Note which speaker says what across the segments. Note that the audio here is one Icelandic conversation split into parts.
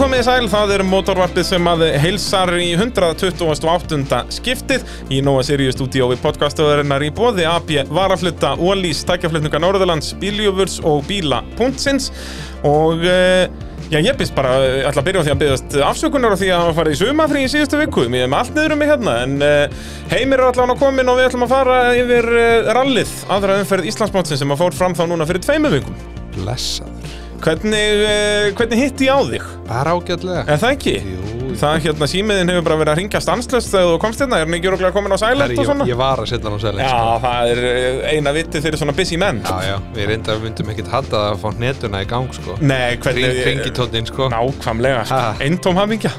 Speaker 1: komið í sæl, það er motorvarpið sem að heilsar í 128. skiptið í Nóa Sirius stúdíó við podcastöðurinnar í bóði AB, Varaflutta, Ólís, Tækjaflutninga Norðurlands, Bíljúfurs og Bíla.sins og eh, já, ég byrst bara, eh, ætla að byrja á því að byrjast afsökunar á því að hafa farið í sumafrí í síðustu viku, mér er með allt niður um mig hérna en eh, heimir er allan á komin og við ætlum að fara yfir eh, rallið, aðra umferð Íslandsmótsin sem að fór fram þá núna fyrir tveimu vikum.
Speaker 2: Blessaður.
Speaker 1: Hvernig, eh, hvernig hitti ég á þig?
Speaker 2: Bara ágætlega.
Speaker 1: Er það ekki?
Speaker 2: Jú,
Speaker 1: Það hérna símiðin hefur bara verið að ringja stanslöst þegar þú komst hérna, er hann ekki öruglega komin á
Speaker 2: Herri,
Speaker 1: sælætt og
Speaker 2: ég,
Speaker 1: svona?
Speaker 2: ég var að setja hann á selin.
Speaker 1: Já,
Speaker 2: sko.
Speaker 1: það er eh, eina vitið fyrir svona busy menn.
Speaker 2: Já, já. Við reyndar að myndum ekkert halda að fá hnetuna í gang, sko.
Speaker 1: Nei, hvernig...
Speaker 2: Ringitóttin, sko.
Speaker 1: Nákvæmlega, sko.
Speaker 2: Ha.
Speaker 1: eintóm hafingja.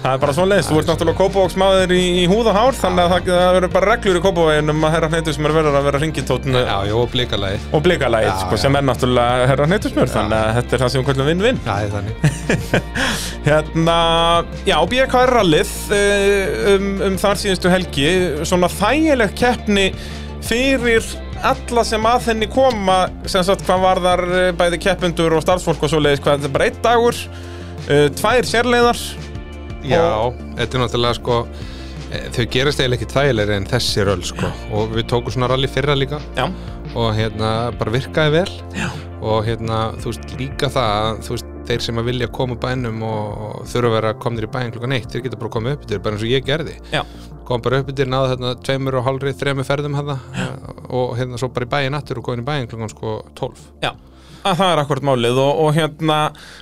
Speaker 1: Það er bara svona leiðis, þú ert náttúrulega kópavóksmaður í, í húð og hár, þannig að það, það verður bara reglur í kópavógin um að herra hneytusmur verður að vera ringitótn
Speaker 2: Já, já, og blíkalagi.
Speaker 1: og blikalægir,
Speaker 2: Já,
Speaker 1: sko,
Speaker 2: já.
Speaker 1: sem er náttúrulega herra hneytusmur, þannig að þetta er það sem við kvöldum vinn-vinn.
Speaker 2: Það er þannig.
Speaker 1: Hérna, já, BKR-rallið um, um þar síðustu helgi, svona þægileg keppni fyrir alla sem að henni koma, sem sagt hvað varðar eh, bæði keppendur og starfsfólk og svoleiðis, hvað þetta er bara einn dagur, uh, tvær sérleiðar,
Speaker 2: Já, þetta er náttúrulega, sko, eh, þau gerast eiginlega ekki þægilegri en þessi röll, sko. Og við tókum svona rally fyrra líka
Speaker 1: já,
Speaker 2: og hérna bara virkaði vel. Já. Og hérna, þú veist, líka það að, þú veist, þeir sem að vilja koma úr bænum og og þurfa að vera komnir í bæin klukkan eitt, þeir geta bara komið upp yfir, bara eins og ég gerði.
Speaker 1: já,
Speaker 2: kom bara upp yfir, náði þarna tveimur og hálfri, þremur ferðum hérna og hérna svo bara í bæinn aftur og góðin í bæinn klokkan sko 12
Speaker 1: já. Að það er akkurat málið og, og hérna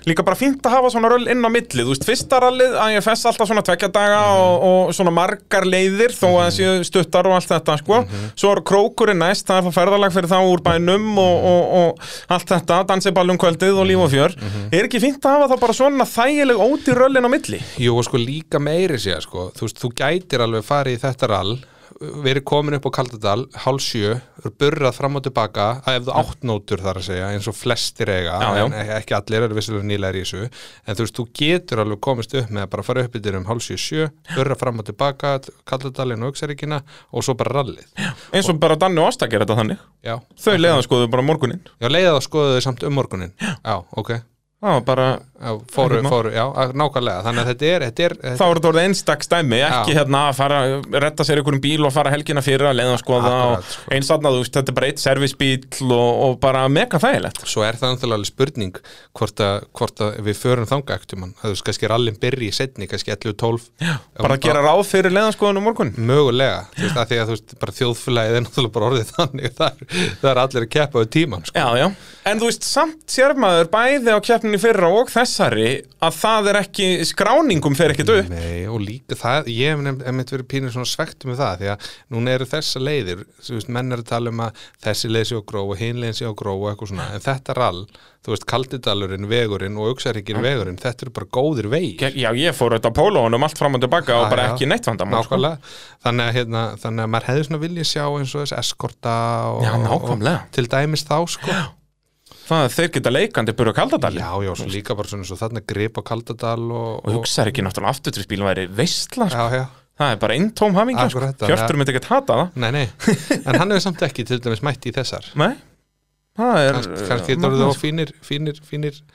Speaker 1: líka bara fínt að hafa svona röll inn á millið, þú veist, fyrsta rallið að ég fess alltaf svona tvekja daga og, og svona margar leiðir þó að það séu stuttar og allt þetta, sko. Svo er krókurinn næst, það er þá ferðalag fyrir þá úr bænum og, og, og allt þetta, dansiballum kvöldið og líf og fjör. Er ekki fínt að hafa þá bara svona þægileg óti röll inn á milli?
Speaker 2: Jú og sko líka meiri sér sko þú veist, þú gætir alveg farið í þetta rall verið komin upp á Kaldadal hálsjö, burrað fram og tilbaka að ef þú átt nótur þar að segja eins og flestir eiga,
Speaker 1: Já, já.
Speaker 2: en ek- ekki allir eru vissilega nýlega í þessu, en þú veist, þú getur alveg komist upp með að bara fara upp yfir um hálsjö sjö, burrað fram og tilbaka Kaldadalinn og Uxaríkina og svo bara rallið já,
Speaker 1: Eins og bara Danni og Ásta gera þetta þannig.
Speaker 2: já.
Speaker 1: Þau leiðan skoðu bara morguninn.
Speaker 2: Já, leiða það skoðu þau samt um morgunin Já, ok
Speaker 1: Það var bara
Speaker 2: já, Fóru,
Speaker 1: Ekkert mál.
Speaker 2: fóru, já, að- nákvæmlega Þannig að þetta er, þetta er
Speaker 1: þá er þetta orðið einstakst dæmi, ekki
Speaker 2: Já.
Speaker 1: hérna að fara retta sér einhverjum bíl og fara helgina fyrir að leiða skoða
Speaker 2: Akkurat,
Speaker 1: og
Speaker 2: sko.
Speaker 1: eins aðna, þú veist, þetta er bara eitt servisbíl og, og bara mega þægilegt
Speaker 2: Svo er það náttúrulega alveg spurning hvort að, hvort að við förum þanga ektum hann að þú veist, kannski rallin byrji í setni, kannski 11-12
Speaker 1: bara að gera ráð fyrir leiðanskoðun um morgun
Speaker 2: Mögulega, þú veist, að því að þú veist, bara þjóðfélagið er náttúrulega bara orðið þannig það er, það er allir að keppa við tíman sko.
Speaker 1: Já, já, en þú veist, samt sérmaður bæði á keppninni fyrra og þessari að það er ekki, skráningum fer ekkert upp
Speaker 2: Nei, og líka það, ég hef nefnt- einmitt verið pínur svona svegt um það því að núna eru þessa leiðir, þú veist, menn eru að tala um að þessi leið sé á gró og hin leið sé á gró og eitthvað svona, en þetta rall, þú veist, Kaldidalurinn, vegurinn og Uxaríkinn
Speaker 1: Mm.
Speaker 2: vegurinn, þetta eru bara góðir vegi.
Speaker 1: Já, ég fór auðvitað á pólóunum allt fram og tilbaka og
Speaker 2: Já,
Speaker 1: bara
Speaker 2: já.
Speaker 1: ekki neitt vandamál sko.
Speaker 2: Nákvæmlega, þannig að, hérna, þannig að maður hefði svona viljað sjá eins og þess eskorta og,
Speaker 1: Já, nákvæmlega.
Speaker 2: og til dæmis þá sko. Já.
Speaker 1: Það að þeir geta leikandi byrju að kalda dali
Speaker 2: já, svo líka bara svona eins og þarna grip á Kaldadal og,
Speaker 1: og hugsaði ekki náttúrulega afturtrýsbíl væri veistla, sko.
Speaker 2: já, já.
Speaker 1: það er bara eintóm hamingja, sko.
Speaker 2: Akkurat, þannig að-
Speaker 1: Hjörtur myndi ekkert hata það
Speaker 2: Nei, nei, en hann hefur samt ekki til dæmis mætt í þessar
Speaker 1: Nei, það er
Speaker 2: kannski þetta voru
Speaker 1: magnað,
Speaker 2: þá fínir fínir, fínir,
Speaker 1: sko.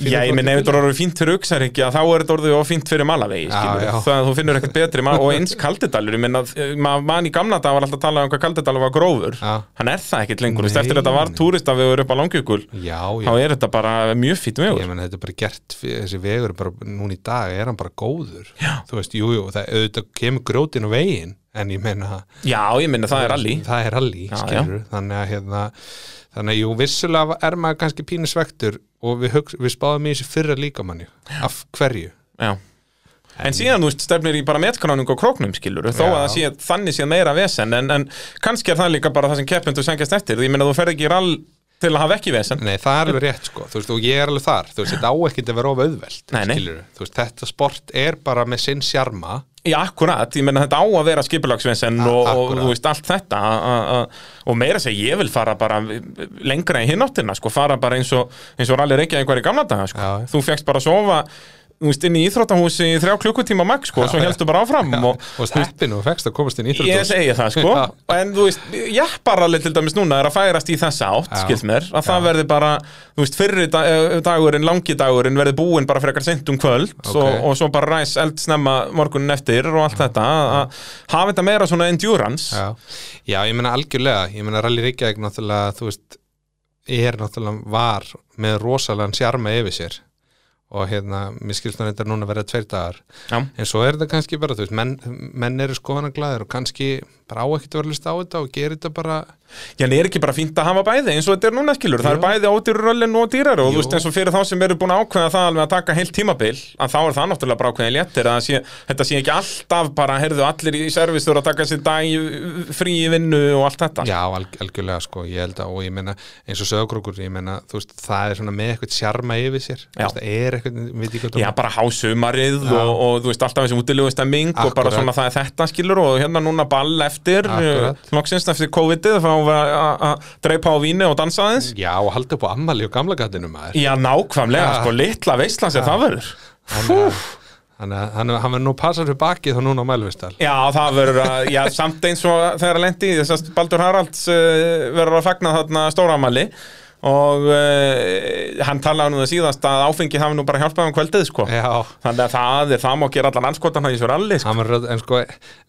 Speaker 1: eh, Já, ég meina ef þetta voru fínt fyrir Uxaríkja þá er þetta orðið of fínt fyrir Malavegi
Speaker 2: Já,
Speaker 1: skilur við.
Speaker 2: já.
Speaker 1: það að þú finnur ekkert betri ma- og eins kaldidalur, ég meina maður man í gamla dag var alltaf að tala um hvað kaldidalur var grófur
Speaker 2: Já.
Speaker 1: hann er það ekkert lengur, þú veist,
Speaker 2: Nei,
Speaker 1: eftir þetta var
Speaker 2: nei.
Speaker 1: túrist að við vorum upp á langjökul
Speaker 2: já,
Speaker 1: þá
Speaker 2: já,
Speaker 1: er þetta bara mjög fýtt
Speaker 2: ég
Speaker 1: vegur
Speaker 2: meina þetta er bara gert fyrir- þessi vegur er bara núna í dag er hann bara góður já. þú veist, jú, jú, það auðvitað kemur grjótin á vegin en ég meina
Speaker 1: Já, ég meina það er alli
Speaker 2: það er rally,
Speaker 1: Já,
Speaker 2: skilur þannig að hérna, þannig að jú, vissulega er maður kannski pínu svektur og við, hugsa, við spáðum í þessu fyrra líkamanni af hverju
Speaker 1: Já En síðan, þú veist, stefnir í bara metkráning og króknum skilur, þó að
Speaker 2: Já.
Speaker 1: það sé, þannig sé meira vesen, en, en kannski er það líka bara það sem keppendur sengjast eftir, ég meina þú ferð ekki í rall til að hafa ekki vesen
Speaker 2: Nei, það er alveg rétt sko, þú veist, og ég er alveg þar þú veist, þetta á ekkert að vera of auðvelt
Speaker 1: Nei, nei.
Speaker 2: skilurðu. þú veist, þetta sport er bara með sinn sjarma
Speaker 1: Já, akkurat, ég meina þetta á að vera skipulagsvinsen og, og
Speaker 2: akkurat.
Speaker 1: þú veist allt þetta a- a- a- og meira að segja, ég vil fara bara lengra í hináttina, sko, fara bara eins og, eins og rally reykja einhver í gamla daga, sko
Speaker 2: Já.
Speaker 1: þú fegst bara að sofa þú veist, inn í íþróttahúsi í þrjá klukkutíma max, sko, svo heldur bara áfram og
Speaker 2: og heppin og fegst að komast inn í
Speaker 1: ég
Speaker 2: íþróttahús
Speaker 1: segi það, sko
Speaker 2: Já.
Speaker 1: en þú veist, jepparalið til dæmis núna er að færast í þessa átt,
Speaker 2: Já.
Speaker 1: skilst mér að það verði bara, þú veist, fyrri da- eh, dagurinn, langi dagurinn verði búinn bara frekar seint um kvöld
Speaker 2: Ok.
Speaker 1: og, og svo bara ræs eld snemma morgunin eftir og allt þetta, að- að hafa þetta meira svona endurance
Speaker 2: já. já, ég meina algjörlega ég meina Rally Reykjavík náttúrulega þú veist, er náttúrulega var með rosalega sjarma yfir sér og hérna, mér skilst nú þetta núna að vera tveir dagar
Speaker 1: Já.
Speaker 2: en svo er þetta kannski bara, þú veist, menn, menn eru skoðanaglæðir og kannski bara á ekkert að vera list á þetta og gerir þetta bara
Speaker 1: Já, en er ekki bara fínt að hafa bæði eins og þetta er núna skilur, það er
Speaker 2: Jú.
Speaker 1: bæði ódýruröllin og dýrar og þú
Speaker 2: Jú.
Speaker 1: veist eins og fyrir þá sem eru búin að ákveða það alveg að taka heilt tímabil að þá er það náttúrulega bara ákveðin léttir að það sé, þetta sé ekki alltaf bara, heyrðu, allir í servis þurfa að taka sér dag í- frí í vinnu og allt þetta
Speaker 2: Já, alg, algjörlega sko, ég held að og ég meina, eins og sögurkrókur, ég meina þú veist, það er svona með eitthvað sjarma yfir sér þú
Speaker 1: Já.
Speaker 2: veist, það er eitthvað, við ekki hvað
Speaker 1: Já, bara hásumarið og, og þú veist alltaf þessum útilegust að ming og bara
Speaker 2: Akkúrat.
Speaker 1: svona það er þetta skilur og hérna núna ball eftir
Speaker 2: Akkúrat.
Speaker 1: eh, loksins eftir COVID-ið þá var að- að dreipa á víni og dansa aðeins
Speaker 2: Já, og halda upp á ammali og gamla gatinu maður
Speaker 1: Já, nákvæmlega,
Speaker 2: Já.
Speaker 1: sko, litla veistlan sem það verður
Speaker 2: Þannig að- þannig að hann, hann verður nú passar fyrir bakið þá núna á mælvistal
Speaker 1: Já, það verður að, já, samt eins og þegar að lendi í þess að Baldur Haralds uh, verður að fagna þarna stóramæli og uh, hann talaði nú það síðast að áfengi hafi nú bara hjálpað um kvöldið, sko.
Speaker 2: Já,
Speaker 1: Þannig að það er, það má gera allan anskotana í svo ralli, sko.
Speaker 2: hann verður, en sko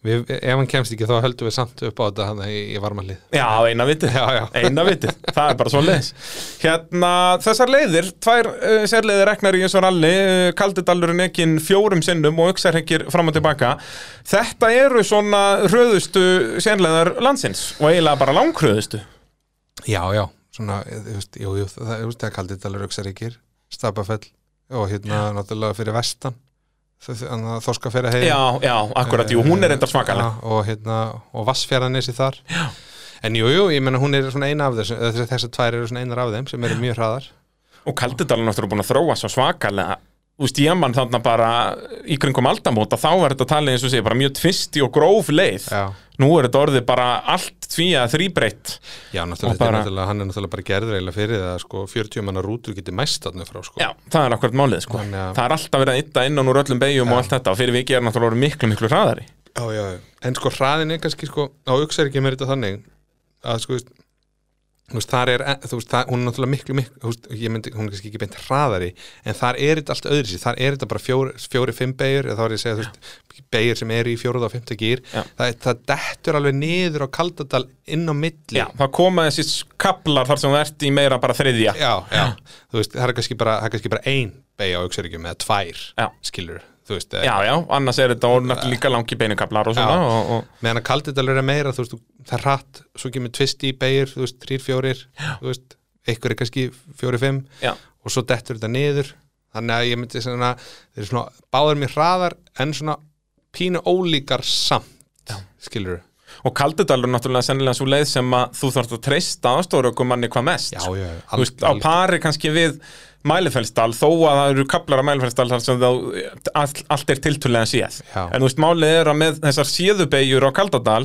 Speaker 2: við, ef hann kemst ekki þá höldum við samt upp á þetta hann í, í varmalið
Speaker 1: Já, eina vitið,
Speaker 2: Já, já.
Speaker 1: eina vitið, það er bara svo leiðis. Hérna, þessar leiðir, tvær uh, sérleiðir reknar í eins og ralli, uh, kaldidalurinn ekkin fjórum sinnum og auksarhengir fram og tilbaka. Þetta eru svona hröðustu sérleiðar landsins og eiginlega bara langhröðustu.
Speaker 2: Já, já, svona, þú veist, jú, jú, það, þú veist, það kaldi Dalur Öksaríkir, Stapafell og hérna náttúrulega fyrir vestan þorska fyrir heim
Speaker 1: Já, já, akkurat, jú, hún er enda smakalega
Speaker 2: Eh, Já, og, hérna, og vassfjaranessi þar já. en jú, jú, ég menna hún er svona eina af þessum eða þessar- þessar tvær eru svona einar af þeim sem eru mjög hraðar
Speaker 1: Og Kaldidalinn áttur búin að þróa svo svakalega Þú veist, ég mann þarna bara í kringum aldamóta Þá var þetta talið eins og segja bara mjög tvisti og gróf leið
Speaker 2: já,
Speaker 1: Nú er þetta orðið bara allt því að þrýbreytt
Speaker 2: já
Speaker 1: Og
Speaker 2: náttúrulega,
Speaker 1: bara-
Speaker 2: bara... náttúrulega hann er náttúrulega bara gerður eiginlega fyrir það sko, 40 manna rútur getur mæst þarna frá sko.
Speaker 1: Já, það er akkurat málið, sko
Speaker 2: Þannig að-
Speaker 1: Það er alltaf verið að ytta innan úr öllum beigjum og allt þetta Og fyrir vikið er náttúrulega orðið miklu, miklu hraðari
Speaker 2: já, já, já. en sko hraðin er kannski sko, á Öksaríkjum er þetta þannig að sko, þú veist, þú veist, þar er, e, þú veist, það, hún er náttúrulega miklu, miklu, þú veist, ég myndi, hún er kannski ekki beint hraðari, en þar er þetta allt öðru þar er þetta bara fjóri, fjóri fimm beigur, eða þá er ég að segja, þú veist, beigur sem er í fjóruð og fymta gýr,
Speaker 1: Já.
Speaker 2: það, það dettur alveg niður á kaldadal inn á milli.
Speaker 1: Já, það koma þessi kaplar þar sem þú ert í meira bara þriðja
Speaker 2: já, já. þú veist, það er kannski bara, það er kannski bara ein beig á auksaríkjum, eða tvær,
Speaker 1: Já.
Speaker 2: skilur, þú veist, eh, eða-
Speaker 1: Já, já, annars er þetta orðið náttúrulega líka langi beinukaplar og svona
Speaker 2: Já.
Speaker 1: og, og,
Speaker 2: meðan að kaldidalur er meira þú veist, þú- það er hratt, svo kemur tvist í beigir, þú veist, þrýr, fjórir þú veist, einhver er kannski fjóri, fimm
Speaker 1: Já.
Speaker 2: og svo dettur þetta niður þannig að ég myndi svona, þeir eru svona báður mér hraðar en svona pínu ólíkar samt skilur þú?
Speaker 1: Og Kaldidalur er náttúrulega sennilega svo leið sem að þú þarft að treysta aðstóraukumanni hvað mest.
Speaker 2: Já, já,
Speaker 1: Þú veist, á pari kannski við Mælifellsdal, þó að það eru kaplar af Mælifellsdal þar sem þá all, allt er tiltölulega séð.
Speaker 2: Já.
Speaker 1: En þú veist, málið er að með þessar séðubegjur á Kaldadal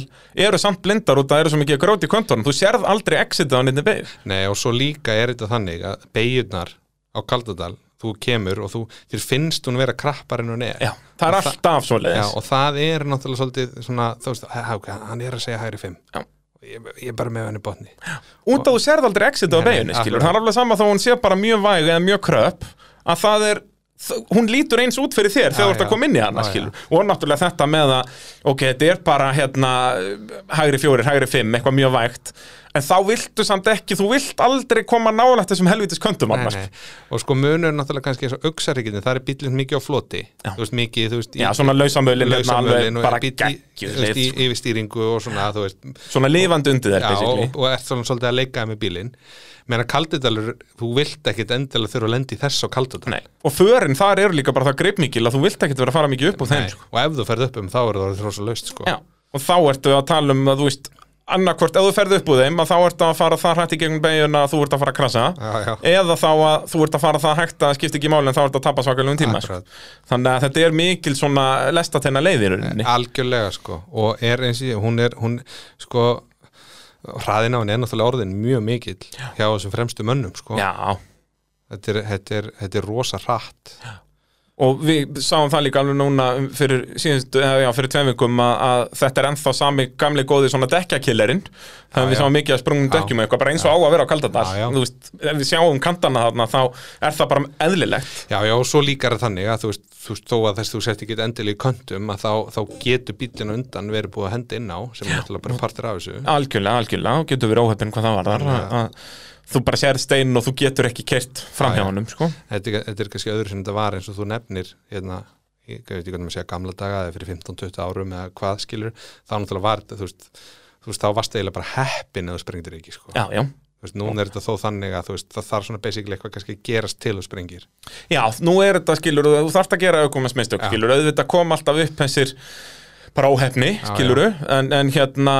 Speaker 1: eru samt blindar út að það eru svo mikið grót í kontornum. Þú sérð aldrei exitið á nýttin beigur.
Speaker 2: Nei, og svo líka er þetta þannig að beigirnar á kaldadal þú kemur og þú, þér finnst hún vera krappar en hún er
Speaker 1: Já, það er
Speaker 2: Og
Speaker 1: alltaf svo
Speaker 2: Já,
Speaker 1: leiðis.
Speaker 2: og það er náttúrulega svolítið svona, þú veist, hæ, ok, hann er að segja hægri fimm
Speaker 1: Já.
Speaker 2: ég, ég er bara með hann í botni
Speaker 1: Út að þú sérð aldrei exitið á
Speaker 2: Nei, nei,
Speaker 1: beginni, skilur.
Speaker 2: akkurat.
Speaker 1: Það er alveg sama þó hún sé bara mjög væg eða mjög kröpp, að það er, þ- hún lítur eins út fyrir þér þegar þú ert að
Speaker 2: já.
Speaker 1: koma inn í hana,
Speaker 2: Já,
Speaker 1: skilur. Og náttúrulega þetta með að, ok, þetta er bara, hérna, hægri fjórir, hægri fimm, eitthvað mjög vægt, en þá viltu samt ekki, þú vilt aldrei koma nálægt þessum helvitis köndum
Speaker 2: Nei,
Speaker 1: annars.
Speaker 2: nei. og sko munur náttúrulega kannski eins og auksaríkinni, það er bíllinn mikið á floti
Speaker 1: Já.
Speaker 2: þú veist, mikið, þú veist,
Speaker 1: Já, svona lausamölin, hérna, alveg
Speaker 2: lausamölin og
Speaker 1: bara
Speaker 2: er bíll í- þú
Speaker 1: geggjur, sko.
Speaker 2: veist, í yfirstýringu og svona, þú veist
Speaker 1: svona lifandi undir þér,
Speaker 2: Já,
Speaker 1: basically.
Speaker 2: og, og ert svona svolítið að leika með bílinn meðan að kaldidalur, þú vilt ekkit endilega þurfa að lendi þess á kaldidal
Speaker 1: Nei. Og förin þar eru líka bara það greipmikil að þú vilt ekkert vera að fara mikið upp úr þeim, sko.
Speaker 2: og ef þú ferð upp um þá er það þrósa laust sko.
Speaker 1: Já, og þá ertu að tala um að þú veist annarkvort, ef þú ferð upp úr þeim að þá ertu að fara það hrætt í gegnum beiguna að þú ert að fara að krasa
Speaker 2: Já, já.
Speaker 1: eða þá að þú ert að fara það hægt að skipta ekki máli en þá ertu að tapa svakalegum tíma sko.
Speaker 2: Akkurat.
Speaker 1: þannig að þetta er mikil svona lestatenna leiðir unni
Speaker 2: algjörlega sko og er eins og ég, hún er hún, sko hraðin á henni er náttúrulega orðin mjög mikill hjá þessum fremstu mönnum sko
Speaker 1: Já,
Speaker 2: þetta er, þetta, er, þetta er rosa hratt
Speaker 1: og við sáum það líka alveg núna fyrir, síðustu, eða já, fyrir tveim vikum að, að þetta er ennþá sami gamli góði svona dekkjakillerinn þannig að við
Speaker 2: já.
Speaker 1: sáum mikið að sprungum
Speaker 2: Já.
Speaker 1: dekkjum og eitthvað bara eins og á að vera á kaldadal
Speaker 2: Já, já.
Speaker 1: þú veist, ef við sjáum kantana þarna þá er það bara eðlilegt
Speaker 2: Já, já, og svo líkar það þannig að þú veist, þú veist þó að þess þú sett ekki endilega í köntum að þá, þá getur bílinn á undan verið búið að henda inn á sem er náttúrulega bara partur af þessu
Speaker 1: algjörlega, algjörlega, og getur verið óhefn hvað það var þar að, að þú bara sér stein og þú getur ekki kert framhjá
Speaker 2: Já, já.
Speaker 1: honum sko.
Speaker 2: þetta, er- þetta er kannski öðru sem þetta var eins og þú nefnir hérna, ég ég veit ekki hvernig maður segja gamla daga eða fyrir 15-20 árum eða hvað skilur þá náttúrulega var þetta, þú veist, þú veist þá varst eiginlega bara heppin eða þú sprengdir ekki sko.
Speaker 1: já, já,
Speaker 2: þú veist, núna er þetta þó þannig að þú veist, það þarf svona basically eitthvað kannski að gerast til þú sprengir
Speaker 1: já, nú er þetta skilur þú þarft að gera aukumess mistök
Speaker 2: Já.
Speaker 1: skilur, auðvitað kom alltaf upp þessir bara óhefni,
Speaker 2: Já,
Speaker 1: skilur en, en hérna,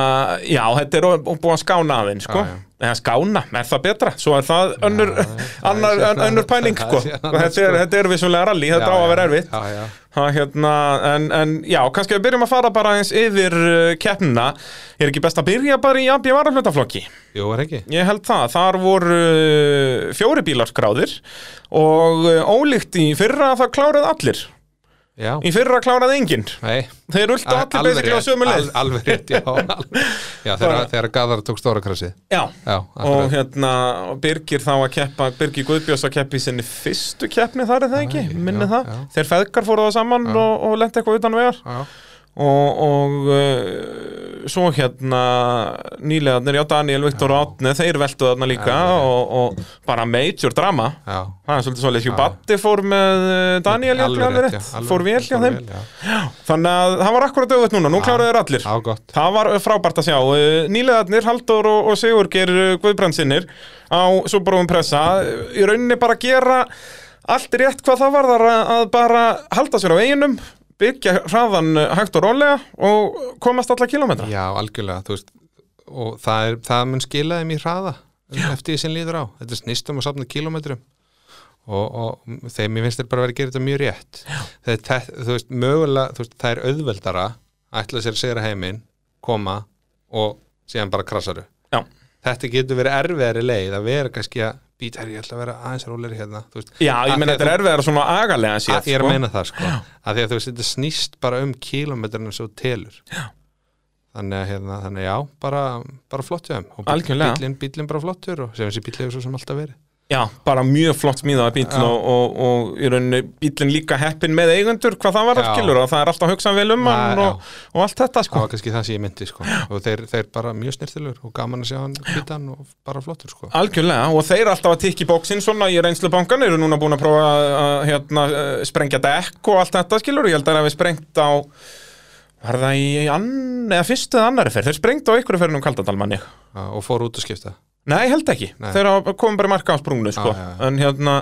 Speaker 1: já, þetta er ó- búið að skána aðeins, sko,
Speaker 2: Já, já.
Speaker 1: eða skána er það betra, svo er það önnur
Speaker 2: já, það
Speaker 1: annar,
Speaker 2: er sérna-
Speaker 1: önnur pæling,
Speaker 2: það
Speaker 1: sko
Speaker 2: er sérna-
Speaker 1: þetta er, þetta er vissulega rally, þetta á að vera erfitt
Speaker 2: já, já,
Speaker 1: Það hérna, en, en já, kannski við byrjum að fara bara eins yfir uh, keppnina. Er ekki best að byrja bara í AB varaflutaflokki?
Speaker 2: jú, er ekki
Speaker 1: Ég held það, þar voru uh, fjóri bílar skráðir og uh, ólíkt í fyrra það klárað allir.
Speaker 2: já,
Speaker 1: Í fyrra klárað enginn.
Speaker 2: nei
Speaker 1: Þeir rultu allir basically á
Speaker 2: rétt,
Speaker 1: sömu leið.
Speaker 2: al- Alveg rétt, já alveg. Já, þegar,
Speaker 1: Bara-
Speaker 2: þegar Gaðar tók stóra krasið
Speaker 1: Já,
Speaker 2: Já,
Speaker 1: og
Speaker 2: akkurat
Speaker 1: hérna, og Birgir þá að keppa, Birgir Guðbjós að keppa í sinni fyrstu keppni þar er það ekki,
Speaker 2: Æ,
Speaker 1: minni
Speaker 2: já,
Speaker 1: það.
Speaker 2: já.
Speaker 1: Þeir feðgar fóru það saman og, og lenti eitthvað utan vegar.
Speaker 2: Já,
Speaker 1: og, og uh, svo hérna nýlegarnir, já Daniel, Viktor og Átni þeir veltu þarna líka og, og bara major drama
Speaker 2: já
Speaker 1: það er svolítið svolítið,
Speaker 2: Já.
Speaker 1: Hugh Batti fór með uh, Daniel, já,
Speaker 2: Alveg
Speaker 1: alveg rétt,
Speaker 2: já, alveg
Speaker 1: fór vel
Speaker 2: rétt,
Speaker 1: hjá
Speaker 2: fór
Speaker 1: þeim
Speaker 2: vel, já.
Speaker 1: þannig að það var akkurat auðvitað núna, nú
Speaker 2: Já.
Speaker 1: kláraðu þeir allir
Speaker 2: Já, gott
Speaker 1: Það var frábært að sjá. Nýleðarnir, Halldór og, og Sigurger Guðbrandsinnir á Súbrúum Pressa eh, í rauninni bara gera allt rétt hvað það varðar að að bara halda sér á eiginum, byggja hraðan eh, hægt og rólega og komast alla kilometra.
Speaker 2: Já, algjörlega, þú veist og það, er, það mun skila þeim í hraða um eftir því sem líður á, þetta er snýstum og safna kilometrum og, og þeim ég finnst þeir bara verið að gera þetta mjög rétt þeir, það, þú veist, mögulega þú veist, það er auðveldara að ætla sér að segja heiminn, koma og síðan bara krassaru
Speaker 1: Já.
Speaker 2: þetta getur verið erfiðari leið að vera kannski að býta er ég ætla að vera aðeins róleri hérna þú veist,
Speaker 1: Já, ég
Speaker 2: Af því
Speaker 1: meina
Speaker 2: að
Speaker 1: þetta er erfiðar svona agalega séð.
Speaker 2: að, ég er
Speaker 1: sko.
Speaker 2: að meina það sko að því að þú veist, þetta snýst bara um kilometrinu svo telur já. þannig að hérna, þannig að já, bara, bara flott hjá þeim og
Speaker 1: Algjörlega.
Speaker 2: bílinn, bílinn bara flottur og sem þessi bíl hefur svo sem alltaf verið
Speaker 1: Já, bara mjög flott smíðaða bíl
Speaker 2: Já.
Speaker 1: og, og, og í rauninni bílinn líka heppin með eigendur hvað það var
Speaker 2: Já.
Speaker 1: skilur og það er alltaf hugsað vel um
Speaker 2: Já,
Speaker 1: hann
Speaker 2: já.
Speaker 1: og, og allt þetta sko.
Speaker 2: það var kannski það sem ég myndi sko og þeir, þeir bara mjög snirtilur og gaman að sjá hann bítan og bara flottur sko
Speaker 1: Algjörlega, og þeir alltaf að tikka í bóksinn svona í reynslu bankan, eru núna búin að prófa að að, hérna, eh, sprengja dekk og allt þetta skilur, ég held að það hefði sprengt á var það í ann eða fyrstu eða annari ferð, um þeir sprengt á ykkur ferðinum kaldadalmanni,
Speaker 2: Já, og fór út að skipta
Speaker 1: nei, ég held ekki
Speaker 2: Nei.
Speaker 1: þeir hafa- komum bara í marka á sprungnu, sko
Speaker 2: Já, já, já.
Speaker 1: en hérna,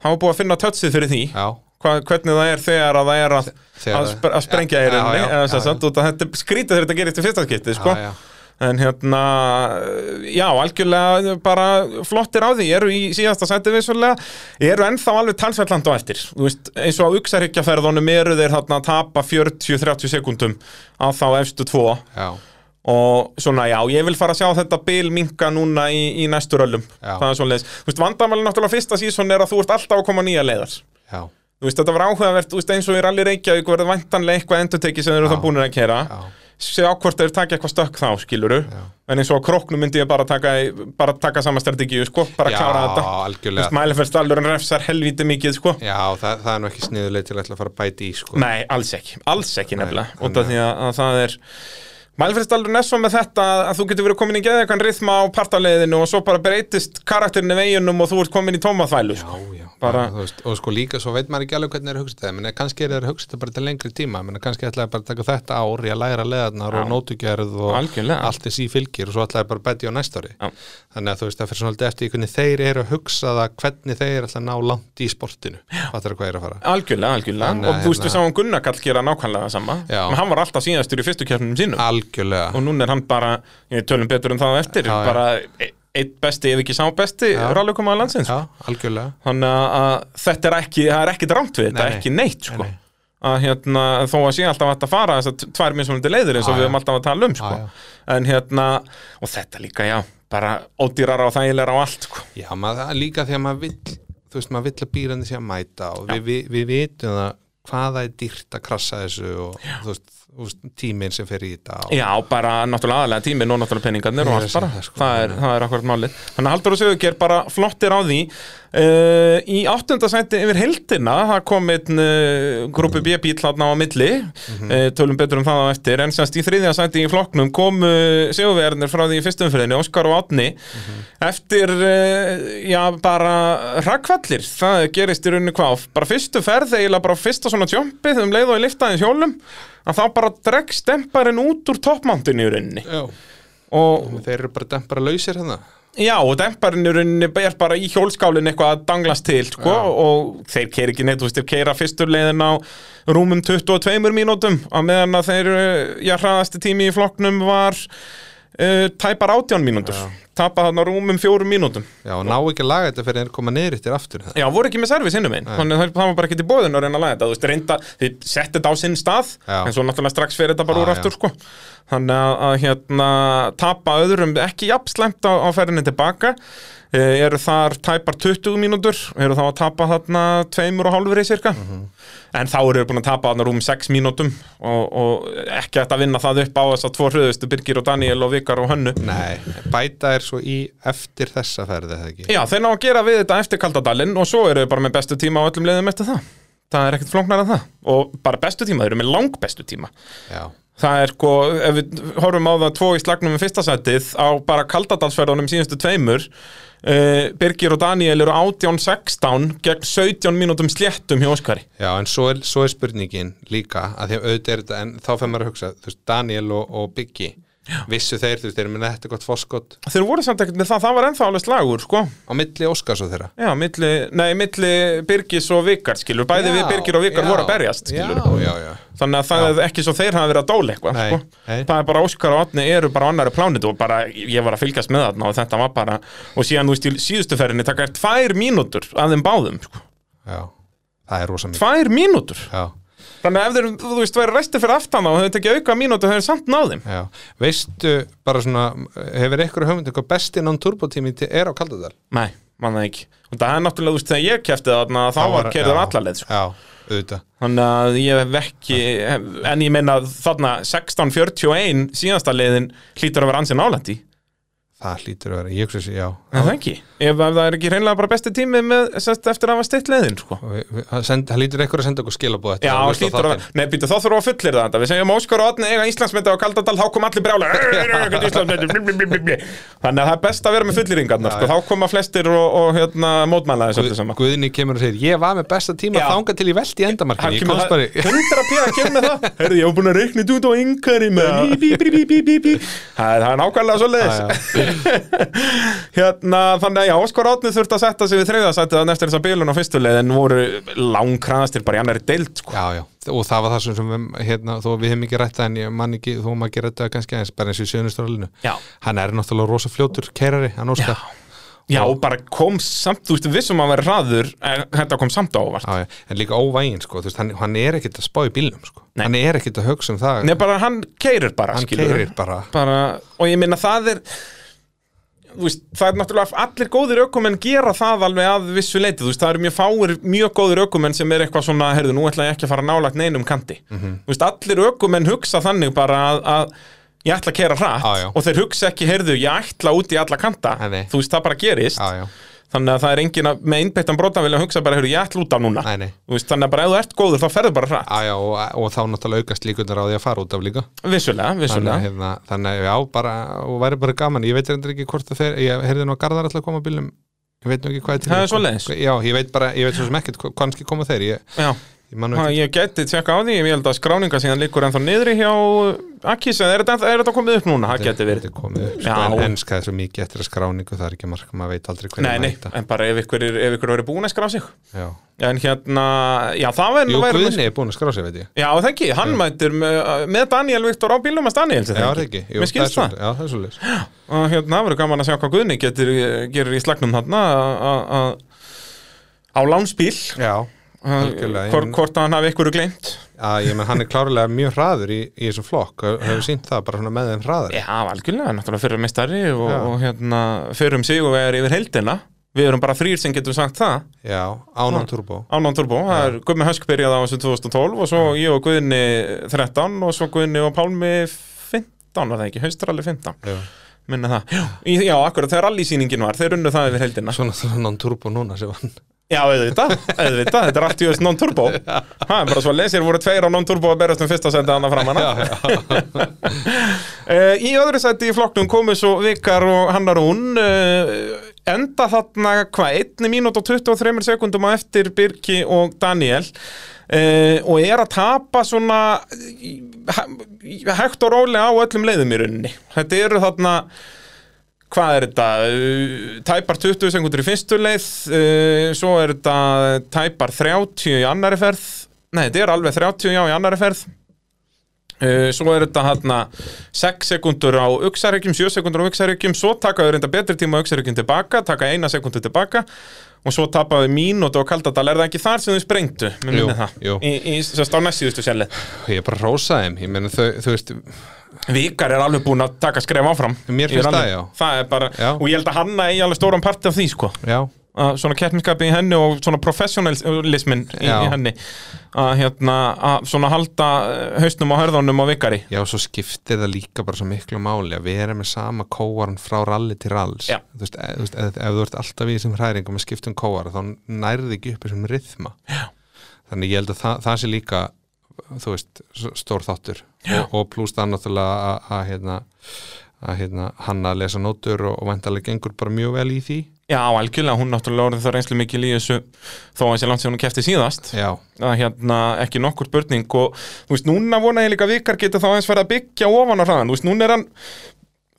Speaker 1: það var búið að finna tötsið fyrir því,
Speaker 2: já,
Speaker 1: Hva, hvernig það er þegar að það er að,
Speaker 2: Þegar
Speaker 1: að,
Speaker 2: það-
Speaker 1: spr að sprengja í
Speaker 2: Já, já,
Speaker 1: rauninni,
Speaker 2: já,
Speaker 1: eða sem
Speaker 2: já,
Speaker 1: sagt, út að þetta er skrítið þegar þetta gerist í fyrsta skipti, sko
Speaker 2: já, já.
Speaker 1: En hérna, já, algjörlega bara flottir á því, eru í síðasta sæti vissulega, eru ennþá alveg talsverðland á eftir, þú veist, eins og á uksarhyggjaferðunum eru þeir þarna að tapa 40-30 sekundum á þá efstu tvo
Speaker 2: já.
Speaker 1: og svona, já, ég vil fara að sjá þetta bil minka núna í, í næstu röllum,
Speaker 2: Já.
Speaker 1: það er svoleiðis, þú veist, vandamælið náttúrulega fyrsta síson er að þú ert alltaf að koma nýja leiðar.
Speaker 2: já.
Speaker 1: Þú veist, þetta var áhugavert, þú veist, eins og í Rally Reykjavík verður væntanlega eitthvað endurteki sem þeir eru
Speaker 2: Já.
Speaker 1: þá búinir að kera
Speaker 2: Já.
Speaker 1: sjá hvort þeir taka eitthvað stökk þá, skiluru
Speaker 2: Já.
Speaker 1: en eins og á kroknu myndi ég bara taka bara taka sama strategíu, sko, bara
Speaker 2: Já,
Speaker 1: klára þetta Þú
Speaker 2: algjörlega
Speaker 1: veist, mæliferðstallurinn refsar helvíti mikið, sko
Speaker 2: já, það, það er nú ekki sniðuleg til að ætla að fara að bæti í sko
Speaker 1: Nei, alls ekki, alls ekki
Speaker 2: Nei,
Speaker 1: nefnilega
Speaker 2: þannig
Speaker 1: út af því að, að það er Mælferðstallurinn er svo með þetta að þú getur verið komin í geðekan rithma á partaleiðinu og svo bara breytist karakterinu veginum og þú ert komin í tómaþvælu sko.
Speaker 2: Já, já,
Speaker 1: Bara-
Speaker 2: bara, veist, og sko líka svo veit maður ekki alveg hvernig er að hugsa þetta, menn kannski er það að hugsa þetta bara til lengri tíma, menn kannski ætlaði bara að taka þetta ár í að læra leðarnar og
Speaker 1: Já.
Speaker 2: nótugjörð og
Speaker 1: Algjörlega.
Speaker 2: allt þessi í fylgir og svo ætlaði bara að betja á næsta ári
Speaker 1: Já.
Speaker 2: þannig að þú veist það fyrir svona alltaf eftir því hvernig þeir eru að hugsa það hvernig þeir ætla að ná langt í sportinu, fattar hvað er að fara
Speaker 1: Algjörlega, algjörlega
Speaker 2: Þannig að
Speaker 1: og þú veist við
Speaker 2: hérna-
Speaker 1: sáum Gunnar Kall gera nákvæmlega það sama
Speaker 2: Já.
Speaker 1: en hann var alltaf síðastur í fyrstu kjörnum sínum
Speaker 2: Algjörlega,
Speaker 1: og núna er hann bara, ég tölum betur um það á eftir,
Speaker 2: Já, já.
Speaker 1: bara e- einn besti ef ekki sá besti
Speaker 2: Já.
Speaker 1: rálukum að landsins
Speaker 2: já, algjörlega
Speaker 1: þannig að- að þetta er ekki, það er ekkit rámt við þetta,
Speaker 2: Nei, nei.
Speaker 1: ekki neitt sko.
Speaker 2: nei.
Speaker 1: að hérna, þó að sé alltaf hægt að fara þess að tvær mismunandi leiðir eins og
Speaker 2: Já,
Speaker 1: við
Speaker 2: já.
Speaker 1: höfum alltaf að tala um sko.
Speaker 2: Já, já.
Speaker 1: en hérna, og þetta líka já, bara ódýrar og þægilegar á allt sko.
Speaker 2: Já, maður, líka því að maður vill þú veist, maður vill að býrandi sé að mæta og við, við, við vitum það hvaða er dýrt að krassa þessu og þú veist, þú veist, tíminn sem fer í þetta og,
Speaker 1: Já, bara náttúrulega aðalega tíminn og náttúrulega peningarnir og
Speaker 2: Ég
Speaker 1: allt
Speaker 2: er að segja
Speaker 1: bara,
Speaker 2: það, sko.
Speaker 1: það er, það er akkurat málið Þannig að Haldur og Sigurger bara flottir á því uh, Í áttunda sæti yfir heldina, það kom einn uh, grúpi B-bíl hátna á milli uh, tölum betur um það á eftir en semst í þriðja sæti í flokknum kom uh, Sigurverðnir frá því í fyrstum fyrirni, Óskar og Átni eftir, uh, já, bara rakvallir, það gerist í rauninu hvað bara fyrstu ferð, eiginlega bara fyrsta svona tjómpið um leið og ég liftaði hjólum að þá bara dregst stemparinn út úr toppmántinu í rauninni
Speaker 2: Já.
Speaker 1: og
Speaker 2: þeir eru bara dempara lausir hérna
Speaker 1: já, og demparinn í rauninni er bara í hjólskálinn eitthvað að danglast til sko,
Speaker 2: Já.
Speaker 1: og þeir keir ekki neitt, þú veist, þeir keira fyrstur leiðin á rúmum 22 mínútum að meðan að þeir, eh, já, hraðasti tími í flokknum var uh, tæpar 18 mínútur, tapa þarna rúmum 4 mínútum,
Speaker 2: Já, og ná ekki að laga þetta fyrir að koma niður eftir aftur það.
Speaker 1: já, voru ekki með servis innum einn, þannig að það það var bara ekki til bóðin að reyna að laga þetta, þú veist, reynda, þið setti þetta á sinn stað,
Speaker 2: Já.
Speaker 1: en svo náttúrulega strax fyrir þetta bara
Speaker 2: Já,
Speaker 1: úr
Speaker 2: já.
Speaker 1: aftur sko. þannig að, að hérna tapa öðrum ekki jafn slæmt á, á ferðinni tilbaka e, eru þar tæpar 20 mínútur eru þá að tapa þarna tveimur og hálfri cirka
Speaker 2: Mhm.
Speaker 1: en þá eru búin að tapa þarna rúm 6 mínútum og, og ekki hægt að vinna það upp á þess að tvo hröðustu Birgir og Daniel og Vikar og Hönnu
Speaker 2: Nei, bæta er svo í eftir þessa ferði, eða ekki?
Speaker 1: Já, þeir ná að gera við þetta eftir kaldadalinn og svo eru þau bara með bestu tíma á öllum leiðum eftir það það er ekkert flóknar en það og bara bestu tíma, þeir eru með langbestu tíma
Speaker 2: Já,
Speaker 1: Það er sko, ef við horfum á það tvo í slagnum við fyrsta sætið á bara kaldadalsferðunum síðustu tveimur uh, Birgir og Daniel eru 18-16 gegn 17 mínútum sléttum hjá Óskari
Speaker 2: já en svo er, svo er spurningin líka að því að auðvitað er þetta, en þá fer maður að hugsa, þú veist, Daniel og, og Biggi, vissu þeir, þú veist, þeir eru með þetta gott fóskot
Speaker 1: Þeir voru samt ekkert með það, það var ennþá alveg slagur sko
Speaker 2: á milli Óskars og þeirra.
Speaker 1: Já, milli, nei, milli Birgis og Vikar skilur, bæði
Speaker 2: Já,
Speaker 1: við Birgir og Vikar
Speaker 2: já,
Speaker 1: voru að berjast skilur
Speaker 2: Já, já, já.
Speaker 1: Þannig að það er ekki svo þeir hafa verið að dála eitthvað
Speaker 2: Nei,
Speaker 1: sko.
Speaker 2: nei.
Speaker 1: Það er bara Óskar og Otni eru bara á annari plánit og bara ég var að fylgjast með þarna og þetta var bara og síðan þú veist í síðustu ferðinni taka er tvær mínútur að þeim báðum sko.
Speaker 2: Já, það er rosa mikið.
Speaker 1: Tvær mínútur
Speaker 2: Já,
Speaker 1: Þannig að ef þeir, þú veist, væri resti fyrir aftan þá og þau tekja auka mínútu þau er samt náðum
Speaker 2: já. Veistu, bara svona, hefur ykkur höfund eitthvað besti non turbotími til er á Kaldadal?
Speaker 1: Nei, mann það ekki Og það er náttúrulega, þú veist, þegar ég kefti þarna þá var kerður
Speaker 2: já,
Speaker 1: allarleið sko.
Speaker 2: Já, auðvitað.
Speaker 1: Þannig að ég hef ekki En ég meina þarna 16.41 síðasta leiðin hlýtur að vera ansið nálandi
Speaker 2: Það hlýtur að vera, ég hugsa sér, já.
Speaker 1: En það ekki Ef ef það er ekki hreinlega bara besti tími með, sest, eftir að hafa stitt leiðin sko.
Speaker 2: Og við- við- Það send- það hlýtur eitthvað að senda okkur skilabóð
Speaker 1: Já, slítur að Nei, býtu, þá þurfum við að fullir það Við segjum Óskar og Otni eiga Íslandsmynda á Kaldadal þá kom allir brjála Þannig að það er best að vera með fulliringarnar sko. þá koma flestir og, og hérna, mótmæla þessu öllu saman
Speaker 2: Guðni kemur og segir Ég var með besta tíma
Speaker 1: Já.
Speaker 2: þanga til ég velti í endamarkinu
Speaker 1: Hann
Speaker 2: Ég
Speaker 1: kemur
Speaker 2: komst bara
Speaker 1: það,
Speaker 2: í
Speaker 1: 100 pí að kemur með það Herði, ég hef búin að reikna þetta út á yngari með bí, bí, bí, bí, bí, bí, bí. Það er- það er nákvæmlega svo hérna, þannig að já, Óskar Átni þurfti að setja sig við þriðasættið að neftir þessa bílun á fyrstu leið en voru langkraðastir bara í annari deild sko.
Speaker 2: Já, já, og það var það sem, sem við, hérna, þó við hefum ekki rætta en ég man ekki, þó maður ekki rætta kannski aðeins, bara eins og í sjöðnustrálinu
Speaker 1: Já.
Speaker 2: Hann er náttúrulega rosa fljótur kerari, hann óskar
Speaker 1: Já, og bara kom samt, þú veist, vissum að vera hraður en þetta kom samt á óvart
Speaker 2: já, já. En líka óvægin, sko, þú veist, hann, hann er ekkit að spá í bílnum, sko
Speaker 1: Nei.
Speaker 2: Hann er ekkit að hugsa um það
Speaker 1: Nei, bara hann keirir bara,
Speaker 2: Hann
Speaker 1: skilurðu.
Speaker 2: keyrir bara.
Speaker 1: Og ég minna það er þú veist, það er náttúrulega allir góðir ökumenn gera það alveg að vissu leiti þú veist, það eru mjög fáir, mjög góðir ökumenn sem er eitthvað svona, heyrðu, nú ætla ég ekki að fara nálagt neinum kanti,
Speaker 2: Mhm.
Speaker 1: þú veist, allir ökumenn hugsa þannig bara að, að ég ætla að kera hratt
Speaker 2: Já, já.
Speaker 1: og þeir hugsa ekki, heyrðu, ég ætla út í alla kanta
Speaker 2: Nei, nei.
Speaker 1: þú veist, það bara gerist
Speaker 2: Já, já,
Speaker 1: þannig að það er engin að, með einbeittan brotan vilja hugsa bara, heyrðu, ég ætla út af núna
Speaker 2: Nei, nei.
Speaker 1: Þú veist, þannig að bara ef þú ert góður þá ferðu bara hratt
Speaker 2: já, já og, og þá náttúrulega aukast líkundar á því að fara út af líka
Speaker 1: vissulega,
Speaker 2: Þannig, að,
Speaker 1: vissulega,
Speaker 2: hérna, þannig að já, bara, og væri bara gaman ég veit reyndar ekki hvort að þeir, ég heyrði nú að Garðar alltaf koma á bílum, ég veit nú ekki hvað er til
Speaker 1: Það er svoleiðis.
Speaker 2: Já, ég veit bara, ég veit svo sem ekkert hva- kannski koma þeir, ég,
Speaker 1: já
Speaker 2: ég man nú
Speaker 1: Ha,
Speaker 2: ekki
Speaker 1: ég geti tjekka á því, ég held að skráninga síðan liggur ennþá niðri hjá uh, Akis, en er þetta, ennþá- er þetta komið upp núna? Það geti verið.
Speaker 2: Þetta er komið, upp,
Speaker 1: Já.
Speaker 2: sko, en enska er svo mikið eftir að skráningu, það er ekki mark maður veit aldrei hvernig
Speaker 1: Nei, nei,
Speaker 2: mæta.
Speaker 1: en bara ef ykkur, er- ef ykkur verið búin að skrá sig.
Speaker 2: Já.
Speaker 1: En hérna, já, það var
Speaker 2: Jú,
Speaker 1: væri nú-
Speaker 2: Guðni er búin að skrá sig, veit ég
Speaker 1: Já, það ekki, hann mætir með, með Daniel Viktor á bílum að Daniel,
Speaker 2: Já, það er ekki, Jú,
Speaker 1: Mér
Speaker 2: það er
Speaker 1: skilst það.
Speaker 2: svolítið- Já, það er svolítið
Speaker 1: Og hérna, það verður gaman að sjá hvað Guðni getur, eh, gerir í slagnum þarna að- að- að- á lánsbíl,
Speaker 2: Já,
Speaker 1: að-
Speaker 2: Algjörlega, ég
Speaker 1: hvort-
Speaker 2: menn-
Speaker 1: hvort að hann hafi ykkur gleymt.
Speaker 2: að, ég menn hann er klárlega mjög hraður í, í þessum flokk og hefur sínt það bara svona með þeim hraður
Speaker 1: Já, algjörlega, náttúrulega fyrir mestari og,
Speaker 2: Já.
Speaker 1: og hérna, fyrir um sig og er yfir heldina við erum bara þrýr sem getum sagt það
Speaker 2: já, ánum turbo
Speaker 1: Ánán Turbo, það er Gummi Hösk byrjaði á þessu 2012 og svo ég og Guðni 13 og svo Guðni og Pálmi 15 var það ekki, haustralli 15
Speaker 2: já.
Speaker 1: minna það, já, í- já akkurat þegar rallysýningin var, þeir unnu það yfir heldina
Speaker 2: svona þannig turbo núna sem hann
Speaker 1: Já, auðvitað, auðvitað, þetta er allt í öðvist non-turbo Það er bara svo leysir, voru tveir á non-turbo að berast um fyrsta senda hana fram hana
Speaker 2: já, já,
Speaker 1: Uh, í öðru sæti í flokknum komu svo Vikar og Hanna Rún uh, enda þarna hvað, 1 mínút og 23 sekundum á eftir Birki og Daniel uh, og er að tapa svona í- hæ- hægt og rólega á öllum leiðum í rauninni þetta eru þarna hvað er þetta, Uh, tæpar 20 sekundur í fyrstu leið, uh, svo er þetta tæpar 30 í annari ferð, nei þetta er alveg 30 já í annari ferð, uh, svo er þetta hérna 6 sekundur á uxarhyggjum, 7 sekundur á uxarhyggjum, svo taka þau reynda betri tíma á uxarhyggjum tilbaka, taka eina sekundu tilbaka og svo tapaðu mínútu og kaldadal, er það ekki þar sem þau sprengtu, með
Speaker 2: Jú,
Speaker 1: minni það,
Speaker 2: jú.
Speaker 1: í, í, sérst á næstsíðustu sjæli.
Speaker 2: ég bara rósa þeim, ég meina þau, þú veist
Speaker 1: Vikar er alveg búin að taka skref áfram.
Speaker 2: Mér finnst
Speaker 1: Ég er alveg-
Speaker 2: það, já.
Speaker 1: Það er bara,
Speaker 2: Já.
Speaker 1: og ég held að hanna eigi alveg stóran part af því, sko.
Speaker 2: já,
Speaker 1: að svona keppniskapi í henni og svona professionalismin í,
Speaker 2: Já.
Speaker 1: í henni að hérna, að svona halda eh, hausnum og hörðunum á vikari
Speaker 2: Já, svo skiptir það líka bara svo miklu máli að vera með sama kóaran frá ralli til ralls
Speaker 1: Já.
Speaker 2: þú veist, ef, þú veist, ef, ef þú ert alltaf í þessum hræringum að skipta um kóara þá nærði ekki upp þessum rithma Já. þannig ég held að það, það sé líka þú veist, s- stór þáttur og, og plúst það náttúrulega að- að hérna, að hérna hann að lesa nótur og, og vantarlega gengur bara mjög vel í því
Speaker 1: Já, algjörlega, hún náttúrulega orðið það reynslu mikil í þessu þó að þessi langt sem hún kefti síðast
Speaker 2: Já,
Speaker 1: að hérna ekki nokkur spurning og þú veist, núna vona ég líka að vikar geta þá eins verið að byggja ofan á hraðan, þú veist, núna er hann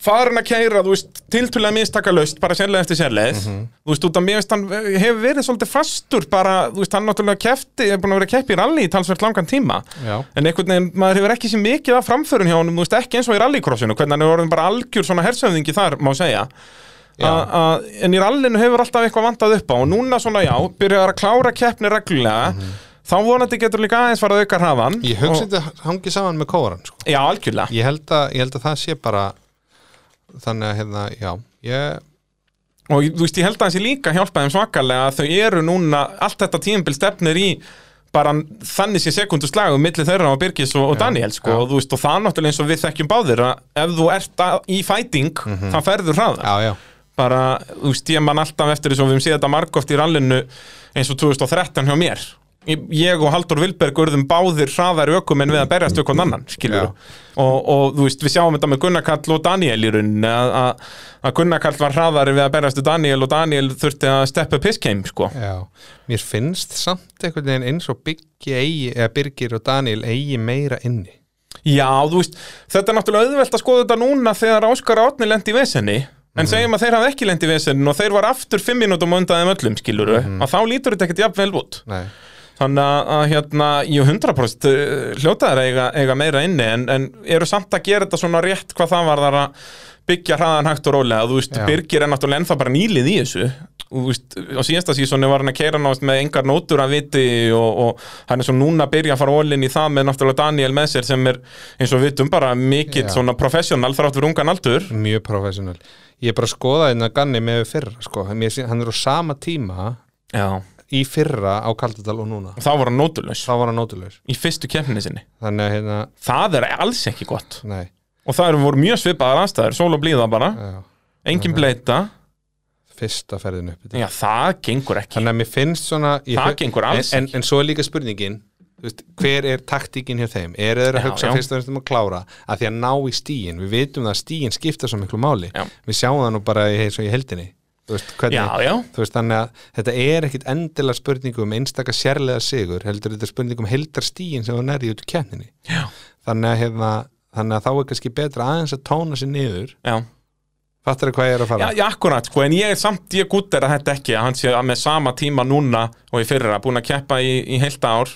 Speaker 1: farin að kæra, þú veist, tiltulega mistakalaust bara sérlega eftir sérlega
Speaker 2: Mhm.
Speaker 1: þú veist, út af mér veist, hann eh, hefur verið svolítið fastur bara, þú veist, hann náttúrulega kefti er búin að vera að keppi í rally í talsvert langan tíma
Speaker 2: já,
Speaker 1: En einhvern veginn, maður hefur ekki sér mikið af framförun hjá honum, þú veist, ekki eins og í rallycrossinu, hvernig hann er orðin bara algjör svona hersöfðingi þar, má segja. A,
Speaker 2: Já.
Speaker 1: a, en í rallinu hefur alltaf eitthvað vantað upp á og núna svona já, byrjar að klára keppni reglulega, þá vonandi getur líka aðeins farið að auka hraðan.
Speaker 2: Mhm. ég hugsa
Speaker 1: Og-
Speaker 2: þetta hangi saman með kóaran sko.
Speaker 1: Já, algjörlega.
Speaker 2: ég, held að, ég held að það sé bara þannig að hérna, já ég,
Speaker 1: Og þú veist, ég held að hans ég líka hjálpa þeim svakalega að þau eru núna, allt þetta tímabil stefnir í bara þannig sé sekundu slagum milli þeirra á Birgis og, og Daniel sko,
Speaker 2: já.
Speaker 1: og þú veist, og það er náttúrulega eins og við þekkjum báðir að ef þú ert að, í fæting, mm
Speaker 2: Mhm.
Speaker 1: -hmm. það ferður hraðar.
Speaker 2: já, já
Speaker 1: bara, þú veist, ég man alltaf eftir þessu og við höfum séð þetta margóft í rallinu eins og 2013 hjá mér Ég- ég og Haldur Vilberg urðum báðir hraðar ökumenn við að berjast ökun annan skilur og, og þú veist, við sjáum þetta með Gunnar Karl og Daniel í rauninni að- að að Gunnar Karl var hraðari við að berjast við Daniel og Daniel þurfti að steppa upp his game sko.
Speaker 2: Já, mér finnst samt einhvern veginn eins og Biggi eigi, eða Birgir og Daniel eigi meira inni.
Speaker 1: já, þú veist, þetta er náttúrulega auðvelt að skoða þetta núna þegar Óskar Átni lendi í vesenni en segjum að þeir hafði ekki lendi í vesenni og þeir var aftur fimm mínútum undan þeim öllum skilur að þá lítur þetta ekkert jafn vel út
Speaker 2: Nei.
Speaker 1: Þannig að- að hérna, ég 100% uh, hljótaðir að eiga, eiga meira inni en, en eru samt að gera þetta svona rétt hvað það var þar að byggja hraðan hægt og rólega þú veist,
Speaker 2: Já.
Speaker 1: Birgir er náttúrulega ennþá bara nýlið í þessu og þú veist, á síðasta sísoni var hann að keira náttúrulega með engar nótur að viti og, og hann er svo núna að byrja að fara ólinn í það með náttúrulega Daniel með sér sem er eins og við vitum bara mikill
Speaker 2: Já.
Speaker 1: svona professional þrátt fyrir ungan aldur
Speaker 2: Mjög professional. Ég er bara að skoða hérna Ganni með fyrra, sko. Mér sé- Hann er á sama tíma
Speaker 1: Já.
Speaker 2: í fyrra á Kaldadal og núna.
Speaker 1: og þá var hann nótulös
Speaker 2: Þá var hann nótulegur.
Speaker 1: í fyrstu keppninni sinni
Speaker 2: Þannig að hérna,
Speaker 1: það er alls ekki gott
Speaker 2: nei,
Speaker 1: og það eru voru mjög svipaðar aðstæður, sól og blíða bara
Speaker 2: já,
Speaker 1: engin bleita,
Speaker 2: fyrsta ferðin upp. í þetta.
Speaker 1: Mhm. já það gengur ekki
Speaker 2: Þannig að mér finnst svona... ég-
Speaker 1: það gengur
Speaker 2: en,
Speaker 1: alls
Speaker 2: en, en svo er líka spurningin, þú veist, hver er taktíkin hjá þeim? Er þeir að
Speaker 1: Já,
Speaker 2: hugsa
Speaker 1: já.
Speaker 2: fyrst og fremst um að klára? Að því að ná í stíin, við vitum það að stíin skipta svo miklu máli.
Speaker 1: Já.
Speaker 2: Við sjáum það nú bara í, svo í heldinni. Þú veist,
Speaker 1: ekki
Speaker 2: hvernig,
Speaker 1: já, já,
Speaker 2: Þú veist, þannig að þetta er ekkit endilega spurningu um einstaka sérlega sigur, heldur þetta er spurningu um heldar stíin sem þú nærði út í kenninni.
Speaker 1: Já.
Speaker 2: Þannig að, hérna, þannig að þá er kannski betra aðeins að tóna sér niður.
Speaker 1: já,
Speaker 2: Fattar þú hvað ég er að
Speaker 1: já,
Speaker 2: fara?
Speaker 1: já akkurat sko, en ég er samt, ég gutt er að þetta ekki að hann sé að með sama tíma núna og í fyrra búin að keppa í, í heilt ár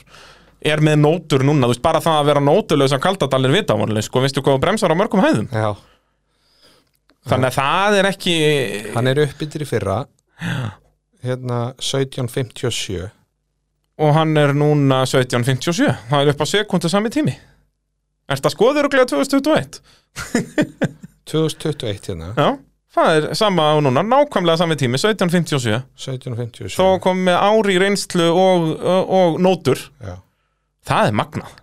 Speaker 1: er með nótur núna, þú veist bara það að vera nótulaus á kaldadalir vitavonlega, sko, veistu hvað þú bremsar á mörgum hæðum,
Speaker 2: Já.
Speaker 1: þannig að það er ekki
Speaker 2: Hann er uppbyttir í fyrra, hérna 1757.
Speaker 1: og hann er núna 17.57, það er upp á sekundu sami tími Er þetta skoður og glega 2021?
Speaker 2: 2021 hérna
Speaker 1: Já, Það er sama á núna, nákvæmlega sami tími, 1757
Speaker 2: 1757
Speaker 1: Þó kom með ári í reynslu og, og, og nótur
Speaker 2: Já.
Speaker 1: Það er magnað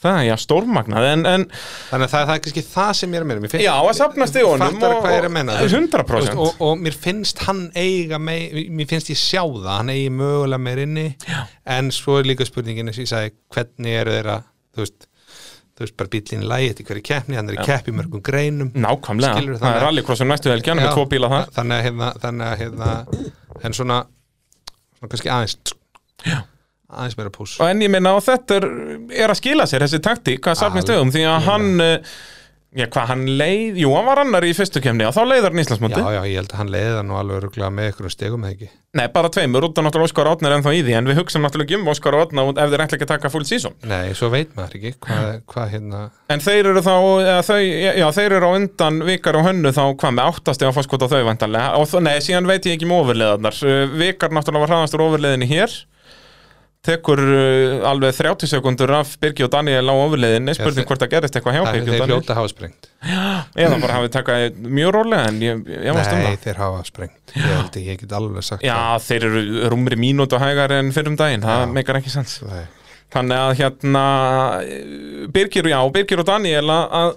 Speaker 1: Það er já, stórmagnað En, en
Speaker 2: Þannig að það, það er kannski það sem ég er að meina Mér finnst-
Speaker 1: já, að safnast í honum
Speaker 2: Fattar hvað ég er að meina, þú veist.
Speaker 1: 100%
Speaker 2: og, og mér finnst hann eiga mei, mér finnst ég sjá það, hann eigi mögulega meir inni, Já. en svo er líka spurningin eins og ég sagði, hvernig eru þeirra þú veist, þú veist bara bíllinn lægi eftir hverju keppni, hann er í kepp í mörgum greinum
Speaker 1: Nákvæmlega,
Speaker 2: Skilurðu
Speaker 1: það
Speaker 2: þannig
Speaker 1: er
Speaker 2: að-
Speaker 1: rallycrossum næstu helgjan
Speaker 2: Já.
Speaker 1: með tvo bíla það
Speaker 2: þannig að hérna, þannig að hérna en svona, svona kannski aðeins sko. aðeins meira pús
Speaker 1: og en ég minna og þetta er, er að skila sér þessi taktík að safna
Speaker 2: Algjörlega.
Speaker 1: stöðum því að hann eh, já hvað hann leið, jú hann var annar í fyrstu kemni og þá leiðar hann
Speaker 2: Já,
Speaker 1: Íslandsmóti
Speaker 2: já, ég held að hann leiði það nú alveg ruglega með ykkur stegum eða ekki.
Speaker 1: nei bara tveimur, út af náttúrulega Óskar Átnar ennþá í því en við hugsaum náttúrulega ekki um Óskar Átnar ef þeir ætla ekki að taka full season
Speaker 2: Nei, svo veit maður ekki hvað, hvað hérna,
Speaker 1: en þeir eru þá, eða, þau, já þeir eru á undan vikar og hönnu þá hvað með áttast eða fórskot á þau vantanlega og þó, nei síðan veit ég ekki um ofurleðarnar Eh, vikar náttúrulega var hraðastur ofurleðinni hér tekur uh, alveg 30 sekundur af Birgi og Daniel á ofurleðinni spurning
Speaker 2: þeir-
Speaker 1: hvort það gerist eitthvað hjá
Speaker 2: það
Speaker 1: Birgi
Speaker 2: er
Speaker 1: og
Speaker 2: þeir
Speaker 1: Daniel
Speaker 2: hljóta hafa sprengt.
Speaker 1: eða bara hafið takað því mjög rólega en ég, ég varst um
Speaker 2: Nei,
Speaker 1: það
Speaker 2: þeir hafa sprengt. Ég held að ég get alveg sagt
Speaker 1: Já,
Speaker 2: það.
Speaker 1: þeir eru rúmri mínútu hægar en fyrrum daginn, það meikar ekki sens
Speaker 2: Nei.
Speaker 1: Þannig að hérna Birgir, já, Birgir og Daniel að að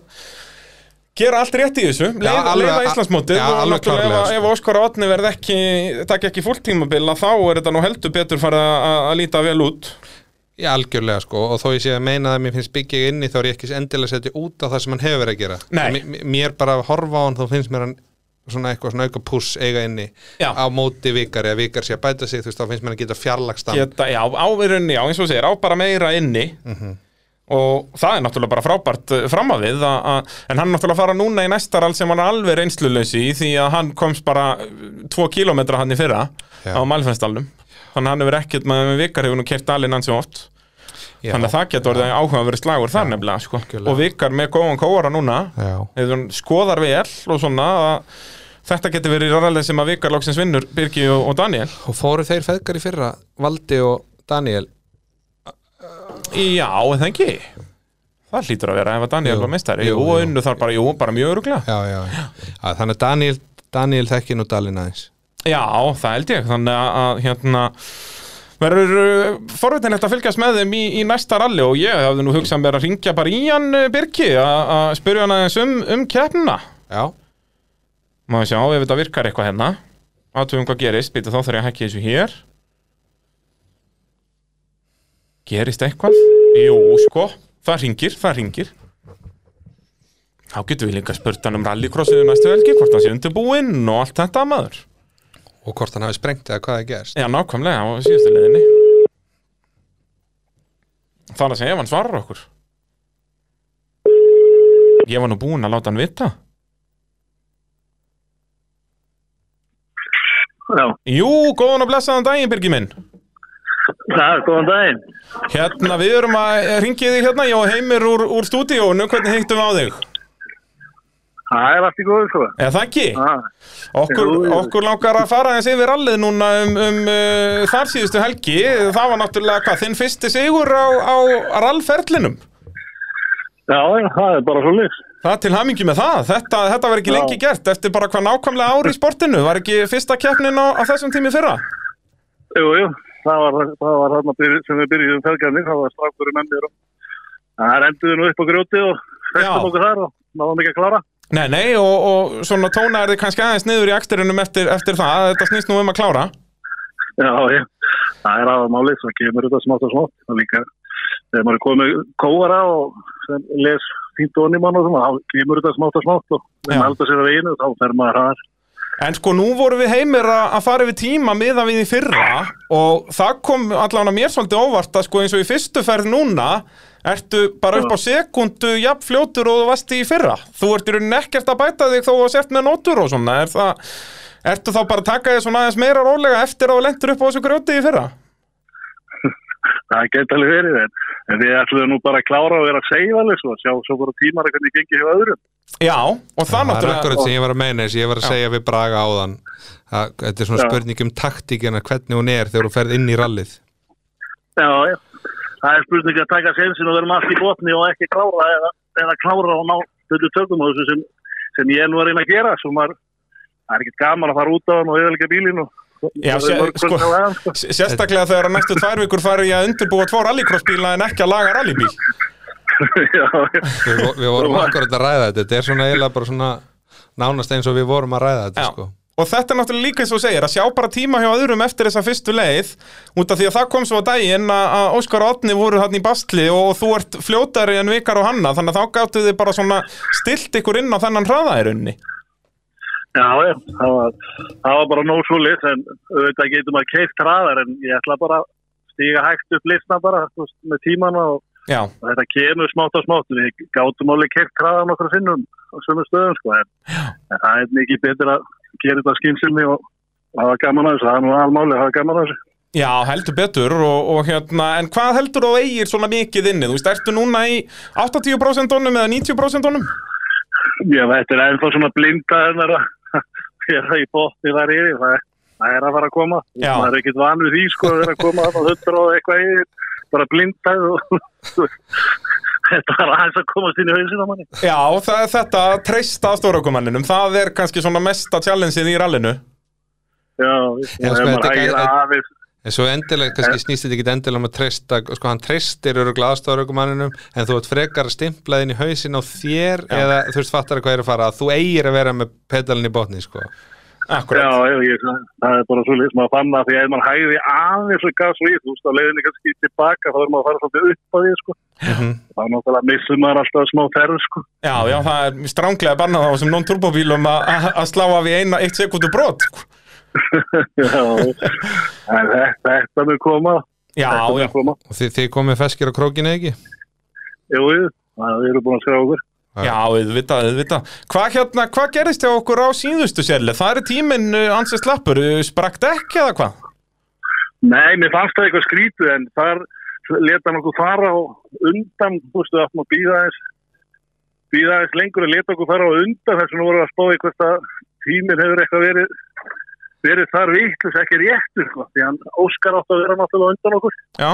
Speaker 1: gera allt rétt í þessu leið,
Speaker 2: alveg-
Speaker 1: leiða Íslandsmótið
Speaker 2: já,
Speaker 1: og
Speaker 2: alveg
Speaker 1: náttúrulega
Speaker 2: klárlega,
Speaker 1: ef,
Speaker 2: sko.
Speaker 1: ef Óskar og Otni verð ekki takk ekki fullt tímabila þá er þetta nú heldur betur farið að- að að líta vel út
Speaker 2: Já, algjörlega sko og þó ég sé að meina það að mér finnst byggja inni þá er ég ekki endilega að setja út á það sem hann hefur verið að gera
Speaker 1: Nei.
Speaker 2: M- m- Mér bara að horfa á hann þá finnst mér hann svona eitthvað svona auka púss eiga inni
Speaker 1: Já.
Speaker 2: á móti vikar eða vikar sé að bæta sig þú veist þá finnst mér hann geta fjarlagst hann
Speaker 1: geta, já, áverunni, já, eins og þú segir, á bara meira inni
Speaker 2: Mhm.
Speaker 1: og það er náttúrulega bara frábært uh, fram að við að, að, en hann er náttúrulega að fara núna í næstaral sem hann er alveg reynsluleysi í því að hann komst bara uh, tvo kilometra hann í fyrra
Speaker 2: Já.
Speaker 1: á Malfennstallum þannig að hann hefur ekkert með með vikar hefur nú kert alinn hans oft
Speaker 2: Já.
Speaker 1: þannig að það getur orðið áhugaverið slagur þar nefnilega sko.
Speaker 2: algjörlega.
Speaker 1: og vikar með góðan kóara núna
Speaker 2: Já.
Speaker 1: ef hann skoðar vel og svona að þetta getur verið rarlega sem að vikar lóksins vinnur Birgi og, og Daniel
Speaker 2: Og fóru þeir feðgar í fyrra Valdi og Daniel
Speaker 1: Já, en það ekki Það hlýtur að vera ef að Daniel
Speaker 2: Jú,
Speaker 1: var meistari
Speaker 2: jú,
Speaker 1: Jú, og
Speaker 2: jú.
Speaker 1: unnu þar bara, jú, bara mjög öruglega
Speaker 2: Já, já, já. Að, Þannig að Daniel, Daniel þekki nú Dalin aðeins
Speaker 1: Já, það held ég, þannig að, að hérna verður uh, forvitin þetta að fylgjast með þeim í, í næsta ralli og ég hafði nú hugsað mér að ringja bara í hann uh, Birki að að spyrja hann aðeins um, um keppnina
Speaker 2: Já,
Speaker 1: Má sjá ef þetta virkar eitthvað hérna Aðtugum hvað gerist, býta þá þarf ég að hækki þessu hér Gerist eitthvað? Jú, sko, það ringir, það ringir Þá getum við líka spurt hann um rallycrossið um næstu helgi, hvort hann sé undirbúinn og allt þetta maður
Speaker 2: og hvort hann hafi sprengt eða hvað það gerst
Speaker 1: Já, nákvæmlega, á síðustu leiðinni Það er að segja ef hann svarar okkur Ég var nú búinn að láta hann vita
Speaker 3: Já,
Speaker 1: Jú, góðan og blessaðan daginn, Birgi minn
Speaker 3: það er góðan daginn.
Speaker 1: Hérna, við erum að ringið þig hérna, ég og Heimir úr, úr stúdíónu, hvernig heittum við á þig?
Speaker 3: Það er allt í góðu sko.
Speaker 1: Eða það ekki?
Speaker 3: Ah,
Speaker 1: Okkur,
Speaker 3: Jú, jú.
Speaker 1: okkur langar að fara aðeins yfir rallið núna um, um uh, þar síðustu helgi, það var náttúrulega hvað, þinn fyrsti sigur á, á rallferlinum.
Speaker 3: já, já, það er bara svo list.
Speaker 1: Það er til hamingi með það, þetta, þetta var ekki
Speaker 3: Já.
Speaker 1: lengi gert eftir bara hvað nákvæmlega ári í sportinu, var ekki fyrsta keppnin á, á þessum tími fyrra?
Speaker 3: Jú, jú, það var, það var þarna byrj, sem við byrjuðum felgarni, það var strafkurinn enn mér. Það renduði nú upp á grjóti og
Speaker 1: Já.
Speaker 3: festum okkur þar og náðum ekki að klára.
Speaker 1: Nei, nei, og, og svona tóna er þið kannski aðeins niður í aksturinnum eftir, eftir það, þetta snýst nú um að klára.
Speaker 3: Já, já, það er aða málið, það kemur þetta smátt og smátt. Það líka, þegar maður er komið kóara og sem les fínt onni mann og svona, þá kemur þetta smátt og smátt og
Speaker 1: Já.
Speaker 3: þegar maður heldur sér að veginu, þá fer maður hraðar.
Speaker 1: En sko nú vorum við heimir að að fara yfir tíma miða við í fyrra og það kom allavega mér svolítið óvart að sko eins og í fyrstu ferð núna ertu bara upp á sekundu jafn fljótur og þú varst í fyrra þú ert í rauninni ekkert að bæta þig þó að sért með nótur og svona er það, ertu þá bara að taka þig svona aðeins meira rólega eftir að þú lendur upp á þessu grjóti í fyrra
Speaker 3: Það geta alveg verið en, en við ætlum nú bara að klára og vera að segja alveg svo, sjá svo bara tímar að hvernig gengið hjá öðrum.
Speaker 1: Já, og það
Speaker 2: Það er
Speaker 1: náttúrulega
Speaker 2: akkurat sem ég var að meina þess ég var að segja við Braga áðan að þetta er svona
Speaker 3: Já.
Speaker 2: spurning um taktíkina hvernig hún er þegar hún ferð inn í rallið
Speaker 3: Já, já. Það er spurning að taka sensin og vera allt í botni og ekki klára eða, eða klára og ná þetta tökum á þessu sem, sem ég er nú að reyna að gera svo maður, það er ekkert gaman að fara út á hann og eðalega bílinn og
Speaker 1: Já,
Speaker 3: og-
Speaker 1: sé-
Speaker 3: og- og-
Speaker 1: sko-
Speaker 3: og- og- og-
Speaker 1: S- Sérstaklega þegar að næstu tvær vikur farið ég að undirbúa tvo rallycrossbíla en ekki að laga rallybíl.
Speaker 3: Já, já.
Speaker 2: Við, vo- við vorum akkurat að ræða þetta, þetta er svona eiginlega bara svona nánast eins og við vorum að ræða þetta
Speaker 1: Já.
Speaker 2: sko.
Speaker 1: Og þetta er náttúrulega líka eins og þú segir að sjá bara tíma hjá öðrum eftir þessa fyrstu leið út af því að það kom svo að daginn að að Óskar og Otni voru hann í bastli og þú ert fljótari en vikar og hanna þannig að þá gáttu þið bara svona stilt ykkur inn á þennan hraða í rauninni.
Speaker 3: já, já, það var, það var bara nóg svo lit en auðvitað getur maður keift hraðar en ég ætla bara að stíga hægt upp listna bara þú veist, með tímana og
Speaker 1: Já,
Speaker 3: og þetta kemur smátt á smátt við gátum alveg kert hraða nokkru sinnum á sömu stöðum sko en, en það er mikið betur að gera þetta skynsumni og og hafa gaman að þessu, það er nú almáli að hafa gaman að þessu
Speaker 1: já heldur betur og, og hérna, en hvað heldur þú eigir svona mikið inni? Þú veist, ertu núna í 80% honum eða 90% honum?
Speaker 3: Já, þetta er ennþá svona blinda hennar að vera í bótti þar yfir það, er- það er að fara að koma
Speaker 1: Já.
Speaker 3: það er ekkit van við því sko að vera að koma þarna hundra og eitthvað yfir bara blinda og þetta er aðeins að komast inn í hausin á manni
Speaker 1: Já, það, þetta að treysta stórakumanninum, það er kannski svona mesta challengeið í rallinu.
Speaker 3: Já,
Speaker 2: Já, sko,
Speaker 3: ef maður
Speaker 2: þetta er-
Speaker 3: hægir aðeins
Speaker 2: En svo endilega, kannski snýst þetta ekki endilega um að treysta, sko hann treystir öruglega aðstofurögumanninum en þú ert frekar að stimpla inn í hausin á þér eða þú veist fattar hvað er að fara að þú eigir að vera með pedalin í botni sko.
Speaker 1: Akkurat.
Speaker 3: Já, ég, ég, það er bara svo leiðis maður fann það því að ef maður hægði aðeins og gaf svo í, þú veist, á leiðinni kannski tilbaka þá er maður að fara svolítið upp á því, sko
Speaker 1: Mhm.
Speaker 3: þá náttúrulega missum maður alltaf smá ferð, sko
Speaker 1: Já, já, það er stránglega bannað á þessum non-turbobílum að- að að slá af í eina, eitt sekundu brot. sko.
Speaker 3: Já, en þetta, þetta mun koma
Speaker 1: Já, já,
Speaker 3: þetta mun koma,
Speaker 2: og þið, þið komið feskir á krókinu eða ekki
Speaker 3: jú, jú, það eru búin að skrá okkur
Speaker 1: já, auðvitað, auðvitað. Hvað hérna, hvað gerist hjá okkur á síðustu sérlega? Það er tíminn uh, ansið slappur, uh, sprakk ekki eða hvað?
Speaker 3: Nei, mér fannst það eitthvað skrítið en þar leta hann okkur fara og undan, þú veist, við áttum að býða aðeins býða aðeins lengur og leta okkur fara og undan þess að nú voru að spáði hvort að tíminn hefur eitthvað verið verið þar vitlis, ekki réttur sko, því hann Óskar átt að vera náttúrulega á undan okkur
Speaker 1: Já,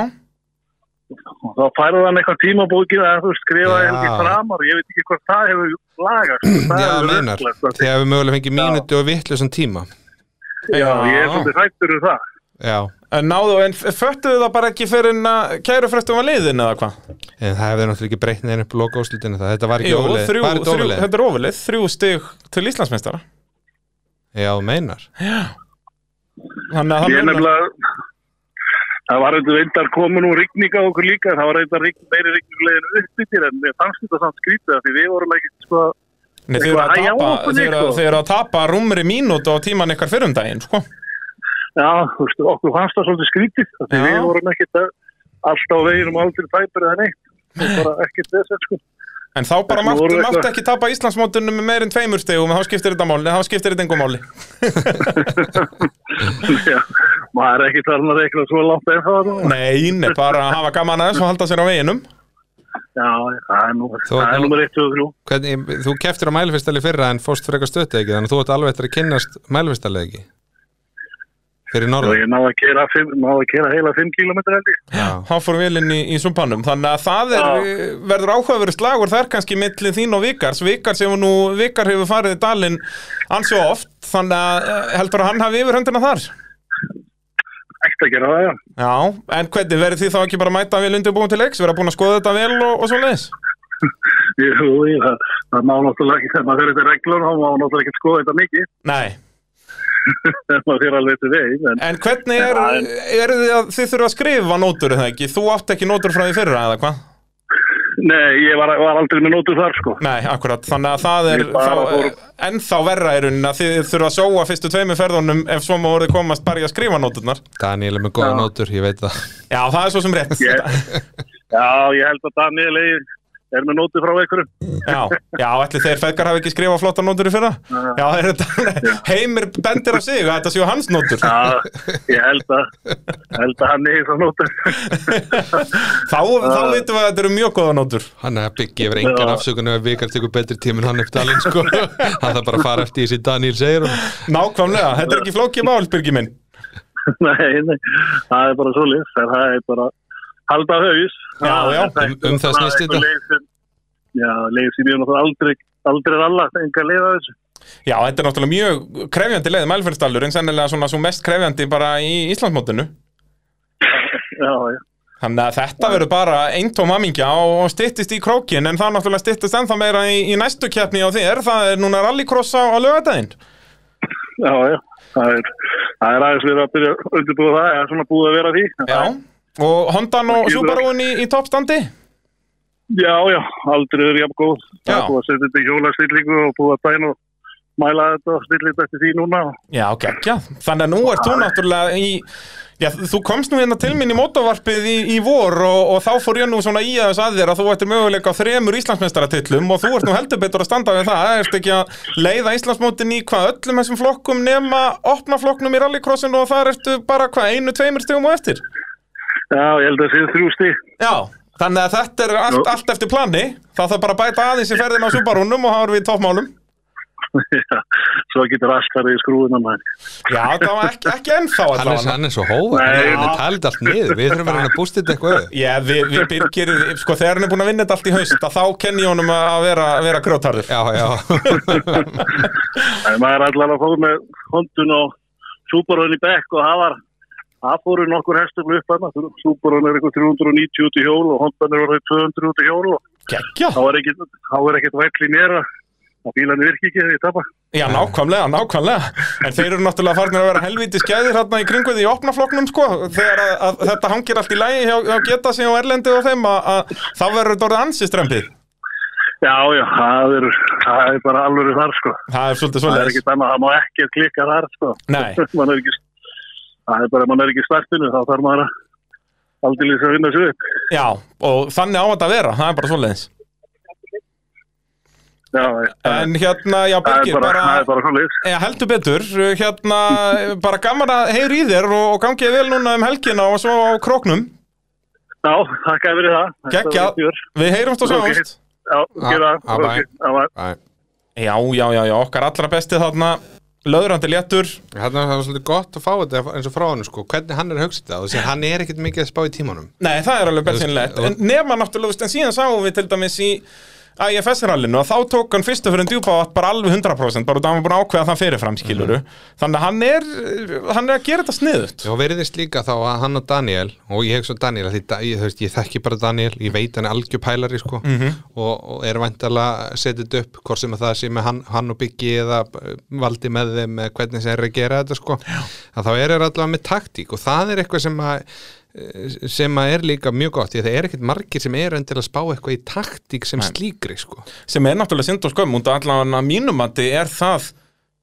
Speaker 3: og þá færði hann eitthvað tímabókið að þú veist,
Speaker 2: Já.
Speaker 3: skrifaði helgi framar og ég veit ekki hvort það hefur lagast sko, það
Speaker 2: Já,
Speaker 3: hefur
Speaker 2: meinar,
Speaker 3: ruglast, sko.
Speaker 2: þið hefur mögulega fengið mínútu og vittlösan tíma
Speaker 3: Já, ég er svolítið hættur um það
Speaker 2: Já,
Speaker 1: En náðu, en föttuðu það bara ekki fyrir en að kæru frestum að leiðin eða hvað?
Speaker 2: en það hefur náttúrulega ekki breytt neðin upp loka úslutinu það, þetta var ekki
Speaker 1: Jú,
Speaker 2: ólega
Speaker 1: þrjú,
Speaker 2: var þetta
Speaker 1: þrjú,
Speaker 2: ólega?
Speaker 1: þetta er ofilið, þrjú stig til Íslandsmeistara.
Speaker 2: Já, þú meinar
Speaker 1: Þannig að það
Speaker 3: Ég er
Speaker 1: munar-
Speaker 3: nefnilega, það var auðvitað reyndar komin úr rigninga á okkur líka, það var auðvitað rign, meiri um rigningulegin uppbyttir en mér fannst þetta samt skrítið af því við vorum ekki, sko,
Speaker 1: Nei, þið eru að
Speaker 3: Eitthvað að hægja á
Speaker 1: tapa,
Speaker 3: okkur,
Speaker 1: þið eru að,
Speaker 3: sko.
Speaker 1: þið eru að tapa rúmri mínútu á tíman ykkar fyrrum daginn, sko.
Speaker 3: já, þú veist, okkur fannst það svolítið skrítið af því
Speaker 1: Já.
Speaker 3: við vorum ekki alltaf á um veginum aldrei tæpur eða neitt, það var bara ekkert þess að sko.
Speaker 1: En þá bara
Speaker 3: Þetta
Speaker 1: máttu,
Speaker 3: voru
Speaker 1: máttu
Speaker 3: eitthvað-
Speaker 1: ekki tapa Íslandsmótunum með meirinn tveimur stegum, þá skiptir þetta máli, þá skiptir þetta engum máli.
Speaker 3: Já, maður er ekki þarna að reikna svo langt eða það, nú.
Speaker 1: Nei, nei, bara að hafa gaman aðeins og halda sér á veginum.
Speaker 3: já, það er nú,
Speaker 2: Þú-
Speaker 3: það er
Speaker 2: nú-
Speaker 3: nú með 23.
Speaker 2: Hvernig, þú keftir á mælfestali fyrra en fóst frekar stötta ekki þannig að þú ert alveg eftir að kynnast mælfestali ekki fyrir
Speaker 3: Og
Speaker 2: norðan
Speaker 3: ég náði að kera, fimm, náði að kera heila 5 km held ég.
Speaker 2: Já.
Speaker 1: Þá fór vel inn í, í sumpanum, þannig að það er, verður áhugaverið slagur þar kannski milli þín og Vikars. Vikars hefur nú, Vikar hefur farið í dalinn ansjó oft, þannig að eh, heldur að hann hafi yfirhöndina þar.
Speaker 3: Ætti að gera það, já.
Speaker 1: Já, en hvernig verður þið þá ekki bara að mæta vel undirbúin til leiks, verða búin að skoða þetta vel og, og svo
Speaker 3: Jú, jú, það, það má náttúrulega ekki, þegar maður fyrir þetta reglun, þá má náttúrulega ekki skoða þetta mikið,
Speaker 1: Nei,
Speaker 3: þegar maður fyrir alveg til veginn, en
Speaker 1: En hvernig er,
Speaker 3: Já, en-
Speaker 1: er þið að þið þurfa að skrifa nótur er það ekki? Þú átt ekki nótur frá því fyrra eða hvað?
Speaker 3: nei, ég var, var aldrei með nótu þar, sko.
Speaker 1: Nei, akkurat, þannig að það er
Speaker 3: Ég bara
Speaker 1: þá, eh,
Speaker 3: fór-
Speaker 1: ennþá verra er unna þið þurfa að sóa fyrstu tveimu ferðunum ef svo má orðið komast bara í að skrifa nóturnar
Speaker 2: Daniel er með góða
Speaker 3: Já.
Speaker 2: nótur, ég veit það
Speaker 1: Já, það er svo sem rétt
Speaker 3: Ég, já, ég held að Daniel Eir er með nótu frá einhverjum.
Speaker 1: Já, já, ætli þeir feðgar hafi ekki skrifað flottar nótur í fyrra
Speaker 3: Ah.
Speaker 1: Já, það er þetta, heimir bendir af sig að þetta séu hans nótur
Speaker 3: Ah. Já, ég held að, held að hann er það nótu.
Speaker 1: Þá, þá
Speaker 3: Ah.
Speaker 1: vitum við að þetta eru mjög góða nótur
Speaker 2: Hann er að byggja yfir engan
Speaker 3: Já.
Speaker 2: afsökun ef vikar tekur betri tíma en hann upp dalinn sko. hann þarf bara að fara eftir því sem Daniel segir og...
Speaker 1: Nákvæmlega, þetta er ekki flókið mál, Birgi minn
Speaker 3: nei, nei, það er bara svo lið, það er bara halda haus.
Speaker 1: Já, já,
Speaker 3: Það er
Speaker 2: um- um það
Speaker 3: bara
Speaker 2: snýst
Speaker 3: einhver
Speaker 2: þetta.
Speaker 3: leið sem- Já, leið sem ég náttúrulega aldrei aldrei ralla, enga leið að þessu.
Speaker 1: Já, þetta er náttúrulega mjög krefjandi leið Mælferðsdalur en sennilega svona svo mest krefjandi bara í Íslandsmótinu
Speaker 3: Já, já.
Speaker 1: Þannig að þetta verður bara eintóm hamingja og styttist í krókin en það náttúrulega styttist ennþá meira í, í næstu keppni á þér það er núna rallycross á, á lögadaginn
Speaker 3: Já, já. Það er, það er aðeins verið að byrja að undirbúa það, það er svona búið að vera að því.
Speaker 1: Já, og Hondan og Subaruin í, í toppstandi
Speaker 3: Já, já, aldrei er jafn góð. Það
Speaker 1: Já.
Speaker 3: er búið að setja þetta í hjólastillingu og búið að dæna og mæla þetta og stilla þetta eftir því núna.
Speaker 1: Já, geggjað, þannig að nú ert þú náttúrulega í Já, þú komst nú hérna til mín í mótavarpið í, í vor og, og þá fór ég nú svona í aðeins að þér að þú ættir möguleika á þremur Íslandsmeistaratillum og þú ert nú heldur betur að standa við það Ertu ekki að leiða Íslandsmótin í hvað öllum þessum flokkum nema opna flokknum í rallycrossinu og þar ertu bara hvað einu, tveimur stegum og eftir
Speaker 3: Já, ég held að það séu þrjú stík.
Speaker 1: Já, þannig að þetta er allt,
Speaker 3: Nú.
Speaker 1: allt eftir plani Það þarf bara að bæta aðeins í ferðin á Subarúnum og þá erum við í toppmálum
Speaker 3: Já, svo getur allt farið í skrúðuna maður.
Speaker 1: Já, það var ekki, ekki ennþá
Speaker 2: Hann er,
Speaker 1: allavega.
Speaker 2: hann er svo hófa, hann er
Speaker 3: Nei.
Speaker 2: að tala þetta allt niður, við þurfum að reyna að bústa þetta eitthvað upp.
Speaker 1: Já, við, við byrgir, sko þegar hann er búin að vinna þetta allt í haust að þá kenni ég honum að að vera, að vera grjótarður.
Speaker 2: Já, já,
Speaker 3: En maður er allar að fóð með hondun og súbarun í bekk og það var, það fóru nokkur hestum upp hann. Súbarun er eitthvað 390 út í hjól og hondan er orðið 200 út í hjól og
Speaker 1: Gekja?
Speaker 3: þá er ekkit, þá er ekkit væll í mér að að bílarni virki ekki þegar ég tapa.
Speaker 1: Já, nákvæmlega, nákvæmlega. En þeir eru náttúrulega farnir að vera helviti skæðir hérna í kringuði í opnafloknum, sko. Þegar að, að þetta hangir allt í lægi hjá, hjá geta sig og erlendi og þeim að, að þá verður þetta orðið ansi strempið.
Speaker 3: Já, já, það er, það er bara alveg þar sko.
Speaker 1: Það er svolítið
Speaker 3: Það er
Speaker 1: svolítið.
Speaker 3: ekkit annað, það má ekki klikka þar sko.
Speaker 1: Nei.
Speaker 3: Man er ekki, það er bara, man er ekki í startinu, þá þarf maður að aldrei að vinna sér upp.
Speaker 1: Já, og þannig á þetta að vera, það er bara svolítið.
Speaker 3: Já, það er-
Speaker 1: En hérna, já,
Speaker 3: það er
Speaker 1: Birgir,
Speaker 3: bara, það er
Speaker 1: bara...
Speaker 3: bara svolítið.
Speaker 1: Já, heldur betur, hérna, bara gaman að heyri í þér og, og gangið vel núna um helgina og svo á króknum.
Speaker 3: Já, þakka fyrir það.
Speaker 1: Gekkja, við heyrumst og sjáumst
Speaker 3: Já, gera.
Speaker 2: Ah, ah, bye. já.
Speaker 3: bye.
Speaker 1: Já, já, já, já, okkar allra besti þarna Löðrandi léttur
Speaker 2: Þannig að það var svolítið gott að fá þetta eins og frá hann sko, hvernig hann er að hugsa þetta og þess að hann er ekkert mikið að spá í tímanum
Speaker 1: Nei, það er alveg bensinlegt En nema náttúrulega, þú veist, en síðan sáum við til dæmis í IFS-rallinu að þá tók hann fyrstu fyrir en djúpa átt bara alveg 100% bara út af að hann var búin að ákveða að það fyrirfram skiluru Þannig að hann er, hann er að gera þetta sniðut
Speaker 2: og veriðist líka þá að hann og Daniel og ég hef svo Daniel, af því da- ég, þú veist, ég þekki bara Daniel, ég veit hann er algjöpælari sko, og, og er væntalega að setja þetta upp, hvort sem að það sé með hann, hann og Biggi eða eh, valdi með þeim eða hvernig sem er að gera þetta sko að þá er er allavega með taktík og það er eitthvað sem að eh, sem að er líka mjög gott, því að það er ekkert margir sem er endilega að spá eitthvað í taktík sem slíkri sko.
Speaker 1: sem er náttúrulega synd og skömm út af allan að mínumandi er það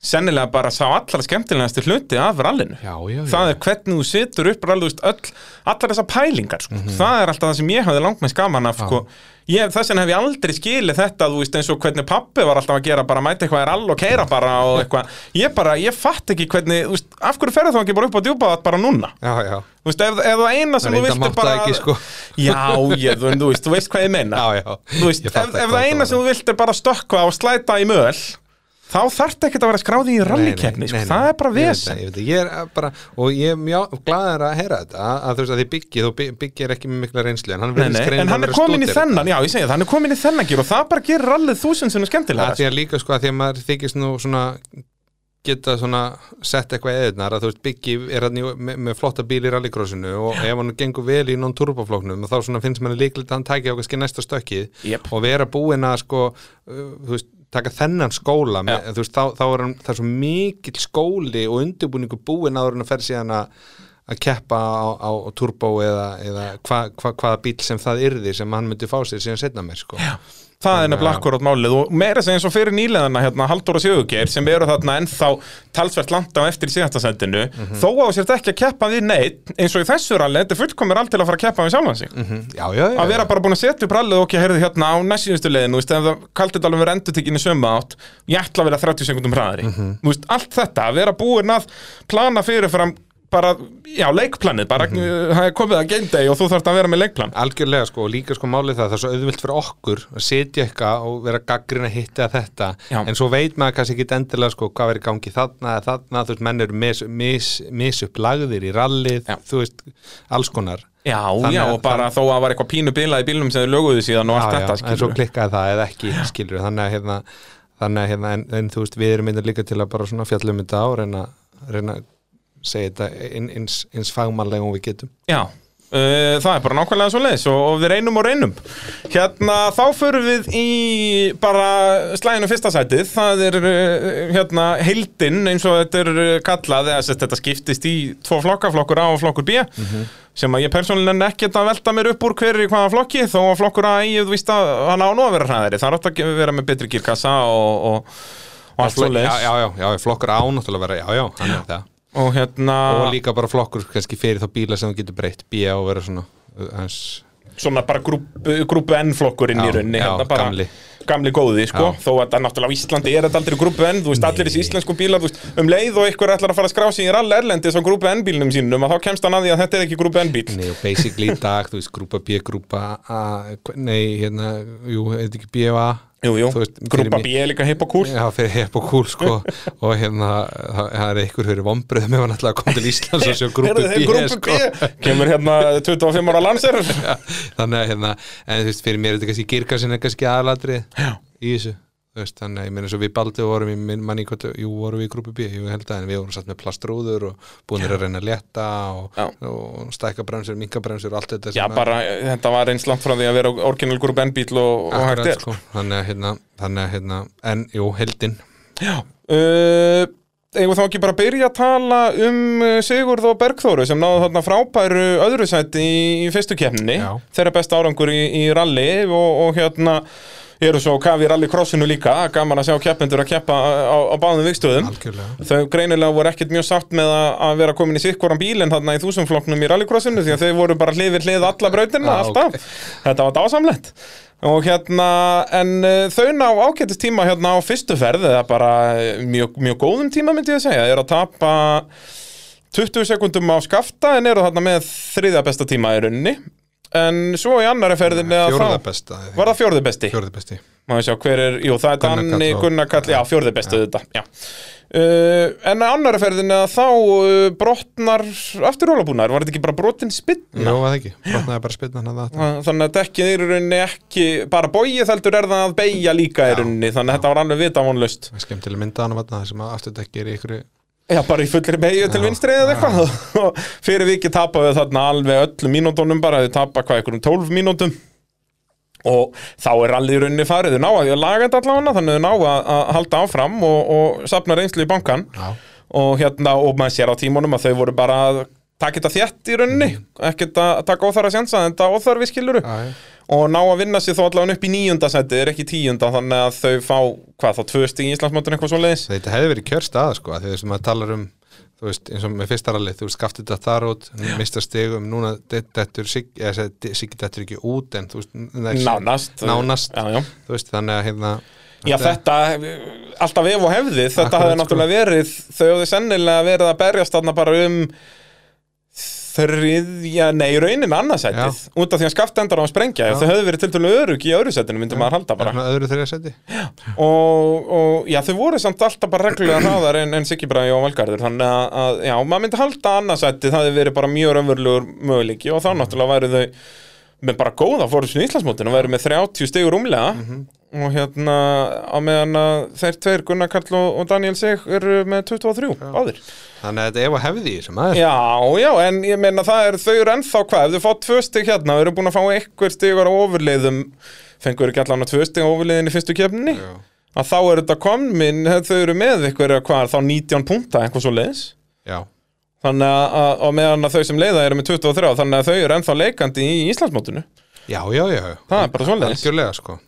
Speaker 1: sennilega bara sá allra skemmtilegasti hluti af rallinu
Speaker 2: Já, já, já.
Speaker 1: það er hvernig þú situr upp rallust öll, allar þessar pælingar sko.
Speaker 2: Mhm.
Speaker 1: það er alltaf það sem ég hafði langt með skaman af sko. ég, þess vegna hef ég aldrei skilið þetta þú veist eins og hvernig pappi var alltaf að gera bara mæta eitthvað er all og keira bara og eitthvað ég bara, ég fatt ekki hvernig þú veist, af hverju ferðu þá ekki bara upp á djúpaðat bara núna
Speaker 2: Já, já,
Speaker 1: þú veist, ef, ef það eina sem
Speaker 2: Það
Speaker 1: þú
Speaker 2: reyndar
Speaker 1: viltu
Speaker 2: mátti það
Speaker 1: bara
Speaker 2: ekki, sko.
Speaker 1: já, ég, þú, þú veist, þú veist hvað ég menna
Speaker 2: já, já.
Speaker 1: þú veist,
Speaker 2: Ég
Speaker 1: ef,
Speaker 2: fatta
Speaker 1: ef
Speaker 2: hvað
Speaker 1: það eina
Speaker 2: var.
Speaker 1: sem þú vilt er bara stökkva og slæta í möl þá þarf ekkert að vera skráði í rallykeppni sko. það er bara vesen
Speaker 2: ég veit, það, ég, veit, það. ég er bara, og ég er mjög gladur að heyra þetta að, að þú veist að því byggið og byggið er ekki með mikla reynslu en hann,
Speaker 1: Nei, nei, en hann er komin í þennan, já ég segja það, hann er komin í þennan gír og það bara gerir rallið þúsund sem er
Speaker 2: að
Speaker 1: skemmtilega
Speaker 2: því að líka sko að því að maður þykist nú svona geta svona sett eitthvað eðnar að þú veist byggi er hann í, með, með flotta bíl í rallycrossinu og ef hann gengur vel í non-turboflóknum þá svona finnst manni líklegt að hann tæki á kannski næsta stökkið
Speaker 1: Jep.
Speaker 2: og vera búin að sko uh, þú veist taka þennan skóla með, þú veist, þá, þá er hann það er svo mikill skóli og undirbúningu búin áður en að fer síðan að að keppa á, á, á turbo eða, eða hva, hva, hvaða bíl sem það yrði sem hann myndi fá sér síðan setna með sko. Já,
Speaker 1: Það er nefnilega akkurat málið og meira segja eins og fyrir nýleðana hérna Halldóra Sjögugeir sem eru þarna ennþá talsvert langt á eftir í síðasta sendinu þó á sér þetta ekki að keppa við neitt eins og í þessu rallið, þetta er fullkomir all til að fara að keppa við sjálfan sig
Speaker 2: já, já, já,
Speaker 1: að vera bara búin að setja upp rallið og ekki að heyrðu hérna á næstjúðustu leiðinu, þú veist, ef það kaldi þetta alveg verið endurtekinu sömu átt, ég ætla að vera 30 sekundum hraðari, þú veist, allt þetta að vera búin að plana fyrirfram bara, já, leikplanið, bara mm það er komið að game day og þú þarft að vera með leikplan
Speaker 2: algjörlega sko og líka sko málið það það er svo auðvilt fyrir okkur að setja eitthvað og vera gaggrinn að hitta þetta
Speaker 1: Já.
Speaker 2: en svo veit maður kannski ekki endilega sko hvað verið gangi þarna eða þarna þú veist menn eru mis, mis, mis í rallið
Speaker 1: Já.
Speaker 2: þú veist alls konar
Speaker 1: Já,
Speaker 2: Þannig
Speaker 1: já,
Speaker 2: að-
Speaker 1: og bara þó að það var eitthvað pínu bilað í bílnum sem þau löguðu síðan og allt
Speaker 2: Já, já,
Speaker 1: þetta,
Speaker 2: en svo
Speaker 1: skilur
Speaker 2: klikkaði það eða ekki skilur þannig að hérna, þannig að hérna en, en þú veist við erum myndir líka til að bara svona fjallum þetta á og reyna, reyna að segja þetta inn- eins, eins fagmannlega og við getum
Speaker 1: Já, uh, það er bara nákvæmlega svo leiðis og, og við reynum og reynum Hérna, þá förum við í bara slæðinu fyrsta sætið Það er, uh, hérna, heildin eins og þetta er uh, kallað eða sérst, þetta skiptist í tvo flokka, flokkur A og flokkur B
Speaker 2: Mhm.
Speaker 1: sem að ég persónulega nenni ekkert að velta mér upp úr hverju hvaða flokki þó að flokkur A, ég þú víst að hann á nú að vera hraðari það er átt að ge- vera með betri gírkassa og, og, og allt svo
Speaker 2: já, já,
Speaker 1: leiðis
Speaker 2: já, já, flokkur ánáttúrulega vera, já, já, hann er það
Speaker 1: og hérna,
Speaker 2: og líka bara flokkur kannski fyrir þá bíla sem þú getur breytt bíja og vera svona uh, aðeins,
Speaker 1: svona bara grúpu, grúpu N-flokkurinn í
Speaker 2: Já,
Speaker 1: rauninni
Speaker 2: já,
Speaker 1: hérna bara,
Speaker 2: gamli.
Speaker 1: gamli góði sko,
Speaker 2: Já.
Speaker 1: þó að það náttúrulega á Íslandi er þetta aldrei grúpu N, þú veist allir þessi íslensku bílar þú veist, um leið og ykkur ætlar að fara að skrá sig í rall erlendis á grúpu N-bílnum sínum að þá kemst hann að því að þetta er ekki grúpu N-bíl
Speaker 2: nei, og basically í dag, þú veist, grúpa B, grúpa A hva- nei, hérna, jú, eitthvað ekki B og A
Speaker 1: Jú, jú,
Speaker 2: Þú veist, fyrir
Speaker 1: grúpa
Speaker 2: mig-
Speaker 1: B er líka hipp og cool
Speaker 2: Já, fyrir hepp og kúl sko og hérna, það það er einhver fyrir vombröðum ef hann ætlaði að koma til Íslands og sjá grúpu
Speaker 1: Heyrðu, þeir
Speaker 2: B,
Speaker 1: grúpu
Speaker 2: sko.
Speaker 1: B kemur hérna 25 ára lanser
Speaker 2: Já, þannig að hérna, en þú veist, fyrir mér er þetta kannski girkarsin er kannski aðalatrið í þessu, þú veist, þannig að ég meina svo við baldi vorum í, minn manni hvort, jú, vorum við í grúpu B, jú, ég held að, en við vorum satt með plastrúður og búinir að reyna að létta og,
Speaker 1: Já.
Speaker 2: og stækka bremsur, minka bremsur og allt þetta
Speaker 1: Já,
Speaker 2: sem að-
Speaker 1: bara, eh, þetta var eins langt frá því að vera orginal grúpu N-bíl og, og hægt
Speaker 2: Akkurat,
Speaker 1: er
Speaker 2: sko, þannig að hérna, þannig að hérna, en jú, heldin
Speaker 1: Já uh, Eigum við þá ekki bara að byrja að tala um uh, Sigurð og Bergþóru sem náðu þarna frábæru öðru sæti í, í fyrstu kemni
Speaker 2: Já.
Speaker 1: Þeirra besta árangur í, í rally og, og hérna eru svo kafi í rallycrossinu líka Gaman að sjá keppendur að keppa á, á báðum vikstöðum
Speaker 2: algjörlega
Speaker 1: Þau greinilega voru ekkert mjög sátt með að, að vera komin í sikkvoran bílinn þarna í þúsumflokknum í rallycrossinu því að þau voru bara hlið við hlið alla brautina
Speaker 2: Ah,
Speaker 1: alltaf. Þetta var dásamlegt. Og hérna, en uh, þau ná ágættist tíma hérna á fyrstu ferð eða bara eh, mjög, mjög góðum tíma myndi ég að segja. Þeir eru að tapa 20 sekundum á skafta en eru þarna með þriðja besta tíma í rauninni. En svo í annari ferðinni að
Speaker 2: Fjórða
Speaker 1: þá-
Speaker 2: besta I think.
Speaker 1: Var það fjórði besti?
Speaker 2: Fjórða besti
Speaker 1: Má við sjá hver er, jú það er
Speaker 2: Gunnar
Speaker 1: Danni
Speaker 2: Karl og-
Speaker 1: Gunnar Kall, já fjórði bestu þetta já. Uh, en að annara ferðin að þá uh, brotnar aftur rólabúnar, var þetta ekki bara brotin spilna?
Speaker 2: Jó, að ekki, brotnaði bara hérna spilna hann að það
Speaker 1: Þannig að dekkið er í rauninni ekki, bara bóið heldur er það að beigja líka í rauninni, þannig að þetta var alveg vitavonlaust.
Speaker 2: Það er skemmtileg mynda hann að vatna það sem að afturdekki er í ykkur
Speaker 1: Já, bara í fullri beigju til
Speaker 2: Já,
Speaker 1: vinstri eða eitthvað og fyrir vikið tapaðu þarna alveg öllum mínútonum bara, þau tapa hvað einhverjum 12 mínútum og þá er allir í rauninni farið, þau ná að því að laga þetta allavega þannig að þau ná að, að halda áfram og, og sapna reynslu í bankan
Speaker 2: Já,
Speaker 1: og hérna, og maður sér á tímunum að þau voru bara að taka þetta þétt í rauninni ekkert að taka óþara sjansa en þetta óþarfi skiluru
Speaker 2: já, já.
Speaker 1: og ná að vinna sér þó allavega upp í níunda seti, er ekki tíunda þannig að þau fá, hvað þá, tvö stig í Íslandsmótinu eitthvað svo leiðis
Speaker 2: Þetta hefði verið kjör staða sko af því þessum að talar um þú veist, eins og með fyrsta rallið, þú skafti þetta þar út mista stigum, núna dettur Siggi, eða sagði, de- Siggi dettur ekki út en þú veist, næst,
Speaker 1: Nánast
Speaker 2: nánast
Speaker 1: Já, já.
Speaker 2: þú veist, þannig að hérna
Speaker 1: Já, þetta, alltaf ef og hefði, þetta
Speaker 2: Akkurat,
Speaker 1: hafði
Speaker 2: sko.
Speaker 1: náttúrulega verið, þau hafði sennilega verið að berjast þarna bara um þriðja, nei, í rauninni annarsætið, út af því að skafta endar á að sprengja, ef
Speaker 2: Já.
Speaker 1: þau hefði verið til dælu örug í öðru sætinu, myndi maður halda bara.
Speaker 2: Svona öðru þeirra seti
Speaker 1: og, og já, þau voru samt alltaf bara reglulega hraðar en, en Siggi Bræði og Valgarður þannig að, að, já, maður myndi halda annarsætti það hefði verið bara mjög raunverulegur möguleiki og þá náttúrulega væru þau með bara góða fórhúsin í Íslandsmótinu og væru með 30 stegur umlega og hérna, á meðan að þeir tveir Gunnar Karl og, og Daniel Sig eru með 23, báðir
Speaker 2: þannig að þetta ef að hefði í þessum aðeins
Speaker 1: Já, já, en ég meina það er, þau eru ennþá hvað, ef þau fá tvö stig hérna, þau eru búin að fá einhver stigur á ofurleiðum, fengur ekki allan að tvö stig á ofurleiðin í fyrstu kefninni,
Speaker 2: sko, Já.
Speaker 1: að þá eru þetta komin, þau eru með einhverja hvað, þá 19 punta, eitthvað svo leiðis.
Speaker 2: Já,
Speaker 1: Þannig að, að, og meðan að þau sem leiða eru með 23, þannig að þau eru ennþá leikandi í Íslandsmótinu.
Speaker 2: já, já, já, já.
Speaker 1: Það er bara svoleiðis.
Speaker 2: Algjörlega sko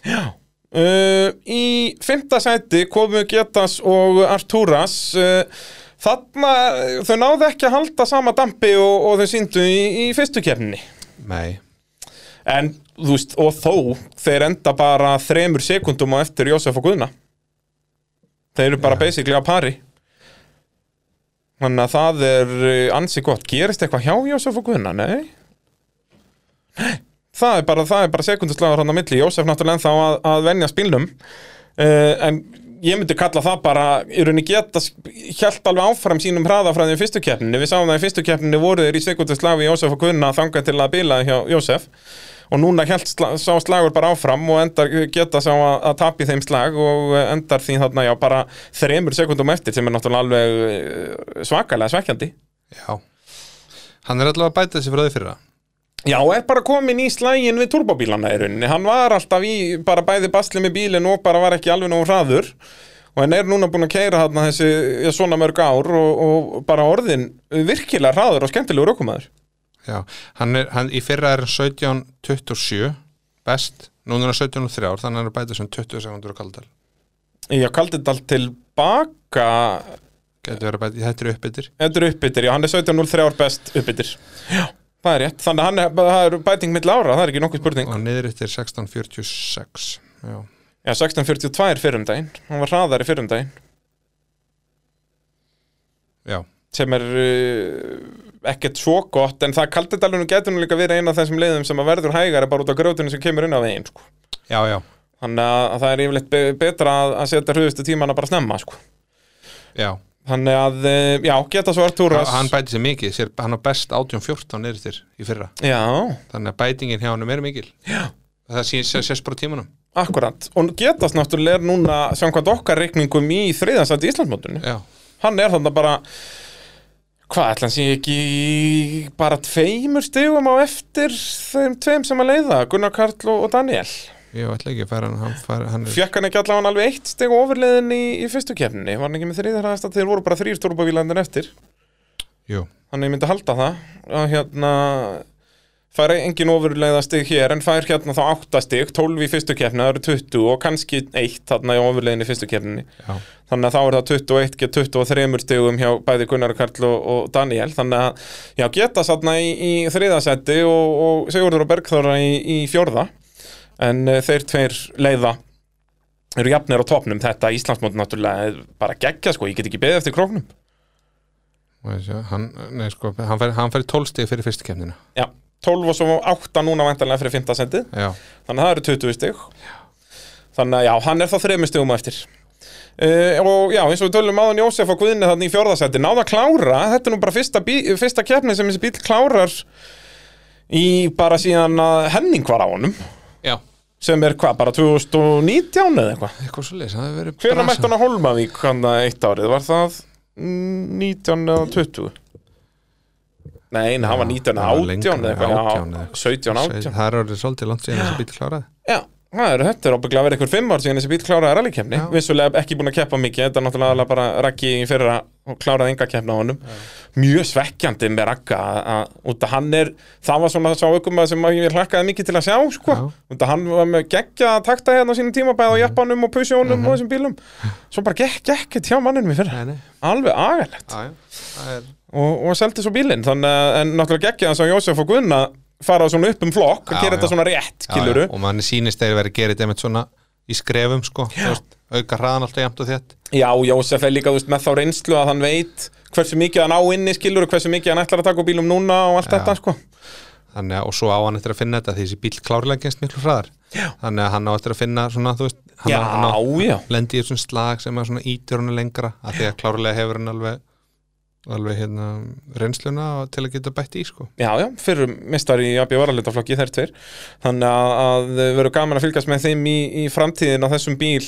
Speaker 1: Uh, í fymta sæti komu Getas og Artúras uh, Þarna, þau náðu ekki að halda sama dampi og, og þau síndu í, í fyrstu kefninni
Speaker 2: Nei,
Speaker 1: En, þú veist, og þó, þeir enda bara þremur sekundum á eftir Jósef og Guðna Þeir eru bara basically á pari Þannig að það er eh, ansi gott Gerist eitthvað hjá Jósef og Guðna? Nei það er bara, það er bara sekunduslæður hann á milli Jósef náttúrulega ennþá að, að venja spilnum uh, en ég myndi kalla það bara í rauninni geta hjælt alveg áfram sínum hraða frá því í fyrstu keppninni við sáum það í fyrstu keppninni voru þeir í sekundaslavi Jósef og Gunna þangað til að bila hjá Jósef og núna hjælt sla, sá slagur bara áfram og endar geta sá að, að tapi þeim slag og eh, endar því þarna já bara þremur sekundum eftir sem er náttúrulega alveg eh, svakalega svekkjandi
Speaker 2: Já Hann er allavega að bæta þessi frá því fyrra
Speaker 1: Já, er bara komin í slægin við turbóbílana í rauninni, hann var alltaf í bara bæði basli með bílinn og bara var ekki alveg nógu hraður og hann er núna búin að keira hann þessi já, svona mörg ár og, og bara orðin virkilega hraður og skemmtilegur okkumæður
Speaker 2: Já, hann er, hann, í fyrra er hann 17.27 best, núna er hann 17.3 þannig að hann er að bæta þessum 20 sekundur á kaldal
Speaker 1: Já, kaldið allt tilbaka
Speaker 2: Gæti verið að bæta, þetta er uppbyttir
Speaker 1: Þetta er uppbyttir, já, hann er 17.03 ár best uppbyttir Já, það er rétt, þannig að hann er, það er bæting mill ára, það er ekki nokkuð spurning
Speaker 2: og niður eftir 16.46 Já,
Speaker 1: Já, 16.42 fyrrum um daginn, hann var hraðari fyrrum daginn
Speaker 2: já,
Speaker 1: sem er uh, ekkert svo gott en það kaldedalunum getur nú líka verið eina af þessum leiðum sem að verður hægara bara út á grjótinu sem kemur inn á veginn sko.
Speaker 2: já, já,
Speaker 1: þannig að, að það er yfirleitt be- betra að, að setja hröðustu tímana bara snemma sko.
Speaker 2: já.
Speaker 1: þannig að, uh, já, geta svo
Speaker 2: Hann,
Speaker 1: Artúras
Speaker 2: hann bæti sér mikið, sér, hann á best 18.14 niður eftir í fyrra
Speaker 1: já,
Speaker 2: þannig að bætingin hjá hann er mikil Já Það sé- sé- sést bara á tímanum
Speaker 1: akkurat og getast náttúrulega er núna samkvæmt okkar reikningum í þriðansætti Íslandsmótinu
Speaker 2: Já,
Speaker 1: hann er þannig bara hvað, ætla hann sé ekki í bara tveimur stigum á eftir þeim tveim sem að leiða Gunnar Karl og, og Daniel
Speaker 2: ég ætla ekki að fara hann, hann, fara, hann er,
Speaker 1: Fjökk hann ekki allavega alveg eitt steg ofurleiðin í, í fyrstu kefninni, var hann ekki með þriðar aðeins þeir voru bara þrýr stórbávílandin eftir
Speaker 2: Jú,
Speaker 1: þannig ég myndi halda það að hérna fær engin ofurleiða stig hér en fær hérna þá átta stig, 12 í fyrstu kefni, það eru 20 og kannski eitt þarna í ofurleiðin í fyrstu kefninni
Speaker 2: já
Speaker 1: þannig að þá er það 21 get 23 stigum hjá bæði Gunnar Karl og, og Daniel þannig að já, geta satna í, í þriðasetti og, og Sigurður og Bergþóra í, í fjórða en uh, þeir tveir leiða eru jafnir á topnum þetta Íslandsmóti náttúrulega er bara geggja sko, ég get ekki beðið eftir króknum
Speaker 2: Og þessi, hann, nei, sko, hann fer, hann fer 12 stig fyrir fyrstu kemnina
Speaker 1: já, 12 og svo 8 núna vantanlega fyrir 5. sendið
Speaker 2: já,
Speaker 1: þannig að það eru 20 stig þannig að já, hann er þá þremur stigum á eftir uh, og já, eins og við tölum áðan Jósef og Guðni þannig í fjórðasætti, náða að klára þetta er nú bara fyrsta, bí, fyrsta keppni sem þessi bíl klárar í bara síðan að Henning var á honum
Speaker 2: já,
Speaker 1: sem er hvað, bara 2019 eða eitthvað
Speaker 2: eitthvað svo leys, það hefur verið
Speaker 1: hvenær mætti
Speaker 2: brasað.
Speaker 1: hann að Holmavík hann að eitt árið, var það mm, 19 eða 20 Nei, nei, hann var 19
Speaker 2: það var
Speaker 1: eða 18
Speaker 2: lengra,
Speaker 1: eða eitthvað,
Speaker 2: 18
Speaker 1: já,
Speaker 2: eða
Speaker 1: 17,
Speaker 2: eitthvað.
Speaker 1: 18
Speaker 2: Það er orðið svolítið langt síðan þessi bíl kláraði
Speaker 1: Já, það eru þetta er ábygglega að vera ykkur fimm ár síðan þessi bíl kláraði rallykeppni
Speaker 2: Já.
Speaker 1: Vissulega ekki búin að keppa mikið, þetta er náttúrulega aðallega bara Raggi í fyrra og kláraði enga keppna á honum Mjög svekkjandi með Ragga að- að- út að hann er, það var svona sá ykkur maður sem að ég hlakkaði mikið til að sjá sko. út að hann var með geggja að takta hérna á sínum tíma bæði á jeppanum og pusjónum og þessum bílum Svo bara gekk ekkert hjá manninum í fyrra,
Speaker 2: Nei, nei,
Speaker 1: alveg agalegt
Speaker 2: já, já, það er
Speaker 1: og, og seldi svo bílinn, þannig að en náttúrulega geggja hans á Jósef og Gunna fara svona upp um flokk og
Speaker 2: Já,
Speaker 1: gera
Speaker 2: já.
Speaker 1: þetta svona rétt,
Speaker 2: Já,
Speaker 1: kiluru
Speaker 2: já, og manni sýnist þeir verið að gera þetta einmitt svona í skrefum sko, þú veist, auka hraðan alltaf jæmt og þétt
Speaker 1: Já, Jósef er líka þú veist, með þá reynslu að hann veit hversu mikið hann á inni skilur og hversu mikið hann ætlar að taka úr bílum núna og allt þetta sko.
Speaker 2: þannig að, og svo á hann eftir að finna þetta því þessi bíl klárlega genst miklu hraðar já. þannig að hann á eftir að finna svona, þú veist hann,
Speaker 1: Já,
Speaker 2: hann á,
Speaker 1: já,
Speaker 2: lendi í þessum slag sem er svona ítur hann lengra að því að klárlega hefur hann alveg alveg hérna reynsluna og- til að geta bætt í sko
Speaker 1: já, já, fyrir mistar í AB varalitaflokki þeir tveir þannig að, að verður gaman að fylgjast með þeim í, í framtíðin á þessum bíl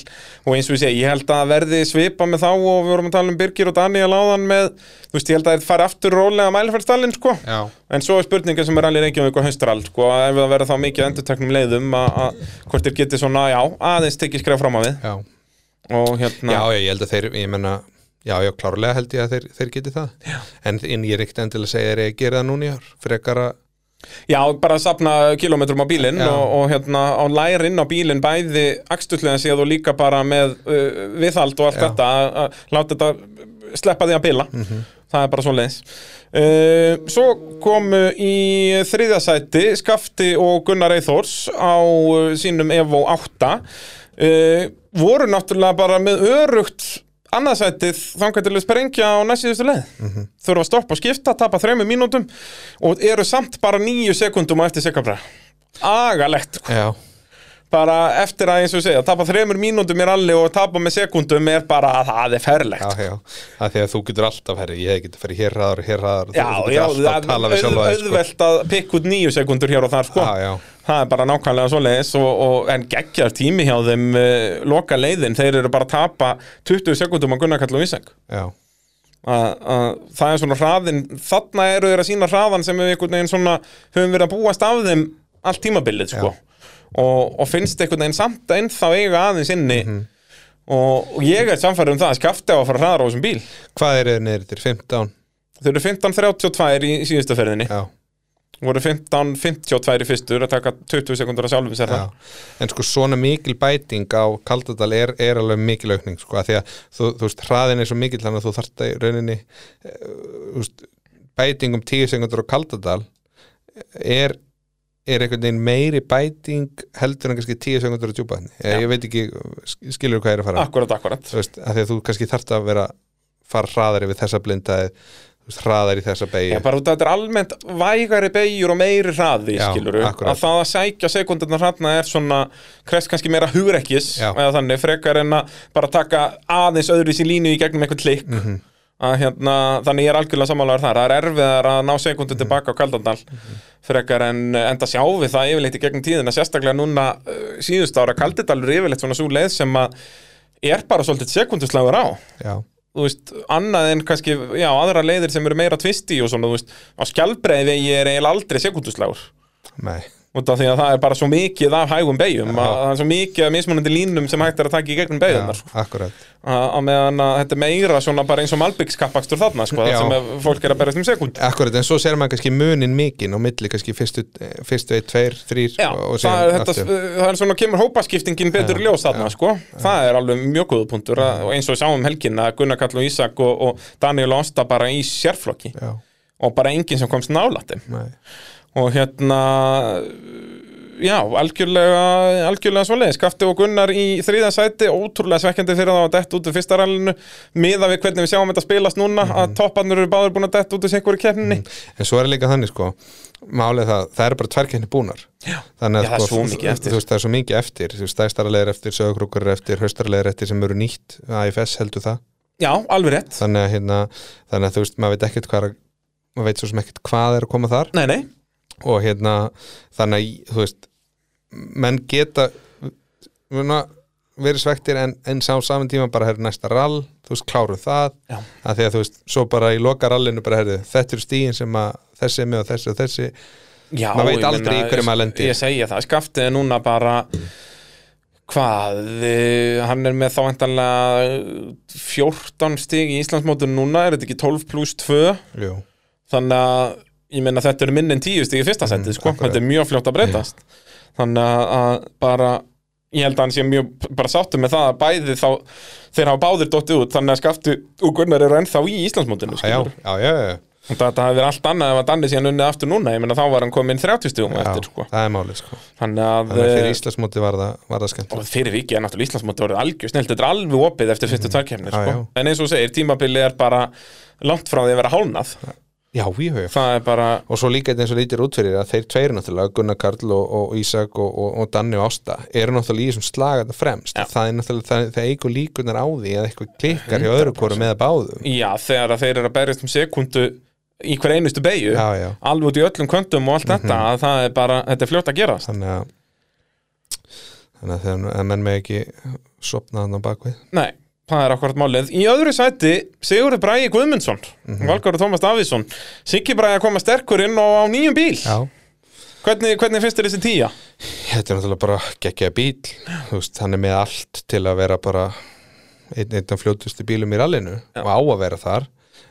Speaker 1: og eins og ég segi, ég held að verði svipa með þá og við vorum að tala um Birgir og Daniel áðan með, þú veist, ég held að þeir fari aftur rólega að mælferðstallin sko
Speaker 2: já,
Speaker 1: En svo er spurningin sem er allir reykjum ykkur haustral sko, að ef það verður þá mikið endurteknum leiðum að að hvort þeir geti svona, já, aðeins tekið skref fram að við
Speaker 2: já,
Speaker 1: og hérna
Speaker 2: já, já, ég held að þeir ég menna, já, já, klárlega held ég að þeir, þeir geti það já. en en ég er ekkert endilega að segja þeir eigi að gera það núna í ár frekar að
Speaker 1: Já, bara að safna kilometrum á bílinn
Speaker 2: Já.
Speaker 1: og, og hérna á lærin á bílinn bæði akstullega séð og líka bara með uh, viðhald og allt
Speaker 2: Já.
Speaker 1: þetta að- að láta þetta sleppa því að bila það er bara svo leiðis uh, Svo komu í þriðasæti Skafti og Gunnar Eithors á uh, sínum Evo 8 uh, voru náttúrulega bara með örugt annarsætið þangar til að sprengja á næstíðustu leið þurfa að stoppa og skipta, tapa þremur mínútum og eru samt bara níu sekundum á eftir sekabra agalegt,
Speaker 2: já,
Speaker 1: bara eftir að eins og ég segja, tapa þremur mínúndum í rally og tapa með sekundum er bara að það er ferlegt.
Speaker 2: Já, já, að því að þú getur alltaf herri, ég getur farið hér hraðar, hér hraðar,
Speaker 1: Já,
Speaker 2: þú
Speaker 1: já,
Speaker 2: getur alltaf að tala við
Speaker 1: auð-
Speaker 2: sjálfa þig, sko.
Speaker 1: auðvelt að pikka út nýju sekundur hér og þar, sko.
Speaker 2: Já, já.
Speaker 1: Það er bara nákvæmlega svoleiðis og, og, en geggjar tími hjá þeim uh, loka leiðin, þeir eru bara að tapa 20 sekundum á Gunnar Kall og Ísak.
Speaker 2: Já,
Speaker 1: að að það er svona hraðin þarna eru þeir að sína hraðan sem við einhvern veginn svona höfum verið að búast af þeim allt tímabilið sko og, og finnst einhvern veginn samt ennþá eiga aðeins inni
Speaker 2: Mhm.
Speaker 1: og, og ég er samfærið um það að skafti á að fara hraðar á þessum bíl
Speaker 2: hvað er þeir neyrir til 15?
Speaker 1: þau eru 15.32 í síðustu ferðinni
Speaker 2: Já,
Speaker 1: voru 15.52 í fyrstur að taka 20 sekundur að sjálfum sér
Speaker 2: já,
Speaker 1: það
Speaker 2: en sko svona mikil bæting á Kaldadal er, er alveg mikil aukning, sko, að því að þú, þú veist, hraðin er svo mikil þannig að þú þarft að í rauninni, eh, þú veist, bæting um 10 sekundur á Kaldadal er er einhvern veginn meiri bæting heldur en kannski 10 sekundur á djúpaðinni ég, ég veit ekki, skilur hvað ég er að fara
Speaker 1: akkurat, akkurat
Speaker 2: þú veist, að því að þú kannski þarft að vera fara hraðar yfir þessa blindaði þú veist, hraðar í þessa beigju
Speaker 1: Já, bara út að þetta er almennt vægari beigjur og meiri hraði,
Speaker 2: Já,
Speaker 1: skilur
Speaker 2: akkurat.
Speaker 1: að það að sækja sekundarnar hraðna er svona krest kannski meira hugrekkis
Speaker 2: Já.
Speaker 1: eða þannig, frekar en að bara taka aðeins öðru í línu í gegnum einhvern klikk
Speaker 2: Mhm.
Speaker 1: að hérna, þannig ég er algjörlega samanlegar þar, það er erfiðar að ná
Speaker 2: Mhm.
Speaker 1: sekundum tilbaka á Kaldandal frekar en enda sjá við það yfirleitt í gegnum tíðina, sérstaklega núna uh, síðust ára Kaldidalur er yfirleitt svona svo leið sem að er bara svolítið sekunduslagur á
Speaker 2: já,
Speaker 1: þú veist, annað en kannski já, aðra leiðir sem eru meira tvisti og svona, þú veist, á skjálbreiði vegi er eiginlega aldrei sekunduslágur,
Speaker 2: nei,
Speaker 1: út af því að það er bara svo mikið af hægum beigjum,
Speaker 2: Já.
Speaker 1: að það er svo mikið af mismunandi línum sem hægt er að taka í gegnum
Speaker 2: já,
Speaker 1: beigjunar, sko.
Speaker 2: akkurat
Speaker 1: Að- að meðan að þetta er meira svona bara eins og malbyggskappakstur þarna, sko, það
Speaker 2: Já.
Speaker 1: sem að fólk er að berjast um sekund.
Speaker 2: akkurat, en svo ser maður kannski munin mikinn á milli kannski fyrstu, fyrstu eitt, tveir, þrýr
Speaker 1: Já,
Speaker 2: og,
Speaker 1: það,
Speaker 2: og
Speaker 1: er,
Speaker 2: síðan
Speaker 1: þetta,
Speaker 2: aftur.
Speaker 1: það er svona kemur hópaskiptingin betur í ljós þarna sko, það er alveg mjög góðupunktur og eins og við sáum um helgin að Gunnar Kall og Ísak og, og Daniel og Ásta bara í sérflokki
Speaker 2: já,
Speaker 1: og bara enginn sem komst nálætt þeim
Speaker 2: nei,
Speaker 1: og hérna já, algjörlega algjörlega svoleiðis, Skafti og Gunnar í þriða sæti, ótrúlega svekkjandi fyrir það að dett út úr fyrsta rallinu, miða við hvernig við sjáum þetta spilast núna,
Speaker 2: Mhm.
Speaker 1: að topparnir eru báður búin að dett út úr einhverju keppninni
Speaker 2: en svo er líka þannig sko málið það, það eru bara tværkenni búnar já, þannig sko,
Speaker 1: Já, það er svo mikið
Speaker 2: þú-
Speaker 1: eftir.
Speaker 2: þú veist, það er svo mikið eftir, þú veist, stæstaralegar eftir sögurkrúkur eftir, haustaralegar eftir sem eru nýtt AFS heldur það
Speaker 1: já, alveg rétt,
Speaker 2: þannig að, hérna, þannig að þú veist, maður veit ekkert hvað er að- maður veit svo sem ekkert hvað er að koma þar
Speaker 1: nei, nei
Speaker 2: og hérna þannig að, þú veist menn geta svona, verið svektir en, en sá saman tíma bara herri næsta rall, þú veist, kláru það
Speaker 1: Já.
Speaker 2: að því að þú veist, svo bara í loka rallinu bara herri, þetta eru stíin sem að þessi er með og þessi og þessi
Speaker 1: Já,
Speaker 2: Maður veit
Speaker 1: ég
Speaker 2: aldrei
Speaker 1: meina,
Speaker 2: í hverju maður lendir.
Speaker 1: Ég segja það, Skafti er núna bara hvað, eh, hann er með þá endanlega 14 stig í Íslandsmótun núna, er þetta ekki 12 pluss 2
Speaker 2: Jú.
Speaker 1: þannig að ég meina þetta eru minn en tíu stig í fyrsta seti sko,
Speaker 2: Mm, akkurat.
Speaker 1: þetta er mjög fljótt að breytast þannig að- að bara ég held að hann sé mjög p- bara sáttu með það að bæði þá, þeir hafa báðir dottið út þannig að skaftu og Gunnar eru ennþá í Íslandsmótinu
Speaker 2: já,
Speaker 1: skilurðu.
Speaker 2: já, já, já,
Speaker 1: Þannig að þetta hafi verið allt annað ef að Danni síðan unnið aftur núna ég meina þá var hann komin 30 stugum
Speaker 2: já
Speaker 1: eftir sko.
Speaker 2: það er málið sko
Speaker 1: þannig að,
Speaker 2: þannig að
Speaker 1: eh,
Speaker 2: fyrir Íslandsmóti var það, var það skemmt
Speaker 1: og fyrir vikið er náttúrulega Íslandsmóti orðið algjör snill, þetta er alveg opið eftir fyrstu tværkefnir
Speaker 2: Mhm. Já,
Speaker 1: sko. en eins og þú segir, tímabili er bara langt frá því að vera hálnað
Speaker 2: já, já, já
Speaker 1: það er bara,
Speaker 2: og svo líka eins og lítir út fyrir að þeir tveir náttúrulega, Gunnar Karl og, og Ísak og, og, og Danni og Ásta, eru náttúrulega í þessum slagarna fremst,
Speaker 1: Já.
Speaker 2: það er náttúrulega það, það eigur líkunar á því að eitthvað klikkar hjá öðru hvorum eða báðum
Speaker 1: já, þegar að þeir eru að berjast um sekundu í hver einustu beigju
Speaker 2: já, já,
Speaker 1: alveg út í öllum köndum og allt þetta að það er bara, þetta er fljótt að gerast
Speaker 2: þannig að þannig að þegar að menn með ekki sopna hann á bakvið
Speaker 1: Nei, það er akkurat málið. Í öðru sæti Sigurður Bragi Guðmundsson, mm -hmm. Valgarður Tómas Davíðsson. Siggi Bragi að koma sterkur inn og á nýjum bíl. Hvernig, hvernig finnst þér þessi tíja?
Speaker 2: þetta er náttúrulega bara geggja bíl þú veist, hann er með allt til að vera bara einn einn af fljótustu bílum í rallinu og á að vera þar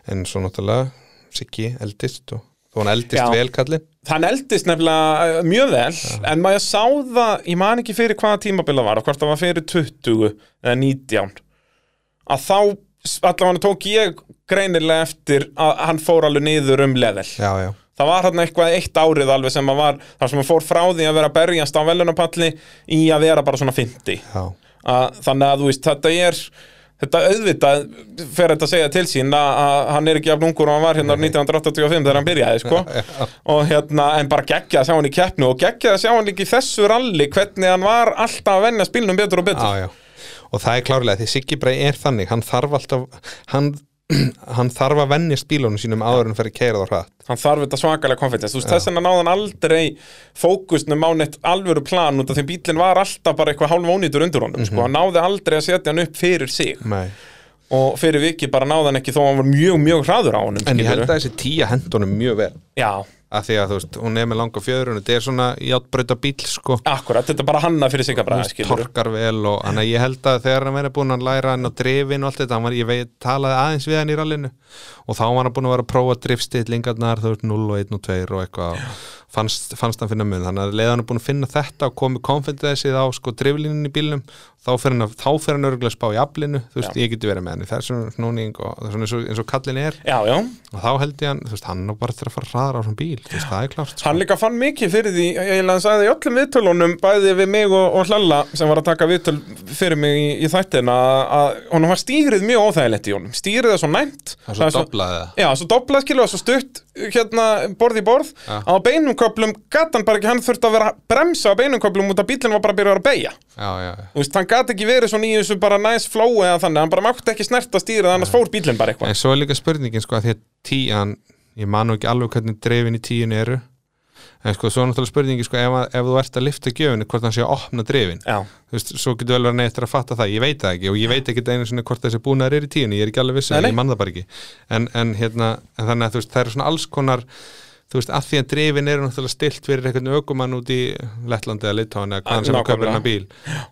Speaker 2: en svo náttúrulega Siggi eldist og þó hann eldist
Speaker 1: Já.
Speaker 2: vel kallinn
Speaker 1: Hann eldist nefnilega eh, mjög vel, en maður sá það, ég man ekki fyrir hvaða tímabila var, og hvort það var fyrir 20 eða 19, að þá s- allavega tók ég greinilega eftir að hann fór alveg niður um level.
Speaker 2: já, já,
Speaker 1: Það var hann eitthvað eitt árið alveg sem að var, þar sem hann fór frá því að vera að berjast á velunapalli í að vera bara svona 50.
Speaker 2: já
Speaker 1: að, þannig að þú veist þetta er þetta auðvitað fer þetta að segja til sín að, að hann er ekki jafn ungur og hann var hérna árið 1985 þegar hann byrjaði sko. og hérna, en bara geggja að sjá hann í keppnu og geggja að sjá hann líka í þessu ralli hvernig hann var alltaf að venja spilnum betur og betur
Speaker 2: Já, já. Og það er klárlega því Siggi Brei er þannig, hann þarf alltaf, hann, hann þarf að vennjast bílunum sínum áður en fyrir keirað og hratt.
Speaker 1: hann þarf þetta svakalega konfidens þú veist þess vegna náði hann aldrei fókusnum á neitt alvöru plan út af því bílinn var alltaf bara eitthvað hálf ónýtur undur honum
Speaker 2: Mhm.
Speaker 1: sko. hann náði aldrei að setja hann upp fyrir sig
Speaker 2: Nei.
Speaker 1: og fyrir viki bara náði hann ekki þó að hann var mjög mjög hraður á honum
Speaker 2: En ég held
Speaker 1: skilurðu.
Speaker 2: að þessi tíja hendunum mjög vel.
Speaker 1: já,
Speaker 2: Af því að þú veist, hún er með langa fjöðrun, þetta er svona játbrauta bíl, sko.
Speaker 1: akkurat, þetta er bara hanna fyrir sig að bræða skilur
Speaker 2: torkar vel og hann að ég held að þegar hann verið búin að læra hann á drifin og allt þetta, hann var, ég veit, talaði aðeins við hann í rallinu og þá var hann búin að vera að prófa drifstillingarnar, þú veist, 0 og 1 og 2 og eitthvað, og fannst, fannst hann finna mun, þannig að leið hann er búin að finna þetta og komið konfidensið á sko driflinin í bílnum þá fer hann, að- þá fer hann örgulega að spá í aflinu, þú veist, ég geti verið með hann í þessum snúning og það er svona eins og, eins og kallin er
Speaker 1: já, já,
Speaker 2: og þá held ég hann, þú veist, hann á bara til að fara hraðar á svona bíl, þú veist, það er klart sko.
Speaker 1: hann líka fann mikið fyrir því eiginlega hann sagði í öllum viðtölunum bæði við mig og, og Hlalla sem var að taka viðtöl fyrir mig í, í þættin að, að honum var stýrið mjög óþægilegt í honum stýrið er svo næmt
Speaker 2: Það er svo doblaði það.
Speaker 1: Já, svo doblað skilu og svo stutt hérna borð í borð
Speaker 2: Já.
Speaker 1: á beinum köplum gat hann bara ekki, hann þurfti að vera að bremsa á beinum köplum út af bílinn var bara að byrja að beigja
Speaker 2: Já, já, já.
Speaker 1: Þú veist, hann gat ekki verið svona í þessu bara næs flow eða þannig, hann bara mátti ekki snerta stýrið annars fór bílinn bara eitthvað
Speaker 2: En svo er líka spurningin sko að því að tían, ég man nú ekki alveg hvernig dreifin í tíun eru en sko svo er náttúrulega spurningin sko ef, að- ef þú ert að lifta gjöfinu hvort hann sé að opna dreifin
Speaker 1: Já,
Speaker 2: þú veist, svo getur vel verið neittur að fatta það ég veit það ekki og ég veit ekki einu svona hvort þessi búnaðar er í tíunni, ég er ekki alveg viss um
Speaker 1: Nei,
Speaker 2: það,
Speaker 1: nei.
Speaker 2: ég man það bara ekki en, en hérna, en þannig að þú veist, það eru svona alls konar þú veist, að því að dreifin eru náttúrulega stilt fyrir einhvern ökumann út í Lettlandi eða Litáin eða hvaðan sem að köpa
Speaker 1: Ah, Nákvæmlega.
Speaker 2: hennar bíl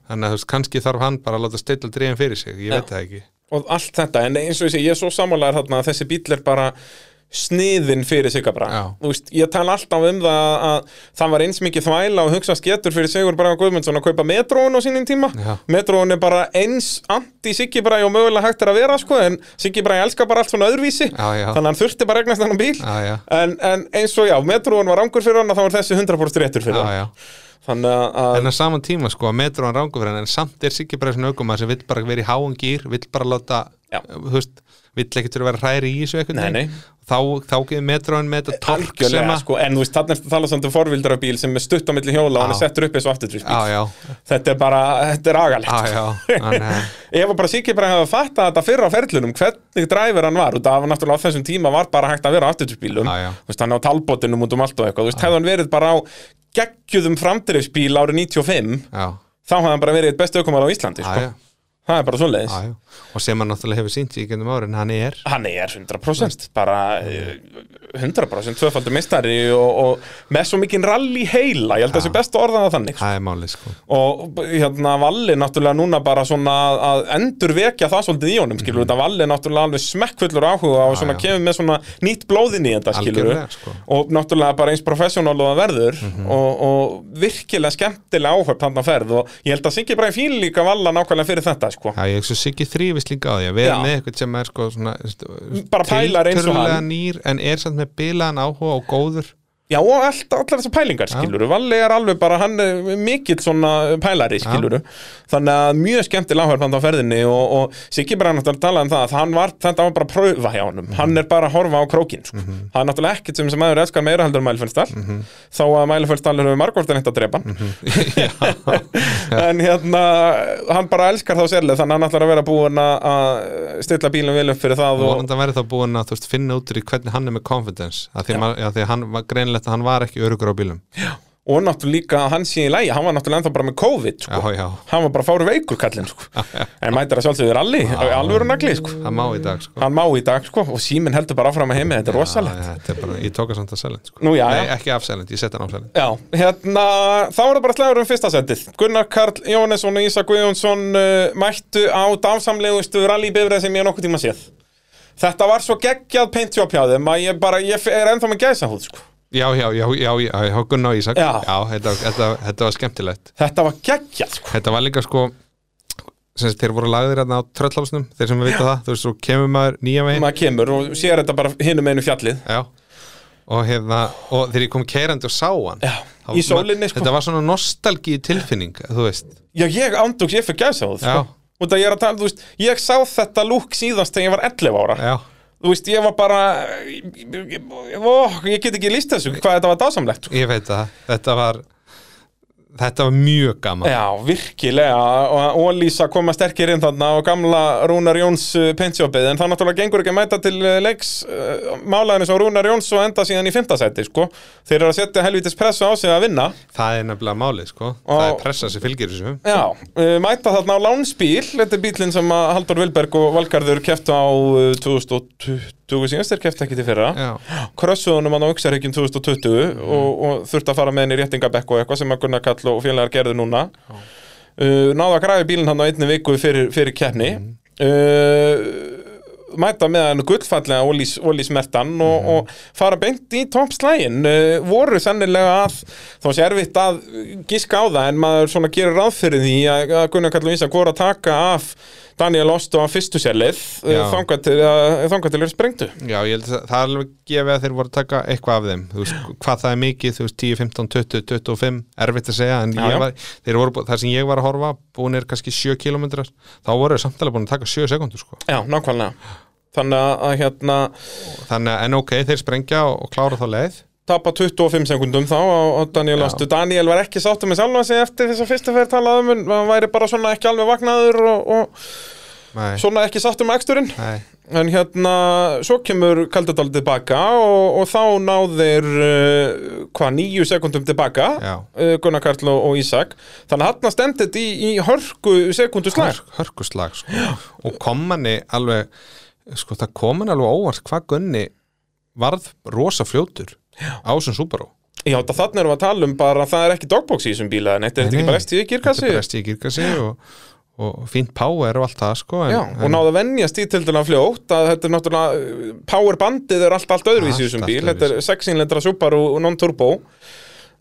Speaker 2: þannig að þú veist, kannski þarf hann bara að láta stilla dreifin fyrir sig, ég veit það ekki
Speaker 1: og allt þetta, en eins og ég sé, ég er svo sammálaður þarna að þessi bíll er bara sniðin fyrir Sigur Braga
Speaker 2: Já.
Speaker 1: Þú veist, ég tala alltaf um það að- að það var eins mikið þvæla og hugsa sketur fyrir Sigur Braga Guðmundsson að kaupa metróun á sínum tíma
Speaker 2: Já.
Speaker 1: metróun er bara eins anti Sigur Braga og mögulega hægt er að vera sko, en Sigur Braga elskar bara allt svona öðruvísi
Speaker 2: Já, já.
Speaker 1: þannig að hann þurfti bara að egnast hann bíl
Speaker 2: Já, já.
Speaker 1: En, en eins og já, metróun var rangur fyrir hann og þá var þessi 100% réttur fyrir
Speaker 2: Já,
Speaker 1: hann
Speaker 2: já.
Speaker 1: þannig að- að
Speaker 2: en á saman tíma sko að metro hann rangur fyrir hann en samt er Siggi bara svona ögum sem vill bara vera í háan gýr vill bara láta eh,
Speaker 1: Já.
Speaker 2: þú veist, vill ekkert vera hræri í þessu eitthvað
Speaker 1: Nei, nei.
Speaker 2: þá, þá gefur metro hann með þetta tork sem
Speaker 1: Algjörlega,
Speaker 2: að
Speaker 1: sko, en þú veist, þannig er þetta talað samt um forvildarabíl sem er stutt á milli hjóla og hann er
Speaker 2: Já.
Speaker 1: settur upp eins og afturdriftsbíl
Speaker 2: já, já,
Speaker 1: Þetta er bara, þetta er agalegt
Speaker 2: já, já, hann, eh,
Speaker 1: Ef að bara Siggi bara hefði fattað þetta fyrr á ferlunum hvernig dræfur hann var, út af að náttúrulega á þessum tíma var bara hægt að vera á afturtjúsbílum
Speaker 2: Já, já.
Speaker 1: hann á talbótinum út um allt og eitthvað Þú veist, hefði hann verið bara á geggjuðum framdrifsbíl árið 95
Speaker 2: já,
Speaker 1: þá hefði hann bara verið eitt bestu aukumar á Íslandi
Speaker 2: já, já,
Speaker 1: sko. það er bara svoleiðis
Speaker 2: já, já. og sem hann náttúrulega hefur sínt í gennum árin hann er
Speaker 1: Hann er 100% bara eh, 100% tvöfaldur mistari og, og með svo mikinn rally heila ég held að þessi best að orða það þannig sko.
Speaker 2: það er málið sko
Speaker 1: og hérna Valli náttúrulega núna bara svona að- að endur vekja það svolítið í honum skilur þetta Valli náttúrulega alveg smekkfullur áhuga og svona
Speaker 2: Mhm. já.
Speaker 1: kemur með svona nýtt blóðin í þetta skilur
Speaker 2: Algjörlega, sko. Mhm.
Speaker 1: og náttúrulega bara eins professional og það verður og, og virkilega skemmtilega áhörp hann að ferð og ég held að Siggi Bræði fín líka Valla nákvæmlega fyrir þetta sko
Speaker 2: Já, ég hef svo Siggi þrýfist líka á því að vera
Speaker 1: Já.
Speaker 2: með eitthvað sem er sko svona
Speaker 1: Bara pælar eins og hann.
Speaker 2: tiltölulega nýr en er samt með bilaðan áhuga og góður
Speaker 1: Já og allt, allar þessar pælingar skilur Valli er alveg bara, hann er mikill svona pælari skilur Þannig að mjög skemmtilega áhörð hann á ferðinni og, og Siggi bara náttúrulega talaði um það að hann var, þetta var bara að pröfa hjá honum
Speaker 2: Mhm.
Speaker 1: Hann er bara að horfa á krókin sko. Það er náttúrulega ekkert sem sem aður elskar meira heldur en Mælfjörnstall
Speaker 2: Mhm.
Speaker 1: Þó að Mælfjörnstall hefur margóftin eitt að drepa hann En hérna, hann bara elskar þá sérlega Þannig að hann ætlar að vera búin að- að stilla bílum vel upp fyrir það
Speaker 2: og
Speaker 1: og,
Speaker 2: vonandi að verði þá búin að þú veist, finna út úr í hvernig hann er með confidence að því, að maður- að því að hann var greinlegt að hann var ekki örugur á bílum já,
Speaker 1: og náttúrulega líka að hann sé í lægi Hann var náttúrulega ennþá bara með COVID sko.
Speaker 2: já,
Speaker 1: hann var bara fáru veikur kallinn sko. en mætir að sjálfsögur allir alvöru nagli sko.
Speaker 2: það má í dag sko.
Speaker 1: hann má í dag sko, og síminn heldur bara áfram að heimi þetta er rosalegt
Speaker 2: Já, þetta er bara, ég tók að samt að selend sko.
Speaker 1: Nú, já,
Speaker 2: Nei,
Speaker 1: já.
Speaker 2: ekki af selend, ég setja hann á selend
Speaker 1: Já, hérna, þá er það bara slæður um fyrsta setið Gunnar Karl Jónesson og Ísa Guðjónsson uh, mættu á dásamlegustu rallybifrið sem ég nokkuð tíma séð Þetta var svo geggjað peintjóp hjá þeim að ég bara, ég er ennþá með gæsa húð sko.
Speaker 2: já, já, já, já, já, já Gunnar og Ísak
Speaker 1: Já.
Speaker 2: þetta, þetta, þetta var skemmtilegt
Speaker 1: Þetta var geggjað sko.
Speaker 2: þetta var líka sko sem sagt, þeir voru lagðir hérna á tröllhálsnum þeir sem vita það, þú veist, þú kemur maður nýja veginn
Speaker 1: maður kemur og sér þetta bara hinum einu fjallið
Speaker 2: já og hérna, og þegar ég kom keirandi og sá hann
Speaker 1: Já,
Speaker 2: þá-
Speaker 1: í sólinni, sko.
Speaker 2: þetta var svona nostalgíu tilfinning, þú veist
Speaker 1: Já, ég ándúks, ég fyrir gæsa húð
Speaker 2: Já.
Speaker 1: sko. og það ég er að tala, þú veist, ég sá þetta lúk síðast þegar ég var 11 ára
Speaker 2: já,
Speaker 1: þú veist, ég var bara ég, ég, ég, ó, ég get ekki líst þessu hvað þetta var dásamlegt sko.
Speaker 2: ég veit það þetta var þetta var mjög gaman
Speaker 1: já, virkilega og Ólísa koma sterkir inn þarna og gamla Rúnar Jóns pensjópið en það náttúrulega gengur ekki að mæta til eh, leiks eh, málaðinu sem Rúnar Jóns og enda síðan í fymtasæti, sko þeir eru að setja helvitis pressu á sig að vinna
Speaker 2: það er nefnilega málið sko
Speaker 1: Og-
Speaker 2: það er pressa sem fylgir þessu
Speaker 1: Já, eh, mæta þarna á lánspíl Þetta er bílinn sem að Haldur Vilberg og Valgarður keftu á eh, 2020 síðast, þeir keftu ekki til fyrra
Speaker 2: Já.
Speaker 1: krössuðunum hann á Uxarhyggjum 2020 og, og þurfti að fara með henni í réttingabekk og eitthvað sem að Gunnar Kall og félagar gerðu núna uh, náðu að græfi bílinn hann á einni viku fyrir, fyrir keppni uh, mæta með hann gullfallega Ólís, Ólís Mertan og,
Speaker 2: Mhm.
Speaker 1: og fara beint í toppslægin uh, voru sennilega að þá sé erfitt að giska á það en maður svona gerir ráð fyrir því að, að Gunnar Kall og Ísak voru að taka af Daniel Osto á fyrstu selið
Speaker 2: Já.
Speaker 1: uh, þangað til, uh, þangað til er sprengtu
Speaker 2: Já, ég held að það er alveg gefið að þeir voru að taka eitthvað af þeim, þú veist, hvað það er mikið þú veist, 10, 15, 20, 25, erfitt að segja en
Speaker 1: Já, já.
Speaker 2: ég var, þeir voru, bú- þar sem ég var að horfa búinir kannski 7 kilometrar þá voru þeir samtala búin að taka 7 sekundur sko.
Speaker 1: Já, nákvæmlega Þannig að- að hérna
Speaker 2: þannig að, en ok, þeir sprengja og, og klára þá leið
Speaker 1: tapa 25 sekundum þá á, á Daniel
Speaker 2: Já.
Speaker 1: Astu Daniel var ekki sáttu með sjálfan sig eftir þess að fyrstu fyrir talaðum en hann væri bara svona ekki alveg vaknaður og, og
Speaker 2: Nei,
Speaker 1: svona ekki sáttu með eksturinn
Speaker 2: nei,
Speaker 1: en hérna, svo kemur Kaldadal tilbaka og, og þá náðir uh, hvað, nýju sekundum tilbaka
Speaker 2: já
Speaker 1: uh, Gunnar Karl og, og Ísak þannig að hann stendit í, í hörku sekundu slag
Speaker 2: Hörk, hörkuslag sko. og kom manni alveg sko, það kom manni alveg óvart hvað Gunni varð rosa fljótur já. á þessum Subaru
Speaker 1: Já, þetta þannig erum við að tala um bara að það er ekki dogbox í þessum bíla en þetta er
Speaker 2: Nei,
Speaker 1: ekki
Speaker 2: nei.
Speaker 1: bara STI
Speaker 2: Þetta
Speaker 1: kirkassi
Speaker 2: er besti í kirkasi og, og fínt power og allt það sko en,
Speaker 1: Já, og náðu að venjast í til dæla fljótt að þetta er náttúrulega, uh, powerbandið er allt, allt öðruvísi í
Speaker 2: Allt,
Speaker 1: þessum
Speaker 2: allt
Speaker 1: bíl, þetta er 6 innlendra Subaru non-turbo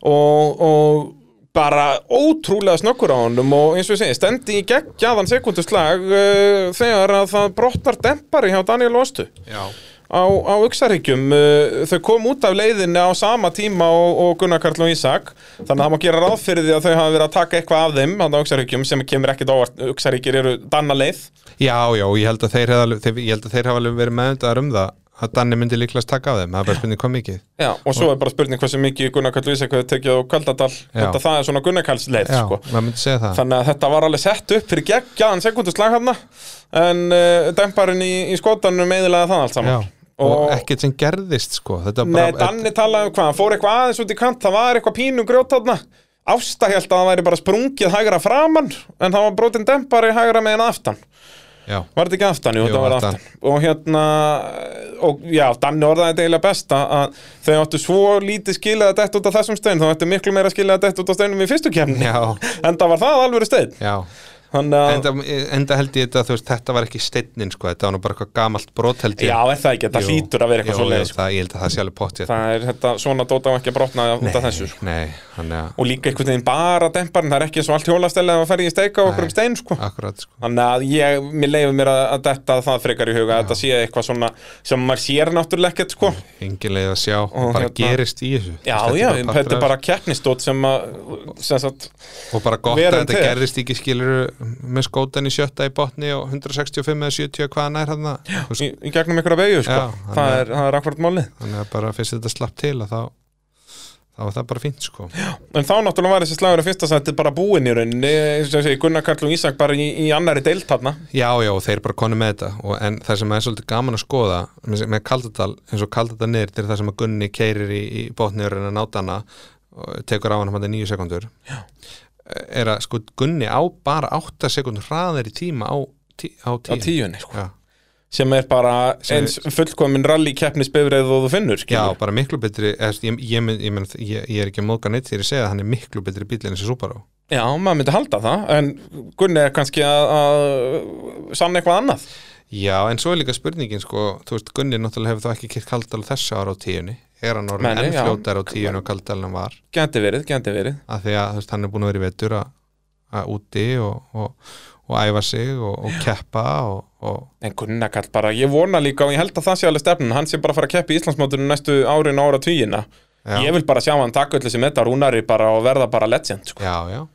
Speaker 1: og, og bara ótrúlega snökkur á honum og eins og ég segi, stendi í geggjaðan sekunduslag uh, þegar að það brottar dempari hjá Daniel Ostu
Speaker 2: já.
Speaker 1: á, á Uxarhyggjum uh, þau kom út af leiðinni á sama tíma og, og Gunnar Karl og Ísak þannig að það má gera ráð fyrir því að þau hafa verið að taka eitthvað af þeim, þannig á Uxarhyggjum sem kemur ekkit ávart, Uxarhyggjir eru danna leið
Speaker 2: já, já, og ég held að þeir, hef alveg, þeir, ég held að þeir hafa alveg verið meðvitaðar um það að Danni myndi líklegast taka af þeim, það er bara spurning hvað mikið
Speaker 1: Já, og svo er bara spurning hversu mikið Gunnar Karl Ísak hefur tekið á Kaldadal þetta það er svona Gunnar Karls leið
Speaker 2: já,
Speaker 1: sko.
Speaker 2: maður myndi segja það
Speaker 1: þannig að þetta var alveg sett upp fyrir geggjaðan sekunduslag hann en uh, demparinn í, í skotanum eðilega það allt
Speaker 2: já.
Speaker 1: saman
Speaker 2: og,
Speaker 1: Og-
Speaker 2: ekkert sem gerðist sko þetta
Speaker 1: Nei,
Speaker 2: bara,
Speaker 1: Danni talaði um hvað, hann fór eitthvað aðeins út í kant það var eitthvað pínu grjót þarna Ásta held að það væri bara sprungið hægra framann en það var brotin dempari hægra megin aftan
Speaker 2: já,
Speaker 1: Var þetta ekki aftan? Jú,
Speaker 2: Jú,
Speaker 1: þetta var
Speaker 2: aftan.
Speaker 1: aftan. Og hérna, og já, Danni orðaði þetta eiginlega best að- að þau áttu svo lítið skilaði þetta út á þessum stein, þá ættu miklu meira skilaði þetta út á steinum í fyrstu kemni.
Speaker 2: Já.
Speaker 1: En það var það alvöru stein.
Speaker 2: já
Speaker 1: Þannig að,
Speaker 2: enda, enda held ég þetta, þú veist, þetta var ekki steinnin sko, þetta var nú bara eitthvað gamalt brot held ég
Speaker 1: já, er það ekki, þetta
Speaker 2: Jú.
Speaker 1: hlýtur að vera
Speaker 2: Jú,
Speaker 1: eitthvað svo
Speaker 2: ég,
Speaker 1: leiðis.
Speaker 2: sko. það, ég held að það sé alveg pott ég
Speaker 1: Það er þetta, svona dóta á ekki að brotna út af þessu, sko.
Speaker 2: nei, hann er
Speaker 1: Og líka einhvern veginn bara demparinn, það er ekki svo allt hjólastellið að fara í steika á okkur um stein, sko.
Speaker 2: akkurat sko.
Speaker 1: Þannig að ég, mér leiður mér að, að detta það frekar í huga, að þetta sé eitthvað svona sem maður sér náttúrulega ekkert, sko.
Speaker 2: engin leið að sjá, bara
Speaker 1: hérna-
Speaker 2: gerist í þessu
Speaker 1: Já,
Speaker 2: Þú veist,
Speaker 1: já,
Speaker 2: er
Speaker 1: þetta
Speaker 2: bara partur
Speaker 1: er
Speaker 2: af
Speaker 1: bara keppnistótt sem að, sem sagt,
Speaker 2: þessu. og bara gott að
Speaker 1: verönd
Speaker 2: þetta
Speaker 1: er.
Speaker 2: gerist ekki skilur með skótan í sjötta í botni og 165 eða 70 hvað hann er hann
Speaker 1: í, í gegnum einhverja vegu, sko.
Speaker 2: Já, hann
Speaker 1: það,
Speaker 2: er-
Speaker 1: er, það er akkurat málið.
Speaker 2: þannig að bara fyrst þetta slapp til að þá þá var það bara fínt sko
Speaker 1: En þá náttúrulega var þessi slagur í fyrsta sætti bara búinn í rauninni, eins og ég segi, Gunnar Karl og Ísak bara í, í annari deilt þarna.
Speaker 2: Já, já, og þeir bara konu með þetta og, en það sem er svolítið gaman að skoða með, með Kaldadal, eins og Kaldadal niður til það sem að Gunni keirir í, í botniðurinn að náta hana og tekur á hann hann nýju sekundur já. er að sko Gunni á bara 8 sekundur hraðar í tíma á, tí,
Speaker 1: Á
Speaker 2: á tíu,
Speaker 1: tíunni, sko.
Speaker 2: Já.
Speaker 1: Sem er bara
Speaker 2: Sem-
Speaker 1: eins fullkomin rally keppnisbifrið og þú finnur,
Speaker 2: já,
Speaker 1: skilur.
Speaker 2: bara miklu betri eða, ég, ég, mynd- ég, mynd- ég, ég er ekki að móðga neitt þegar ég segja að hann er miklu betri bíl en þessi Subaru
Speaker 1: Já, maður myndi halda það, en Gunni er kannski að, að sanna eitthvað annað.
Speaker 2: Já, en svo er líka spurningin sko, þú veist, Gunni náttúrulega hefur þá ekki kýrt Kaldal þessu ára á tíunni er hann orðin
Speaker 1: Nei, nei,
Speaker 2: enn
Speaker 1: já.
Speaker 2: fljótar á tíunni og Kaldal en hann var
Speaker 1: Gæti verið, gæti verið.
Speaker 2: að því að þú veist, hann er búin að vera í vetur að, að úti og, og, og æfa sig og, og keppa og, og
Speaker 1: En Gunnar Kall bara, ég vona líka og ég held að það sé alveg stefnun, hann sé bara að fara að keppi í Íslandsmótinu næstu árin og ára tvíina
Speaker 2: Já.
Speaker 1: Ég vil bara sjá hann taka öll þessi metta rúnari bara og verða bara legend sko.
Speaker 2: já, já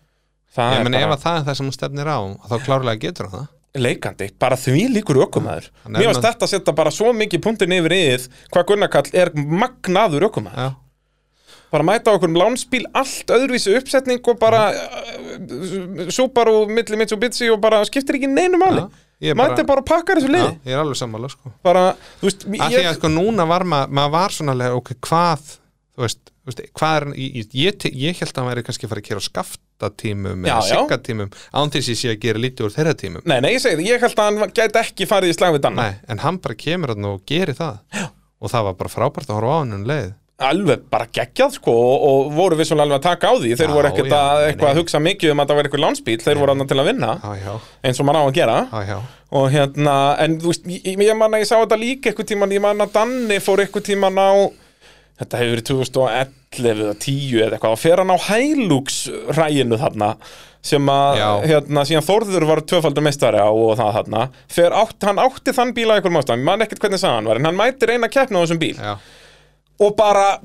Speaker 1: Það
Speaker 2: ég
Speaker 1: er
Speaker 2: meni ef
Speaker 1: bara,
Speaker 2: að það er það sem hún stefnir á þá klárlega getur hann það
Speaker 1: leikandi, bara því líkur ökumæður
Speaker 2: Hann er
Speaker 1: Mér varst
Speaker 2: með-
Speaker 1: þetta að setja bara svo mikið punktin yfir yfir hvað Gunnar Kall er magnaður ökumæður
Speaker 2: já,
Speaker 1: bara mæta okkur um lánspíl allt öðruvísi uppsetning og bara uh, Subaru, milli Mitsubishi og bara skiptir ekki neinu máli
Speaker 2: Já, ég bara-
Speaker 1: mæta bara og pakkar þessu
Speaker 2: já,
Speaker 1: liði
Speaker 2: ég er alveg sammála sko
Speaker 1: bara, þú veist,
Speaker 2: Af því
Speaker 1: ég,
Speaker 2: að sko núna var maður, maður var svona alveg, ok, hvað, þú veist, þú veist hvað er, ég, ég, te- ég held að hann væri kannski að fara að kera á skaftatímum eða
Speaker 1: Já, já.
Speaker 2: siggatímum, án þess ég sé að gera lítið úr þeirra tímum.
Speaker 1: nei, nei, ég segi það, ég held að hann gæti ekki farið í slag við Danna,
Speaker 2: Nei, en hann bara kemur hann og gerir það. Já. Og það var bara frábært að horfa á hann um leið.
Speaker 1: alveg bara geggjað sko og, og voru vissulega alveg að taka á því þeir
Speaker 2: Já,
Speaker 1: voru ekkert
Speaker 2: já,
Speaker 1: að
Speaker 2: nei,
Speaker 1: eitthvað
Speaker 2: nei.
Speaker 1: að hugsa mikið um að það var eitthvað lánspíl, þeir voru annað til að vinna
Speaker 2: Já, já,
Speaker 1: eins og maður á að gera
Speaker 2: já, já.
Speaker 1: og hérna, en þú veist, ég, ég man að ég sá þetta líka eitthvað tíman, ég man að Danni fór eitthvað tíman á þetta hefur verið 2011 eða 10 eða eitthvað, og fer hann á Hilux ræginu þarna sem að,
Speaker 2: Já.
Speaker 1: hérna, síðan Þórður var tvöfaldur meistari á og það þarna fer átt, hann átti þann bíl að einhverjum ástæðum, ég man ekkert hvernig sagði hann var, en hann mætir eina keppna á þessum bíl
Speaker 2: já.
Speaker 1: og bara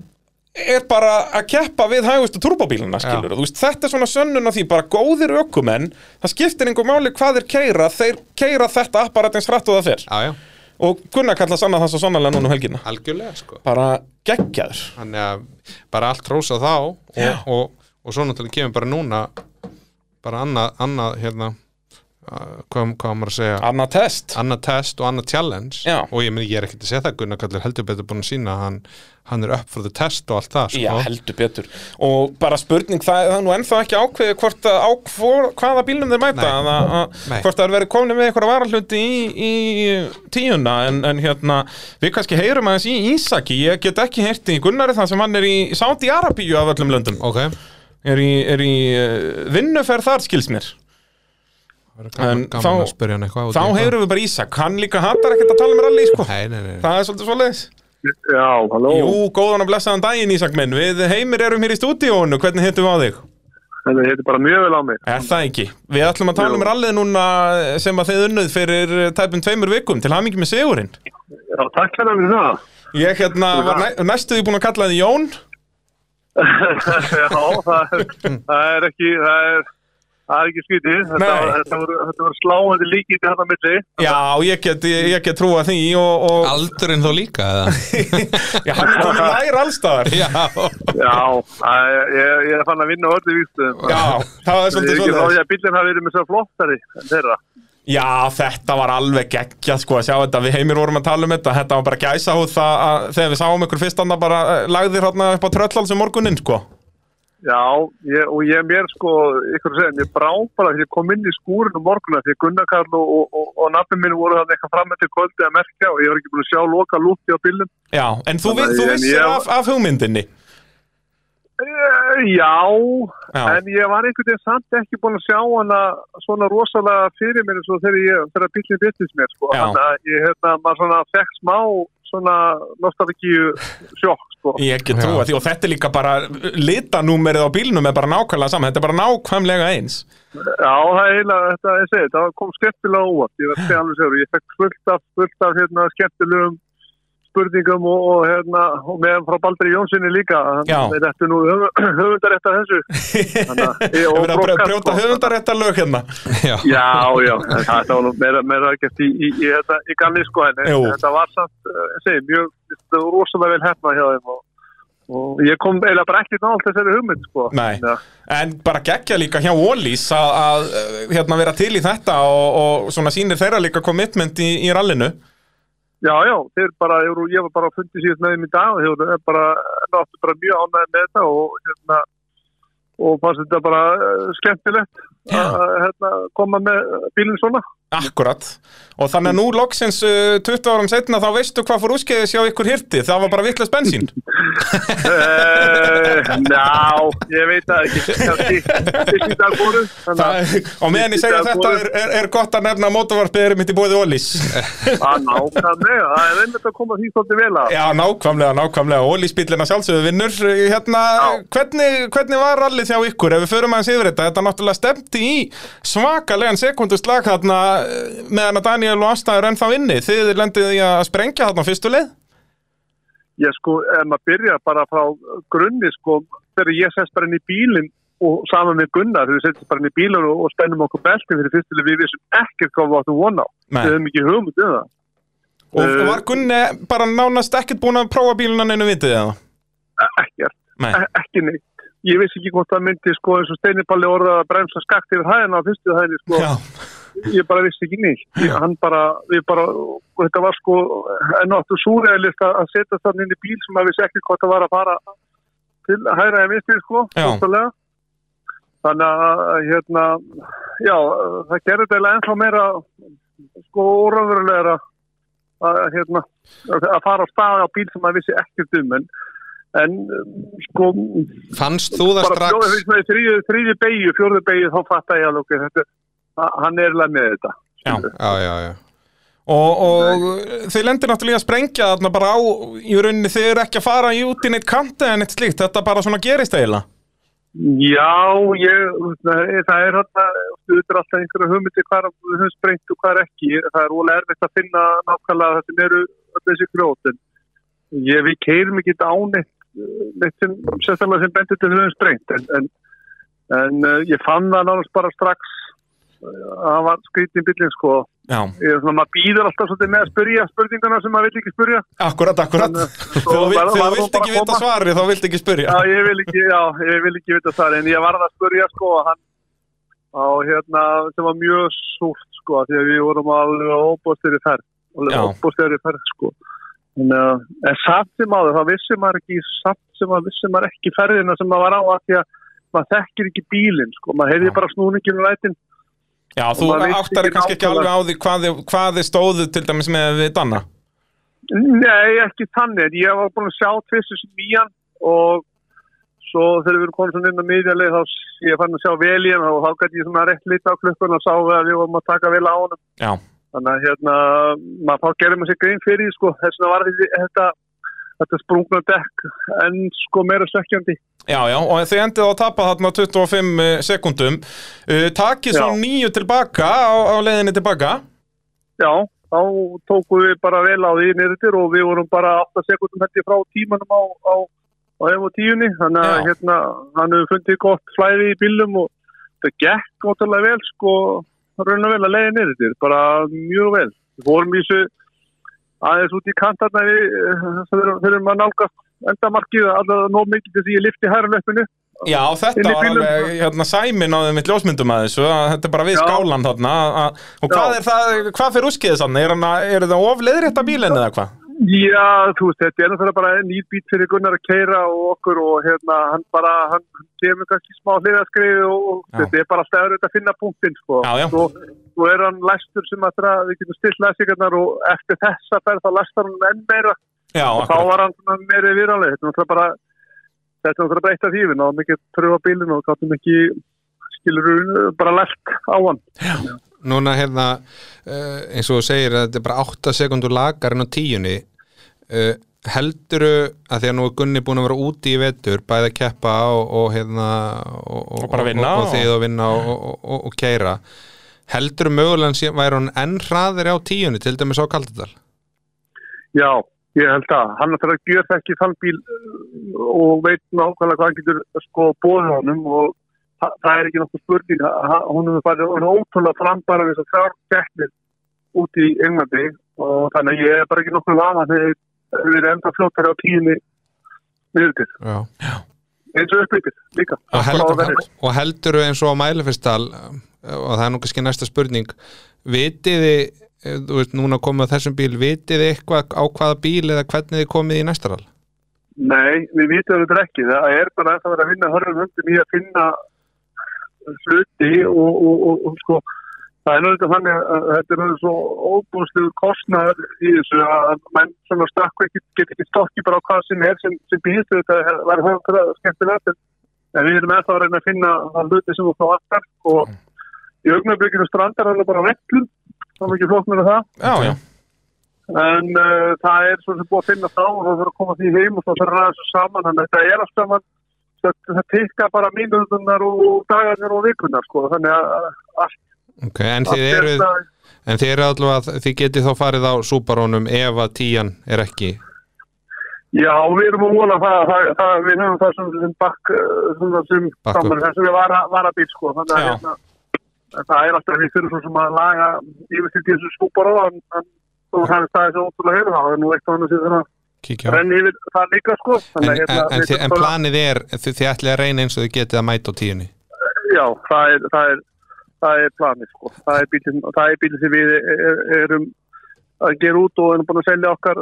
Speaker 1: er bara að keppa við hægustu turbóbíluna skilur, þú veist, þetta er svona sönnun á því bara góðir ökumenn, það skiptir einhver máli hvað þeir keira, þeir keira þetta apparat eins hrætt og það fer
Speaker 2: Já, já,
Speaker 1: og Gunnar kallast annað það svo sannarlega núna um helgina
Speaker 2: algjörlega sko
Speaker 1: bara geggjaður
Speaker 2: Þannig að bara allt rósa þá
Speaker 1: Já.
Speaker 2: og, og, og svo náttúrulega kemur bara núna bara annað, annað hérna uh, hvað, hvað á maður að segja
Speaker 1: annað test,
Speaker 2: annað test og annað challenge
Speaker 1: Já.
Speaker 2: og ég meni ég er ekkert að segja það Gunnar Kallir heldur betur búin að sína hann, hann er upp for the test og allt það sko.
Speaker 1: já heldur betur og bara spurning, það, það er nú ennþá ekki ákveðið hvort að á hvor, hvaða bílnum þeir mæta
Speaker 2: Nei.
Speaker 1: að, að,
Speaker 2: Nei.
Speaker 1: hvort það er verið komin með einhverja varahluti í, í tíuna en, en hérna, við kannski heyrum aðeins í Ísaki, ég get ekki heyrt í Gunnari það sem hann er í Saudi Arabíu af öllum löndum,
Speaker 2: Ok,
Speaker 1: er í, er í eh, vinnuferð þar skils mér
Speaker 2: það er gaman,
Speaker 1: En
Speaker 2: gaman
Speaker 1: þá-
Speaker 2: að spyrja hann eitthvað út í
Speaker 1: þá
Speaker 2: eitthvað.
Speaker 1: heyrum við bara Ísak, hann líka hattar ekkert að tala með rally sko,
Speaker 2: Nei, nei, nei, nei.
Speaker 1: það er svolítið svoleiðis
Speaker 3: Já, halló.
Speaker 1: Jú, góðan og blessaðan daginn Ísak minn Við heimir erum hér í stúdíónu, hvernig hittum við á þig?
Speaker 3: Þetta heitir bara mjög vel á mig.
Speaker 1: Er það ekki? Við ætlum að tala
Speaker 3: Jú.
Speaker 1: um rallið núna sem að þið unnuð fyrir eh, tæpum tveimur vikum til hamingi með Sigurinn
Speaker 3: Já, takk fyrir að við það.
Speaker 1: Ég hérna var næ næstuði búin að kalla þið Jón
Speaker 3: Já, það er, það er ekki, það er, það er ekki skvítið. Þetta,
Speaker 1: Nei.
Speaker 3: var- þetta voru, þetta voru sláandi líkindi hann að milli.
Speaker 1: Já, ég get, ég, ég get trúa því og, og
Speaker 2: Aldurinn þó líka eða?
Speaker 1: já, hann er komin nær allstaðar
Speaker 2: Já,
Speaker 3: Já, það er, ég, ég er fann að vinna á öllu vístum.
Speaker 1: Já, það er
Speaker 3: Ég er
Speaker 1: svolítið
Speaker 3: ekki frá
Speaker 1: svolítið
Speaker 3: því að bílinn hafi verið með svo flottari en þeirra.
Speaker 1: Já, þetta var alveg geggjað sko að sjá þetta, við heimir vorum að tala um þetta þetta var bara gæsa húð það að þegar við sáum ykkur fyrst annað bara eh, lagðir hérna upp á tröllhalsum morguninn sko
Speaker 3: Já, ég, og ég mér sko, ykkur að segja, mér brá bara því ég kom inn í skúrinu morguna því að Gunnar Karl og, og, og, og nafni mín voru þannig eitthvað fram eftir kvöldi að merkja og ég var ekki búin að sjá loka lúti á bílinn.
Speaker 1: Já, en þú, vi,
Speaker 3: Þannig að
Speaker 1: þú
Speaker 3: ég-
Speaker 1: vissir
Speaker 3: ég-
Speaker 1: af, af hugmyndinni
Speaker 3: Eh, Já,
Speaker 1: Já.
Speaker 3: en ég var einhvern veginn samt ekki búin að sjá hana svona rosalega fyrir mér svo þegar, ég, þegar bílinn vittist mér sko.
Speaker 1: Já.
Speaker 3: Þannig að ég hérna, maður svona fekk smá svona nostalgíu sjokk sko.
Speaker 1: Ég get
Speaker 2: Já.
Speaker 1: trúa því og þetta er líka bara litanúmerið á bílnum er bara nákvæmlega saman, þetta er bara nákvæmlega eins
Speaker 3: Já, það er eiginlega, þetta ég segi, það kom skemmtilega óvart, ég verði alveg segur, ég fekk fullt af, fullt af hérna, skemmtilegum spurningum og, og, hérna, og meðan frá Baldri Jónssoni líka,
Speaker 1: Já.
Speaker 3: þannig að þetta er nú höfundarétt af þessu. Þannig að-
Speaker 1: Ég
Speaker 3: og
Speaker 1: verið að brjó-
Speaker 3: brokkar,
Speaker 1: brjóta
Speaker 3: sko.
Speaker 1: höfundarétta lög hérna
Speaker 2: já,
Speaker 3: Já, já, en þetta var nú meira, meira ekkert í, í, í, þetta, í ganni sko, en
Speaker 1: Jú.
Speaker 3: þetta var samt, eh, ég segi, mjög, þetta var rosalega vel hefna hjá þeim og, og ég kom eiginlega bara ekkert nált þessari hugmynd sko.
Speaker 1: Nei.
Speaker 3: Þannig að-
Speaker 1: En bara geggja líka hjá Ólís að, að eh, hérna, vera til í þetta og, og svona sýnir þeirra líka commitment í, í rallinu
Speaker 3: Já, já, þeir bara, ég voru- ég var bara að fundi síðast með þeim í dag og þeir voru bara, náttu bara mjög ánægði með þetta og hérna, og fannst þetta bara uh, skemmtilegt að hérna, koma með bílinn svona.
Speaker 1: Akkurat Og þannig að nú loksins uh, 20 árum setna þá veistu hvað fór úskeiðis hjá ykkur hirti Það var bara vittlust bensín
Speaker 3: Uh, ná, ég veit það ekki, kannski, fyrst í dag voru, þannig að,
Speaker 1: Það- Og meðan ég segja þetta er, er, er gott að nefna að mótavarpið erum mitt í bóði Ólís
Speaker 3: að Ah, nákvæmlega, það er einmitt að koma því svolítið vel að.
Speaker 1: Já, nákvæmlega, nákvæmlega Ólís bíllina sjálfsögðu vinnur hérna,
Speaker 3: Já.
Speaker 1: hvernig, hvernig var rallið hjá ykkur ef við förum aðeins yfir þetta Þetta náttúrulega stemdi í svakalegan sekunduslag þarna eh, meðan að Daniel og Asta er ennþá inni Þið lendið í að sprengja þarna á fyrstu leið
Speaker 3: Ég sko, ef maður byrja bara frá grunni sko, þegar ég sest bara inn í bílinn og saman með Gunnar, þegar við setjum bara inn í bílan og, og spennum okkur beltin fyrir fyrstilega við vissum ekkert hvað við áttum von á.
Speaker 1: Nei.
Speaker 3: Við höfum ekki hugmynd um það.
Speaker 1: Og
Speaker 3: Eh,
Speaker 1: var Gunni bara nánast ekkert búin að prófa bíluna neinu vitið eða?
Speaker 3: Ekkert,
Speaker 1: Nei.
Speaker 3: e- ekki neitt. Ég vissi ekki hvort það myndi sko eins og steiniballi orða að bremsa skakt yfir hæðina á fyrstu hæðinni sko.
Speaker 1: Já,
Speaker 3: Ég bara vissi ekki neitt. Ég, hann bara, við bara, og þetta var sko enn og aftur súræðilegt að að setja þannig inn í bíl sem að vissi ekki hvort það var að fara til hæðra en vinstri sko.
Speaker 1: Já.
Speaker 3: bókstaflega. Þannig að hérna, já, það gerði þetta eiginlega ennþá meira sko óraunverulegra að, hérna, að fara á staði á bíl sem maður vissi ekkert um en, en sko
Speaker 2: Fannst þú það
Speaker 3: bara
Speaker 2: strax?
Speaker 3: fjóðu þrýðu, þrýðu beigju, fjórðu beigju þá fatta ég alveg ok, þetta, að- hann er eiginlega með þetta
Speaker 1: já.
Speaker 2: Já, já, já.
Speaker 1: Og, og þið lendir náttúrulega að sprengja þarna bara á, í rauninni þið eru ekki að fara í út í neitt kanti en eitt slíkt, þetta bara svona gerist eiginlega.
Speaker 3: Já, ég, það er hérna, auðvitað alltaf einhverja hugmyndi hvað er- við höfum sprengt og hvað er ekki. Það er ólega erfitt að finna nákvæmlega það sem eru öll þessi grjót. En ég, við keirum ekki á neitt, neitt sem, sérstaklega sem bendur til að við höfum sprengt. En, en, en eh, ég fann það náttúrulega bara strax eh, að það var skrítin bílinn sko.
Speaker 1: Já,
Speaker 3: Ég, er svona, maður býður alltaf svolítið með að spyrja spurningana sem maður vil ekki spyrja.
Speaker 1: akkurat, akkurat.
Speaker 3: Þannig að-
Speaker 1: Þegar þú vilt-
Speaker 3: Var-
Speaker 1: þegar
Speaker 3: var
Speaker 1: þú
Speaker 3: hún
Speaker 1: vilt
Speaker 3: bara
Speaker 1: ekki
Speaker 3: að
Speaker 1: vita
Speaker 3: koma?
Speaker 1: svarið, þá vilt ekki spyrja.
Speaker 3: Já, ég vil ekki, já, ég vil ekki vita það, en ég varð að spurja, sko, að hann, á, hérna, sem var mjög súrt, sko, af því að við vorum alveg óbústir í ferð,
Speaker 1: Já.
Speaker 3: alveg óbústir í ferð, sko. En, uh, en samt sem áður, þá vissi maður ekki, samt sem maður vissi maður ekki ferðina sem maður var á, af því að maður þekkir ekki bílinn, sko, maður heyrði
Speaker 1: Já.
Speaker 3: bara snúningin og rætin.
Speaker 1: Já, þú
Speaker 3: maður veit
Speaker 1: áttar
Speaker 3: ekki
Speaker 1: kannski ekki alveg
Speaker 3: nákvæmlega.
Speaker 1: á því hvað þið, hvað þið stóðu til dæmis með við Danna.
Speaker 3: Nei, ekki þannig, en ég var búin að sjá tvissu sem nýjan og svo þegar við erum konum svona inn á miðjarleið þá s- ég fann að sjá vel í hann og þá gæti ég svona rétt lítið á klukkun og sá við að við vorum að taka vel á honum.
Speaker 1: Já,
Speaker 3: Þannig að hérna, maður þá gerir maður sér grein fyrir því, sko, þess vegna var þessi- þetta, þetta sprungna dekk en sko meira sökkjandi.
Speaker 1: já, já, og þið endið á að tapa þarna 25 sekundum. Uh, eh, takið svo
Speaker 3: Já.
Speaker 1: nýju tilbaka á, á leiðinni tilbaka.
Speaker 3: Já, þá tókum við bara vel á því nýrðir og við vorum bara 8 sekundum hætti frá tímanum á, á, á ef og tíunni. Þannig
Speaker 1: Já.
Speaker 3: að hérna, hann hefur fundið gott flæði í bílum og það gekk ótrúlega vel, sko, raun og vel að leiða nýrðir, bara mjög vel. Við vorum í þessu aðeins út í kantarna við, eh, þegar þegar maður nálgast endamarkið, allavega nóg mikið til því ég lifti hæra löpunni.
Speaker 1: Já, þetta
Speaker 3: Inn í
Speaker 1: var
Speaker 3: bílum.
Speaker 1: alveg, hérna, sæmin á þeim mitt ljósmyndum að þessu, að þetta er bara við
Speaker 3: Já.
Speaker 1: skálan þarna. að- Að, og hvað
Speaker 3: Já.
Speaker 1: er það, hvað fyrir úskiðið þarna? Er, hana, er það ofleiðrétta bílinn eða hvað?
Speaker 3: Já, þú veist, þetta er náttúrulega bara nýr bít fyrir Gunnar að keira og okkur og hérna, hann bara, hann kemur kannski smá hliðaskriði og, og
Speaker 1: Já.
Speaker 3: þetta er bara alltaf öðruð að finna punktinn, sko.
Speaker 1: Já, já.
Speaker 3: Svo, svo er hann læstur sem að það, við getum stilt læsingarnar og eftir þessa ferð þá læstar hann enn meira
Speaker 1: Já,
Speaker 3: og þá
Speaker 1: akkurat.
Speaker 3: var hann svona meiri viranlega. Þetta er náttúrulega bara, þetta er náttúrulega breytt af því, við náðum ekki að pröfa bílinn og gáttum ekki, skilur, bara læst á hann.
Speaker 2: Núna hérna, uh, eins og þú segir að þetta er bara 8 sekundur lagar en á tíunni uh, helduru að því að nú er Gunni búin að vera úti í vetur bæði að keppa og, og hérna og,
Speaker 1: Og bara vinna
Speaker 2: og, og,
Speaker 1: og-
Speaker 2: og þið og vinna og, og, og, og keira helduru mögulega sé- væri hún enn hraðir á tíunni til dæmis á Kaldadal
Speaker 3: Já, ég held að hann þarf að gjöra ekki þann bíl uh, og veit nákvæmlega hvað hann getur sko bóðið honum og þa- það er ekki nokkuð spurning að- að hún hefur farið hún er ótrúlega frambara við þess að þrjár teknir út í Englandi og þannig að ég er bara ekki nokkuð vana þegar við erum enda flóttari á tíðinni niður til,
Speaker 2: Já.
Speaker 3: eins og uppbyggir líka
Speaker 2: og,
Speaker 3: Frá
Speaker 2: held,
Speaker 3: verðinni.
Speaker 2: og helduru eins og á Mælefestal og það er nú kannski næsta spurning vitiði eh, þú veist, núna komið á þessum bíl, vitiði eitthvað á hvaða bíl eða hvernig þið komið í næstaral
Speaker 3: Nei, við vitum þetta ekki. Það er bara að það vera að vinna hörðum höndum í að finna hluti og, og, og, og sko, það er náttúrulega þannig að þetta er svo óbúslu kostnaður í þessu að menn svona stakku ekki, get ekki stokki bara á hvað sem er sem, sem býðstu þetta var höfður skemmtilegt en- en við erum eða að reyna að finna það hluti sem þú frá aftar og í augnablikinu strandar hann er bara vekklum, þá er ekki flóknir að það
Speaker 1: Já, já.
Speaker 3: en uh, það er svo sem búið að finna þá og það þarf að koma því heim og það þarf að ræða þessu saman þannig að þetta er allt saman það, það tikka bara mínundunar og dagarnir og vikunar sko þannig að allt
Speaker 2: okay, en
Speaker 3: allt
Speaker 2: þið
Speaker 3: er
Speaker 2: eru
Speaker 3: það-
Speaker 2: en þið eru allavega, þið getið þá farið á súbarónum ef að tíjan er ekki
Speaker 3: Já, við erum að vona það, það, það við höfum það sem, sem bakk, eh, svona sem
Speaker 2: Bakk upp.
Speaker 3: samar, þessum við vara, vara bíl, sko, þannig að
Speaker 1: Já.
Speaker 3: hérna, en það er alltaf við fyrir svo sem að laga yfir til þessu skúpar á, en, en þú hann staði svo ótrúlega hefur það, en nú eitt þannig sem þannig
Speaker 2: kíkja
Speaker 3: að
Speaker 2: á
Speaker 3: renni yfir það líka, sko,
Speaker 2: En,
Speaker 3: þannig
Speaker 2: en,
Speaker 3: hérna,
Speaker 2: en,
Speaker 3: við
Speaker 2: þið- en
Speaker 3: bara-
Speaker 2: planið er, þið, þið ætlið að reyna eins og þið getið að mæta á tíunni
Speaker 3: já, það er, það er, það er planið, sko, það er bílinn, það er bílinn sem við er, er, erum að gera út og erum búin að selja okkar,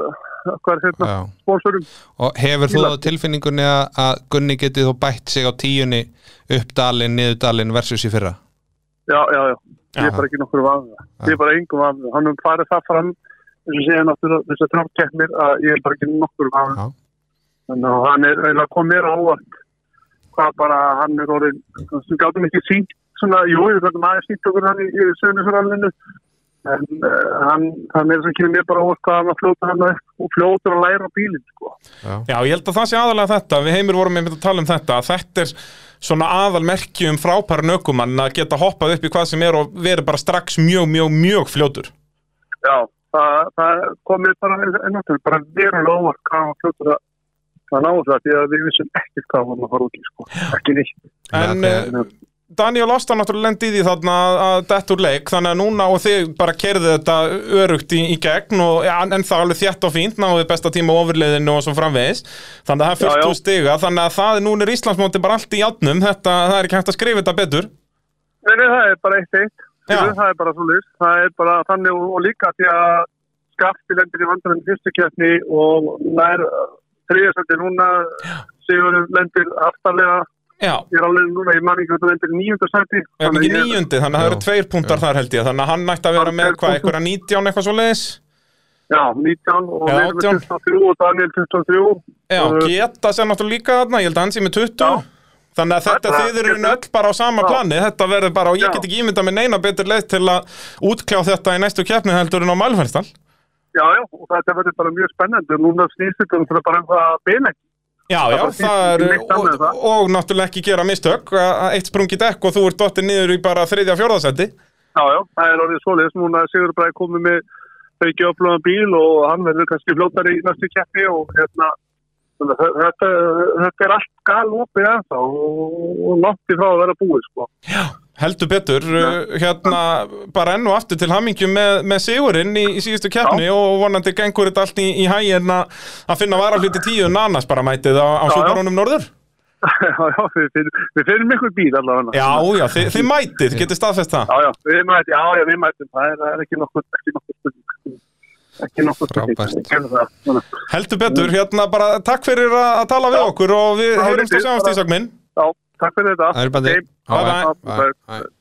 Speaker 3: okkar, hérna,
Speaker 2: Já.
Speaker 3: sponsorum.
Speaker 2: Og hefur þú
Speaker 3: Ég
Speaker 2: á tilfinningunni að, að Gunni getið þú bætt sig á tíunni upp dalinn, niður dalinn versus í fyrra?
Speaker 3: Já, já, já. Ég er
Speaker 2: Já.
Speaker 3: bara ekki nokkur vafið. Ég
Speaker 2: Já.
Speaker 3: er bara engum vafið. Hann hefur farið það fram eins og segja náttúrulega þess að Trump keppnir að ég er bara ekki nokkur vafið.
Speaker 2: Já.
Speaker 3: Þannig að hann er eiginlega kom mér á óvart hvað bara hann er orðin sem gátum ekki sínt svona, jú, við gætum aðeins sínt okkur hann í, í sögnisverðanlinu en uh, hann, hann er sem kynir mér bara á óvart hvað hann að fljóta hann upp og fljótur að læra á bílinn, sko.
Speaker 2: Já.
Speaker 1: Já, ég held að það sé aðalega þetta, við heimir vorum einmitt að tala um þetta, að þetta er svona aðalmerki um frábæran ökumann að geta hoppað upp í hvað sem er og verið bara strax mjög, mjög, mjög fljótur.
Speaker 3: Já, það, það kom mér bara ennáttúrulega bara verulega óvart hvað hann var fljótur að að ná það því að við vissum ekkert hvað hann var að fara út í sko, ekki neitt.
Speaker 1: En
Speaker 2: Nei,
Speaker 1: eh, Daniel Ásta náttúrulega lendi í því þarna að- að detta úr leik, þannig að núna og þið bara kerðu þetta örugt í, í gegn og ja, en það alveg þjætt og fínt, náðu besta tíma á ofurleiðinu og svo framvegis, þannig að það er
Speaker 3: Já, já.
Speaker 1: fullt úr stiga, þannig að það er núna er Íslandsmóti bara allt í játnum, þetta, það er ekki hægt að skrifa þetta betur.
Speaker 3: Nei, nei, það er bara eitt eitt,
Speaker 1: Já.
Speaker 3: Skilur, það er bara svo list, það er bara þannig og, og líka því að skafti lendir í vandarinn fyrstu kjæfni og nær þriðasætti núna, Sigur lendir aftarlega,
Speaker 1: Já,
Speaker 3: ég er alveg núna, ég man ekki hvað það lendir nýjunda sætti.
Speaker 1: er hann ekki nýjundi, þannig að það eru
Speaker 2: Já.
Speaker 1: tveir punktar þar held ég, þannig að hann ætti að vera
Speaker 3: Hann
Speaker 1: með
Speaker 3: er
Speaker 1: hvað,
Speaker 3: punktur.
Speaker 1: einhverja 19 eitthvað svo leiðis?
Speaker 3: Já, 19 og
Speaker 1: Já,
Speaker 3: við erum með
Speaker 1: 18.
Speaker 3: 23 og Daniel 23.
Speaker 1: Já,
Speaker 3: Og-
Speaker 1: geta sér náttúrulega líka þarna, ég held að hann sé með 20.
Speaker 3: Já.
Speaker 1: Þannig að þetta
Speaker 3: Það er bara-
Speaker 1: þið eru í raun öll bara á sama
Speaker 3: Já.
Speaker 1: plani, þetta verður bara, og ég
Speaker 3: Já.
Speaker 1: get ekki ímyndað með neina betur leið til að útkljá þetta í næstu keppni heldur en á Mælferðstal.
Speaker 3: Já, já, og þetta verður bara mjög spennandi og núna snýst þetta náttúrulega bara um það að beina ekki.
Speaker 1: Já,
Speaker 3: Það
Speaker 1: já, það
Speaker 3: bara þýðir
Speaker 1: er,
Speaker 3: ekki neitt annað
Speaker 1: og,
Speaker 3: en um það.
Speaker 1: og náttúrulega ekki gera mistök, að- að eitt sprungi dekk og þú ert dottir niður í bara þriðja fjórðasetti.
Speaker 3: Já, já, það er orðið svoleiðis. Núna er Sigur Bræði komið með feikið upplöðan bíl og hann verður kannski fljóttari í næstu keppi og hérna, þannig að þe- þetta, þetta er allt galopið ennþá og og langt í frá að vera búið, sko.
Speaker 1: Heldur betur, uh, hérna bara enn og aftur til hamingjum með, með sigurinn í, í síðustu keppni og vonandi gengur þetta allt í, í hæginn að að finna varafluti tíu en annars bara mætið á, á
Speaker 3: Já, já.
Speaker 1: súbarónum norður.
Speaker 3: já, já, við finnum, við finnum ykkur bíl allavega.
Speaker 1: Já, já, þið, þið mætið, getið staðfest það.
Speaker 3: Já, já, við mætum, já, já, við mætum, það er, það er ekki nokkuð, ekki nokkuð spurning. Ekki nokkuð spurning.
Speaker 2: Frábært.
Speaker 3: Við gerum það, svona.
Speaker 1: Heldur betur, hérna bara takk fyrir að, að tala við
Speaker 3: Já.
Speaker 1: okkur og við
Speaker 3: Já,
Speaker 1: heyrumst og
Speaker 3: lítið,
Speaker 1: sjáumst
Speaker 3: bara-
Speaker 1: Ísak minn.
Speaker 3: Já, takk fyrir þetta.
Speaker 2: Það er bara
Speaker 3: Ok,
Speaker 1: Bye,
Speaker 3: bye.
Speaker 2: bye.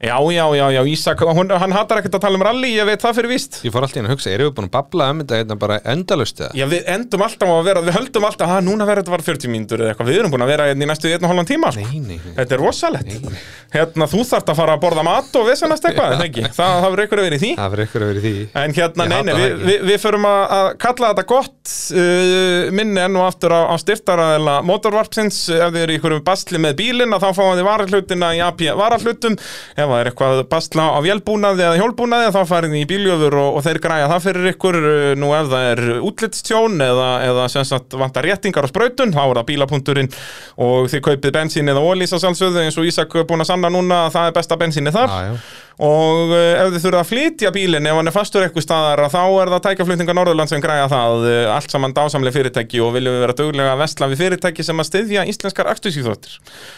Speaker 1: Já, já, já, já, Ísak, hún, hann hatar ekkert að tala um rally, ég veit það fyrir víst.
Speaker 2: Ég fór alltaf inn að hugsa, erum við búin að babla um þetta hérna bara endalust eða?
Speaker 1: Já, við endum alltaf á að vera, við höldum alltaf, að núna verður þetta var 40 mínútur eða eitthvað, við erum búin að vera hérna í næstu 1,5 tíma, sko.
Speaker 2: Nei, nei, nei.
Speaker 1: Þetta er rosalett. Hérna, þú þarft að fara að borða mat og vesenast eitthvað, en ekki? Það, það verður ykkur að vera í því.
Speaker 2: Það verður ykkur að vera í því.
Speaker 1: En hérna,
Speaker 2: Ég
Speaker 1: nei, nei, við,
Speaker 2: hata það ekki.
Speaker 1: við, við förum að, að kalla þetta gott uh, minni enn og aftur á, á styrtaraðela motorvarpsins ef þið eru í einhverjum basli með bílinn að þá fáum þið varahlutina í AP varahlutum ef það er eitthvað basla á vélbúnaði eða hjólbúnaði þá farið þið í bíljöfur og, og þeir græja það fyrir ykkur uh, nú ef það er útlitstjón eða, eða sem sagt vantar réttingar á sprautun þá er það bílapunkturinn og þið kaupið bensín eða ólýsa sjálfsögðu eins og Ísak er búin að sanna núna að það er besta bensíni þar
Speaker 2: Já, já.
Speaker 1: og eh, ef þið þurfa að flytja bílinn ef hann er fastur eitthvað staðar að þá er það tækjaflutninga Norðurland sem græja það eh, allt saman dásamlega fyrirtæki og viljum við vera dögulega að vestla við fyrirtæki sem að styðja íslenskar aktusíþróttir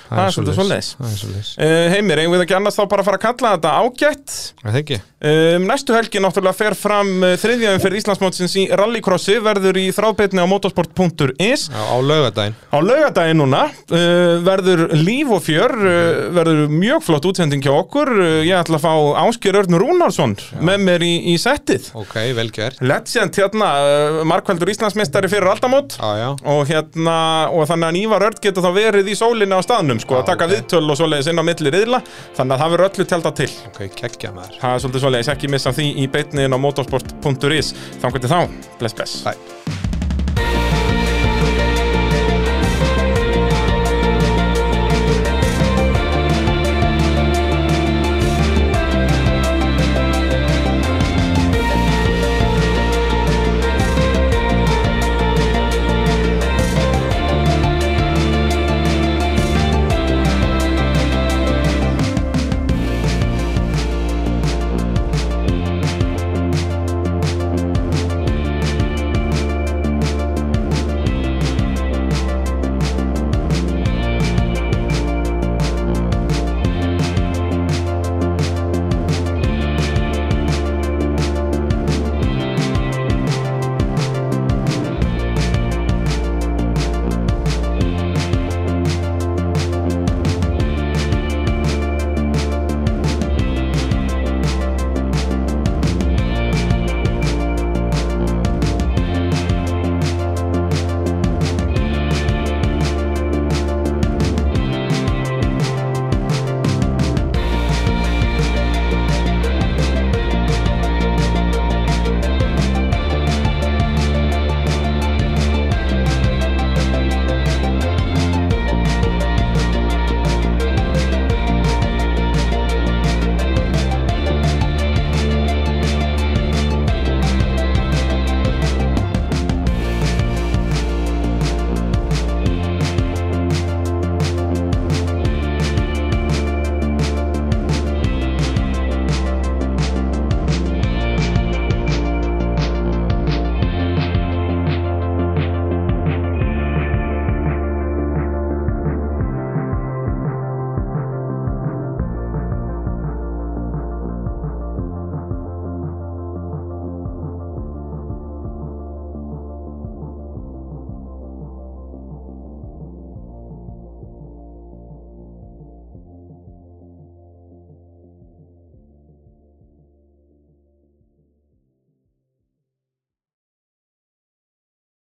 Speaker 1: það er svolítið svoleiðis
Speaker 2: Það er svolítið.
Speaker 1: Eh, Heimir, eigum við ekki annars þá bara að fara að kalla þetta ágætt
Speaker 2: Það ekki?
Speaker 1: Um, næstu helgi náttúrulega fer fram eh, þriðja umferð Íslandsmótsins í rallycrossi verður í þráðbyrni á motorsport.is
Speaker 2: Á, á laugardaginn.
Speaker 1: Á laugardaginn núna uh, verður líf og fjör, uh, verður mjög flott útsending hjá okkur. Uh, ég ætla að fá Áskjör Örn Rúnarsson með mér í, í settið.
Speaker 2: Ok, velgjör.
Speaker 1: Legend hérna, uh, Markveldur Íslandsmeistari fyrir aldamót
Speaker 2: Já, já.
Speaker 1: og hérna, og þannig að Ívar Örn getur þá verið í sólinni á staðnum, sko, að taka
Speaker 2: ok.
Speaker 1: viðtöl og svoleiðis inn á milli riðla, þannig að það verður öllu tjálta til.
Speaker 2: Ok, kekkja maður.
Speaker 1: Það er svolítið svoleiðis, ekki missa því í beitniðin á motorsport.is. Þannig til þá, bless bless.
Speaker 2: Bye.